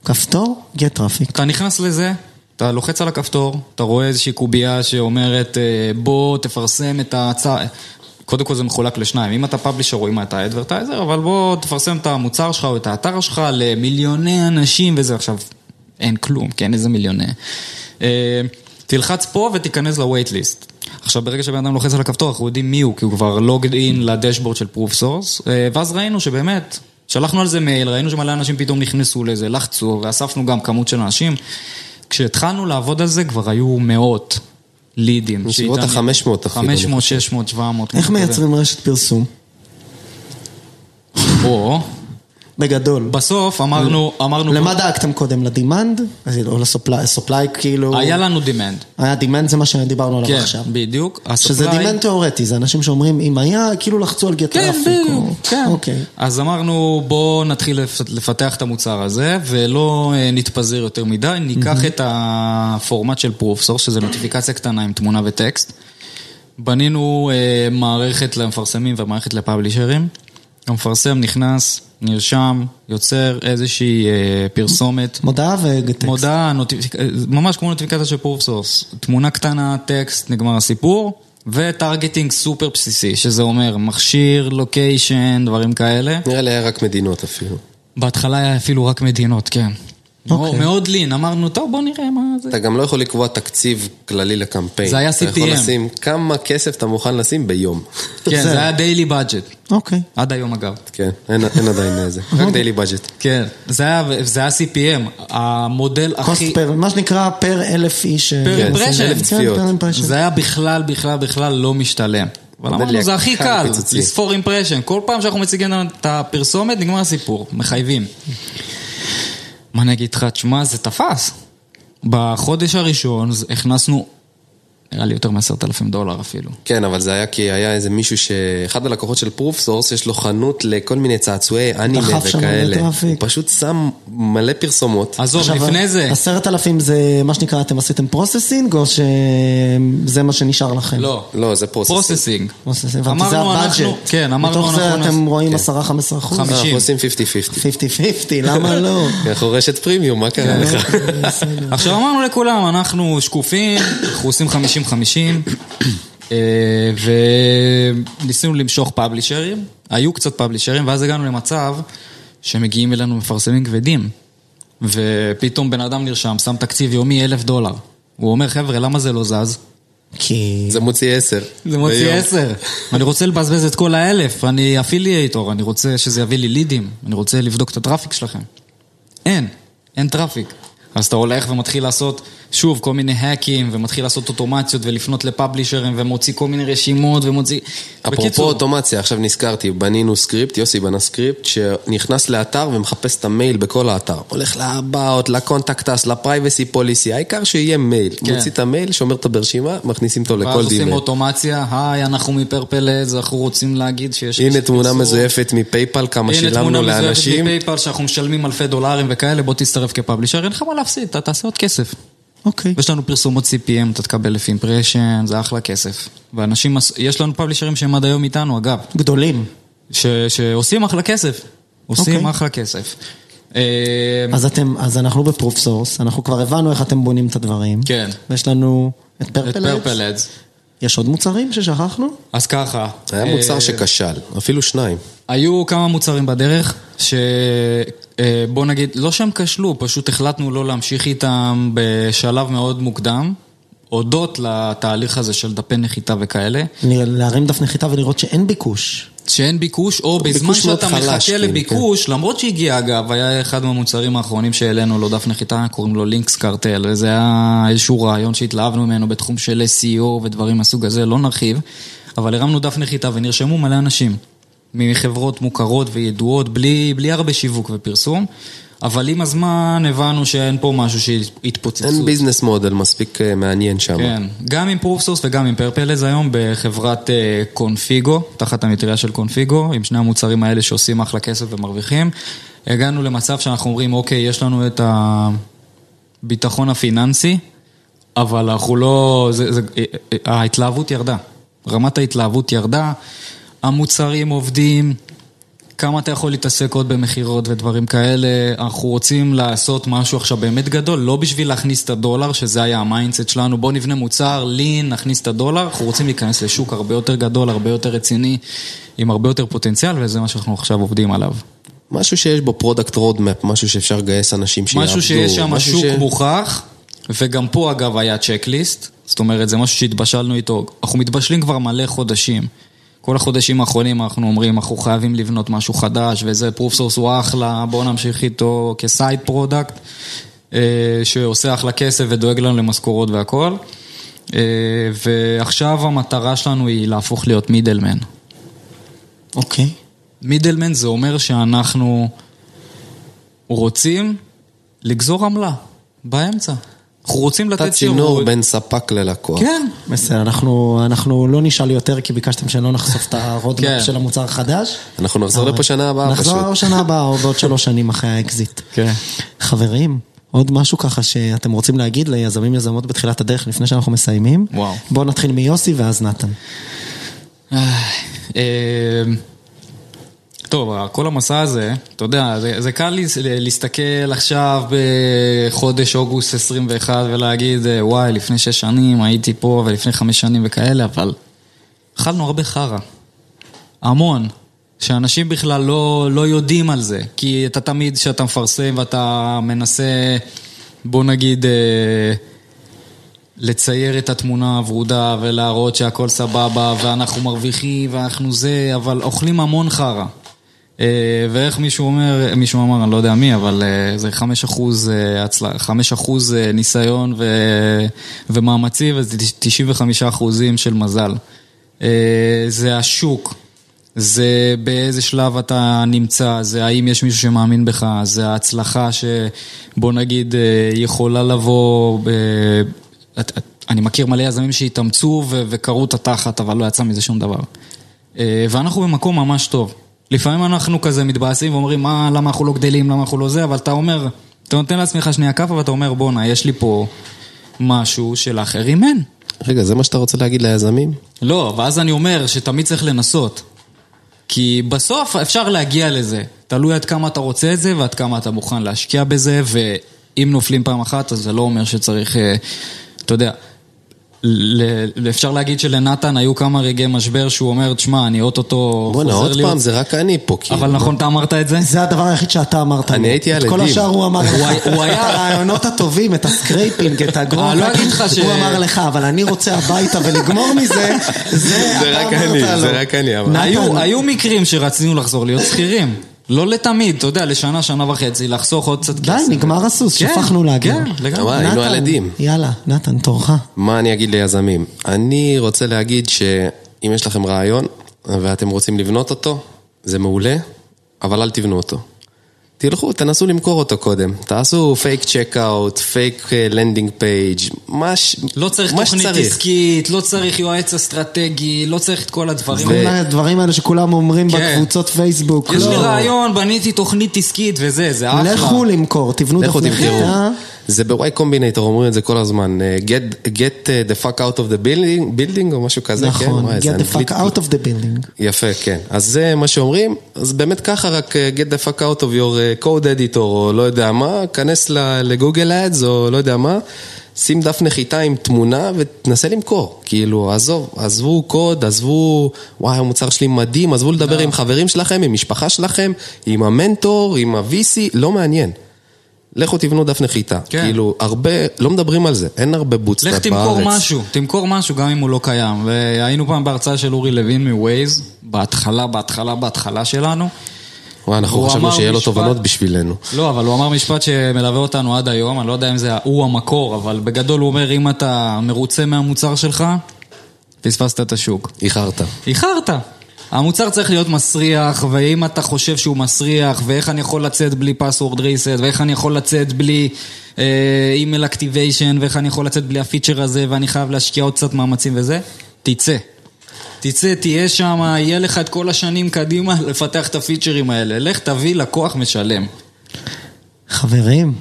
[SPEAKER 1] כפתור, get traffic.
[SPEAKER 5] אתה נכנס לזה, אתה לוחץ על הכפתור, אתה רואה איזושהי קובייה שאומרת אה, בוא תפרסם את ההצעה. קודם כל זה מחולק לשניים, אם אתה פאבלישר או אם אתה אדברטייזר, אבל בוא תפרסם את המוצר שלך או את האתר שלך למיליוני אנשים וזה עכשיו, אין כלום, כן, איזה מיליוני. אה, תלחץ פה ותיכנס ל-wait list. עכשיו, ברגע שבן אדם לוחץ על הכפתור, אנחנו יודעים מי הוא, כי הוא כבר לוגד אין לדשבורד של proof source, אה, ואז ראינו שבאמת, שלחנו על זה מייל, ראינו שמלא אנשים פתאום נכנסו לזה, לחצו, ואספנו גם כמות של אנשים. כשהתחלנו לעבוד על זה, כבר היו מאות לידים.
[SPEAKER 4] בסביבות
[SPEAKER 5] שאיתנו-
[SPEAKER 4] ה-500 אפילו,
[SPEAKER 5] 500, 600, 700.
[SPEAKER 1] איך
[SPEAKER 5] משהו כזה.
[SPEAKER 1] מייצרים רשת פרסום?
[SPEAKER 5] או,
[SPEAKER 1] בגדול.
[SPEAKER 5] בסוף אמרנו, אמרנו...
[SPEAKER 1] למה דאגתם קודם? לדימנד? אז או לסופליי, סופליי כאילו...
[SPEAKER 5] היה לנו demand.
[SPEAKER 1] היה דימנד זה מה שדיברנו עליו
[SPEAKER 5] כן,
[SPEAKER 1] עכשיו.
[SPEAKER 5] בדיוק.
[SPEAKER 1] שזה
[SPEAKER 5] ה-supply-
[SPEAKER 1] דימנד תיאורטי, זה אנשים שאומרים, אם היה, כאילו לחצו על get traffic.
[SPEAKER 5] כן, בדיוק,
[SPEAKER 1] או-
[SPEAKER 5] כן.
[SPEAKER 1] אוקיי.
[SPEAKER 5] אז אמרנו, בואו נתחיל לפ- לפתח את המוצר הזה, ולא אה, נתפזר יותר מדי, ניקח את הפורמט של proof source, שזה נוטיפיקציה קטנה עם תמונה וטקסט. בנינו אה, מערכת למפרסמים ומערכת לפאבלישרים. המפרסם נכנס, נרשם, יוצר איזושהי אה, פרסומת.
[SPEAKER 1] מודעה וטקסט.
[SPEAKER 5] מודעה, נוטיפיק... ממש כמו נוטיפיקציה של פרופ סורס. תמונה קטנה, טקסט, נגמר הסיפור, וטרגטינג סופר בסיסי, שזה אומר מכשיר, לוקיישן, דברים כאלה.
[SPEAKER 4] נראה לי היה רק מדינות אפילו.
[SPEAKER 5] בהתחלה היה אפילו רק מדינות, כן. מאוד-
[SPEAKER 1] אוקיי.
[SPEAKER 5] מאוד לין, אמרנו, טוב, בוא נראה מה זה.
[SPEAKER 4] אתה גם לא יכול לקבוע תקציב כללי לקמפיין.
[SPEAKER 5] זה היה
[SPEAKER 4] אתה יכול
[SPEAKER 5] CPM.
[SPEAKER 4] לשים כמה כסף אתה מוכן לשים ביום. [laughs]
[SPEAKER 1] זה-
[SPEAKER 5] כן, זה היה דיילי בדג'ט.
[SPEAKER 1] אוקיי.
[SPEAKER 5] עד היום אגב.
[SPEAKER 4] כן, אין אין עדיין איזה. רק דיילי בג'ט.
[SPEAKER 5] כן, זה היה, זה היה CPM, המודל
[SPEAKER 1] קוסט
[SPEAKER 5] הכי...
[SPEAKER 1] פר, מה שנקרא פר אלף איש. פר
[SPEAKER 5] impression. אלף
[SPEAKER 4] צפיות.
[SPEAKER 1] כן, פר אימפרשן.
[SPEAKER 5] זה היה בכלל, בכלל, בכלל לא משתלם. אבל
[SPEAKER 4] עומד
[SPEAKER 5] אמרנו,
[SPEAKER 4] לי
[SPEAKER 5] זה הכי
[SPEAKER 4] הקל
[SPEAKER 5] קל,
[SPEAKER 4] פיצוצי."
[SPEAKER 5] לספור אימפרשן. כל פעם שאנחנו מציגים לנו את הפרסומת, נגמר הסיפור, מחייבים. מה אני אגיד לך, תשמע, זה תפס. בחודש הראשון זה- הכנסנו, נראה לי יותר מעשרת אלפים דולר אפילו.
[SPEAKER 4] כן, אבל זה היה כי היה איזה מישהו ש... אחד הלקוחות של פרוף סורס, יש לו חנות לכל מיני צעצועי אנימה
[SPEAKER 1] דחף שם
[SPEAKER 4] וכאלה.
[SPEAKER 1] מלא
[SPEAKER 4] הוא
[SPEAKER 1] טראפיק.
[SPEAKER 4] פשוט שם מלא פרסומות.
[SPEAKER 5] עזוב, לפני זה,
[SPEAKER 1] עשרת אלפים זה מה שנקרא, אתם עשיתם פרוססינג, או שזה מה שנשאר לכם?
[SPEAKER 5] לא,
[SPEAKER 4] לא, זה פרוסס.
[SPEAKER 5] פרוססינג.
[SPEAKER 1] פרוססינג, הבנתי, זה הבאג'ט.
[SPEAKER 5] כן, אמרנו
[SPEAKER 1] מתוך
[SPEAKER 5] אנחנו...
[SPEAKER 1] זה אתם
[SPEAKER 5] נעשה- כן.
[SPEAKER 1] רואים 10-15 אחוז?
[SPEAKER 5] חמישים.
[SPEAKER 4] אנחנו עושים 50-50. [laughs]
[SPEAKER 1] 50-50, למה לא?
[SPEAKER 5] [laughs]
[SPEAKER 4] כי אנחנו רשת פרימיום, מה קרה לך?
[SPEAKER 1] [laughs]
[SPEAKER 5] עכשיו אמרנו לכולם, אנחנו שקופים, אנחנו עושים 50-50, אה, וניסינו למשוך פאבלישרים, היו קצת פאבלישרים, ואז הגענו למצב שמגיעים אלינו מפרסמים כבדים, ופתאום בן אדם נרשם, שם תקציב יומי אלף דולר. הוא אומר, חבר'ה, למה זה לא זז?
[SPEAKER 1] כי...
[SPEAKER 4] זה מוציא 10.
[SPEAKER 5] זה מוציא עשר. אני רוצה לבזבז את כל האלף, אני אפילייטור, אני רוצה שזה יביא לי לידים, אני רוצה לבדוק את הטראפיק שלכם. אין, אין טראפיק. אז אתה הולך ומתחיל לעשות שוב, כל מיני האקים, ומתחיל לעשות אוטומציות ולפנות לפאבלישרים, ומוציא כל מיני רשימות, ומוציא...
[SPEAKER 4] אפרופו
[SPEAKER 5] בקיצור,
[SPEAKER 4] אוטומציה, עכשיו נזכרתי, בנינו סקריפט, יוסי בנה סקריפט, שנכנס לאתר ומחפש את המייל בכל האתר. הולך לבאות, לקונטקטס, לפרייבסי פוליסי, העיקר שיהיה מייל.
[SPEAKER 5] כן.
[SPEAKER 4] מוציא את המייל, שומר אותו ברשימה, מכניסים אותו
[SPEAKER 5] ואז
[SPEAKER 4] לכל
[SPEAKER 5] עושים
[SPEAKER 4] דיבר.
[SPEAKER 5] אוטומציה, היי, אנחנו מפרפלז, אנחנו רוצים להגיד שיש...
[SPEAKER 4] הנה
[SPEAKER 5] יש
[SPEAKER 4] תמונה
[SPEAKER 5] פרסום."
[SPEAKER 4] מזויפת מפייפל, כמה
[SPEAKER 5] הנה תמונה
[SPEAKER 4] שילמנו
[SPEAKER 5] מזויפת
[SPEAKER 4] לאנשים.
[SPEAKER 5] מפייפל שאנחנו משלמים אלפי דולרים וכאלה, בוא תצטרף כפאבלישר, אין לך מה להפסיד, אתה תעשה עוד כסף.
[SPEAKER 1] אוקיי.
[SPEAKER 5] יש לנו פרסומות CPM, אתה תקבל לפי אימפרשן, זה אחלה כסף. ואנשים, עש- יש לנו פאבלישרים שהם עד היום איתנו, אגב,
[SPEAKER 1] גדולים.
[SPEAKER 5] ש, שעושים אחלה כסף. עושים
[SPEAKER 1] אוקיי.
[SPEAKER 5] אחלה כסף. אה,
[SPEAKER 1] אז אתם, אז אנחנו בפרופ סורס, אנחנו כבר הבנו איך אתם בונים את הדברים.
[SPEAKER 5] כן.
[SPEAKER 1] ויש לנו את
[SPEAKER 5] את
[SPEAKER 1] פרפל אדס.
[SPEAKER 5] פרפלדס.
[SPEAKER 1] יש עוד מוצרים ששכחנו?
[SPEAKER 5] אז ככה.
[SPEAKER 4] היה
[SPEAKER 5] אה,
[SPEAKER 4] מוצר שכשל, אפילו שניים.
[SPEAKER 5] היו כמה מוצרים בדרך, שבוא נגיד, לא שהם כשלו, פשוט החלטנו לא להמשיך איתם בשלב מאוד מוקדם, הודות לתהליך הזה של דפי נחיתה וכאלה,
[SPEAKER 1] נראה- להרים דף נחיתה ולראות שאין ביקוש.
[SPEAKER 5] שאין ביקוש, או בזמן
[SPEAKER 4] ביקוש מאוד
[SPEAKER 5] שאתה
[SPEAKER 4] חלש,
[SPEAKER 5] מחכה
[SPEAKER 4] כאילו,
[SPEAKER 5] לביקוש, כן. למרות שהגיע אגב, היה אחד מהמוצרים האחרונים שהעלינו לו דף נחיתה, קוראים לו לינקס קרטל, וזה היה איזשהו רעיון שהתלהבנו ממנו בתחום של SEO ודברים מהסוג הזה, לא נרחיב, אבל הרמנו דף נחיתה ונרשמו מלא אנשים, מחברות מוכרות וידועות, בלי, בלי הרבה שיווק ופרסום, אבל עם הזמן הבנו שאין פה משהו שהתפוצצות.
[SPEAKER 4] אין ביזנס מודל מספיק אה, מעניין שם.
[SPEAKER 5] כן, גם עם פרופסורס וגם עם פרפלז היום בחברת אה, קונפיגו, תחת המטריה של קונפיגו, עם שני המוצרים האלה שעושים אחלה כסף ומרוויחים. הגענו למצב שאנחנו אומרים, אוקיי, יש לנו את הביטחון הפיננסי, אבל אנחנו לא... זה, זה, אה, אה, ההתלהבות ירדה. רמת ההתלהבות ירדה, המוצרים עובדים, כמה אתה יכול להתעסק עוד במכירות ודברים כאלה. אנחנו רוצים לעשות משהו עכשיו באמת גדול, לא בשביל להכניס את הדולר, שזה היה המיינדסט שלנו, בוא נבנה מוצר, לין, נכניס את הדולר, אנחנו רוצים להיכנס לשוק הרבה יותר גדול, הרבה יותר רציני, עם הרבה יותר פוטנציאל, וזה מה שאנחנו עכשיו עובדים עליו.
[SPEAKER 4] משהו שיש בו פרודקט רודמפ, משהו שאפשר לגייס אנשים שיעבדו.
[SPEAKER 5] משהו שיש שם
[SPEAKER 4] משהו
[SPEAKER 5] שוק
[SPEAKER 4] ש-
[SPEAKER 5] מוכח, וגם פה אגב היה צ'קליסט, זאת אומרת זה משהו שהתבשלנו איתו, אנחנו מתבשלים כבר מלא חודשים. כל החודשים האחרונים אנחנו אומרים, אנחנו חייבים לבנות משהו חדש, וזה פרופ סורס הוא אחלה, בואו נמשיך איתו כסייד פרודקט, אה, שעושה אחלה כסף ודואג לנו למשכורות והכל. אה, ועכשיו המטרה שלנו היא להפוך להיות מידלמן.
[SPEAKER 1] אוקיי.
[SPEAKER 5] מידלמן זה אומר שאנחנו רוצים לגזור עמלה באמצע. אנחנו רוצים
[SPEAKER 4] אתה
[SPEAKER 5] לתת
[SPEAKER 4] צינור
[SPEAKER 5] שירות.
[SPEAKER 4] בין ספק ללקוח.
[SPEAKER 5] כן.
[SPEAKER 1] בסדר, אנחנו, אנחנו לא נשאל יותר כי ביקשתם שלא נחשוף את הרודמפ
[SPEAKER 5] כן.
[SPEAKER 1] של המוצר החדש.
[SPEAKER 4] אנחנו נחזור לפה שנה הבאה פשוט.
[SPEAKER 1] נחזור שנה הבאה או בעוד שלוש שנים אחרי האקזיט.
[SPEAKER 5] כן.
[SPEAKER 1] חברים, עוד משהו ככה שאתם רוצים להגיד ליזמים יזמות בתחילת הדרך לפני שאנחנו מסיימים?
[SPEAKER 5] וואו.
[SPEAKER 1] בואו נתחיל מיוסי ואז נתן.
[SPEAKER 5] אה, טוב, כל המסע הזה, אתה יודע, זה, זה קל לי, להסתכל עכשיו בחודש אוגוסט 21 ולהגיד, אה, וואי, לפני שש שנים הייתי פה ולפני חמש שנים וכאלה, אבל אכלנו הרבה חרא. המון. שאנשים בכלל לא, לא יודעים על זה. כי אתה תמיד, כשאתה מפרסם ואתה מנסה, בוא נגיד... אה, לצייר את התמונה הוורודה ולהראות שהכל סבבה ואנחנו מרוויחים ואנחנו זה, אבל אוכלים המון חרא. אה, ואיך מישהו אומר, מישהו אמר, אני לא יודע מי, אבל אה, זה 5 אחוז, אה, חמש אחוז אה, ניסיון ו, ומאמצי וזה 95 אחוזים של מזל. אה, זה השוק. זה באיזה שלב אתה נמצא, זה האם יש מישהו שמאמין בך, זה ההצלחה שבוא נגיד אה, יכולה לבוא, אה, את- את- אני מכיר מלא יזמים שהתאמצו ו- וקרעו את התחת, אבל לא יצא מזה שום דבר. אה, ואנחנו במקום ממש טוב. לפעמים אנחנו כזה מתבאסים ואומרים, מה, למה אנחנו לא גדלים, למה אנחנו לא זה, אבל אתה אומר, אתה נותן לעצמך שנייה כאפה ואתה אומר, בואנה, יש לי פה משהו שלאחרים אין.
[SPEAKER 4] רגע, זה מה שאתה רוצה להגיד ליזמים?
[SPEAKER 5] לא, ואז אני אומר שתמיד צריך לנסות. כי בסוף אפשר להגיע לזה. תלוי עד כמה אתה רוצה את זה ועד כמה אתה מוכן להשקיע בזה, ואם נופלים פעם אחת, אז זה לא אומר שצריך, אה, אתה יודע, ל- אפשר להגיד שלנתן היו כמה רגעי משבר שהוא אומר, תשמע, אני אוטוטו
[SPEAKER 4] בואנה, עוד
[SPEAKER 5] להיות-"
[SPEAKER 4] פעם, זה רק אני פה, כאילו.
[SPEAKER 5] אבל נכון, אתה אמרת את זה?
[SPEAKER 1] זה הדבר היחיד שאתה אמרת.
[SPEAKER 4] אני
[SPEAKER 1] לו.
[SPEAKER 4] הייתי
[SPEAKER 1] את
[SPEAKER 4] על
[SPEAKER 1] כל
[SPEAKER 4] עדים.
[SPEAKER 1] השאר הוא אמר
[SPEAKER 5] הוא
[SPEAKER 1] לך.
[SPEAKER 5] היה- הוא
[SPEAKER 1] את
[SPEAKER 5] היה-
[SPEAKER 1] הרעיונות הטובים, את הסקרייפינג, את הגרום.
[SPEAKER 5] אני לא אגיד לך ש-
[SPEAKER 1] הוא אמר לך, אבל אני רוצה הביתה ולגמור
[SPEAKER 5] [laughs]
[SPEAKER 1] מזה, זה
[SPEAKER 4] זה
[SPEAKER 1] אתה
[SPEAKER 4] רק
[SPEAKER 1] אמרת
[SPEAKER 4] אני,
[SPEAKER 1] לו.
[SPEAKER 4] זה רק אני, אבל...
[SPEAKER 5] היו, היו מקרים שרצינו לחזור להיות שכירים. לא לתמיד, אתה יודע, לשנה, שנה וחצי, לחסוך עוד קצת
[SPEAKER 1] די,
[SPEAKER 5] כסף.
[SPEAKER 1] נגמר הסוס,
[SPEAKER 5] כן,
[SPEAKER 1] שפכנו להגיע.
[SPEAKER 5] כן, לגמרי.
[SPEAKER 4] וואי, היינו
[SPEAKER 1] נתן,
[SPEAKER 4] על עדים.
[SPEAKER 1] יאללה, נתן, תורך.
[SPEAKER 4] מה אני אגיד ליזמים? אני רוצה להגיד שאם יש לכם רעיון ואתם רוצים לבנות אותו, זה מעולה, אבל אל תבנו אותו. תלכו, תנסו למכור אותו קודם. תעשו פייק צ'קאוט, פייק לנדינג פייג', אה, מה ש...
[SPEAKER 5] לא צריך
[SPEAKER 4] מה
[SPEAKER 5] תוכנית
[SPEAKER 4] שצריך.
[SPEAKER 5] עסקית, לא צריך יועץ אסטרטגי, לא צריך את כל הדברים.
[SPEAKER 4] ו-
[SPEAKER 1] כל הדברים האלה שכולם אומרים
[SPEAKER 5] אה, כן.
[SPEAKER 1] בקבוצות פייסבוק.
[SPEAKER 5] יש לי
[SPEAKER 1] לא.
[SPEAKER 5] רעיון, בניתי תוכנית עסקית וזה, זה אחלה.
[SPEAKER 1] לכו למכור, תבנו
[SPEAKER 4] לכו
[SPEAKER 1] דפני
[SPEAKER 4] תבדרו.
[SPEAKER 1] חיטה.
[SPEAKER 4] זה בוואי קומבינטור, אומרים את זה כל הזמן. אה, Get, get אה, the fuck out of the building, building או משהו כזה, כן?
[SPEAKER 1] נכון,
[SPEAKER 4] וואי, זה
[SPEAKER 1] get the
[SPEAKER 4] אנגלית-
[SPEAKER 1] fuck out of the building.
[SPEAKER 4] יפה, כן. אז זה מה שאומרים, אז באמת ככה, רק אה, get the fuck out of your eh, code editor, או לא יודע מה, כנס ל- לגוגל אדס, או לא יודע מה, שים דף נחיתה עם תמונה ותנסה למכור. כאילו, עזוב, עזבו קוד, עזבו, וואי, המוצר שלי מדהים, עזבו
[SPEAKER 5] אה.
[SPEAKER 4] לדבר עם חברים שלכם, עם משפחה שלכם, עם המנטור, עם ה-VC, לא מעניין. לכו תבנו דף נחיתה.
[SPEAKER 5] כן.
[SPEAKER 4] כאילו, הרבה, לא מדברים על זה, אין הרבה בוטסטאפ
[SPEAKER 5] לך
[SPEAKER 4] בארץ.
[SPEAKER 5] תמכור משהו, תמכור משהו גם אם הוא לא קיים. והיינו פעם בהרצאה של אורי לוין מווייז, בהתחלה, בהתחלה, בהתחלה שלנו.
[SPEAKER 4] וואי, אנחנו
[SPEAKER 5] הוא
[SPEAKER 4] חשבנו
[SPEAKER 5] אמר
[SPEAKER 4] שיהיה לו
[SPEAKER 5] משפט-
[SPEAKER 4] תובנות בשבילנו.
[SPEAKER 5] לא, אבל הוא אמר משפט שמלווה אותנו עד היום, אני לא יודע אם זה הוא המקור, אבל בגדול הוא אומר, אם אתה מרוצה מהמוצר שלך, פספסת את השוק.
[SPEAKER 4] איחרת.
[SPEAKER 5] איחרת. המוצר צריך להיות מסריח, ואם אתה חושב שהוא מסריח, ואיך אני יכול לצאת בלי password reset, ואיך אני יכול לצאת בלי אה, email activation, ואיך אני יכול לצאת בלי הפיצ'ר הזה, ואני חייב להשקיע עוד קצת מאמצים וזה, תצא. תצא, תהיה שם, יהיה לך את כל השנים קדימה [laughs] לפתח את הפיצ'רים האלה. לך תביא לקוח משלם.
[SPEAKER 1] חברים,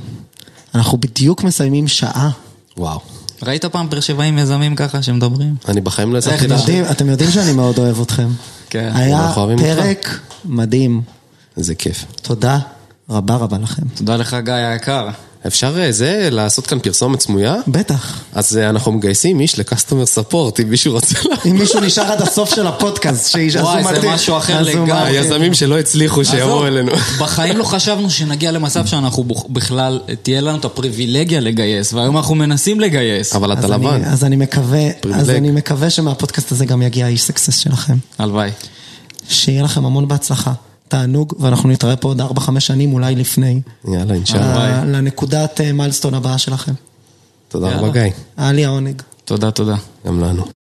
[SPEAKER 1] אנחנו בדיוק מסיימים שעה.
[SPEAKER 4] וואו.
[SPEAKER 5] ראית פעם באר שבעים יזמים ככה שמדברים?
[SPEAKER 4] אני בחיים לא יצאתי
[SPEAKER 5] איך
[SPEAKER 1] אתם
[SPEAKER 4] לשם.
[SPEAKER 1] יודעים- אתם יודעים שאני מאוד אוהב אתכם.
[SPEAKER 5] כן.
[SPEAKER 1] היה
[SPEAKER 4] אנחנו אוהבים
[SPEAKER 1] פרק מדהים.
[SPEAKER 4] זה כיף.
[SPEAKER 1] תודה רבה רבה לכם.
[SPEAKER 5] תודה לך גיא היקר.
[SPEAKER 4] אפשר אה, זה, לעשות כאן פרסומת סמויה?
[SPEAKER 1] בטח.
[SPEAKER 4] אז אה, אנחנו מגייסים איש לקסטומר ספורט, אם מישהו רוצה לה...
[SPEAKER 1] אם מישהו נשאר עד הסוף של
[SPEAKER 4] [laughs]
[SPEAKER 1] הפודקאסט, שיז- אז הוא
[SPEAKER 5] וואי, זה
[SPEAKER 1] מתאים.
[SPEAKER 5] משהו אחר
[SPEAKER 1] אז הוא "אוקיי."
[SPEAKER 5] לגמרי.
[SPEAKER 1] מתאים.
[SPEAKER 4] היזמים שלא הצליחו, שיבואו
[SPEAKER 5] עזוב,
[SPEAKER 4] אלינו. [laughs]
[SPEAKER 5] בחיים לא חשבנו שנגיע למצב שאנחנו בוח- בכלל, תהיה לנו את הפריבילגיה לגייס, והיום אנחנו מנסים לגייס.
[SPEAKER 4] אבל אתה
[SPEAKER 1] אז אני-
[SPEAKER 4] לבן.
[SPEAKER 1] אז אני מקווה, אז
[SPEAKER 4] פריבילג.
[SPEAKER 1] אני מקווה שמהפודקאסט הזה גם יגיע האיש סקסס שלכם.
[SPEAKER 5] הלוואי.
[SPEAKER 1] שיהיה לכם המון בהצלחה. תענוג, ואנחנו נתראה פה עוד 4-5 שנים, אולי לפני.
[SPEAKER 4] יאללה, אינשאללה.
[SPEAKER 5] הלוואי.
[SPEAKER 1] ל- לנקודת מיילסטון הבאה שלכם.
[SPEAKER 4] תודה
[SPEAKER 5] יאללה.
[SPEAKER 4] רבה, גיא.
[SPEAKER 1] היה לי העונג.
[SPEAKER 5] תודה, תודה.
[SPEAKER 4] גם לנו.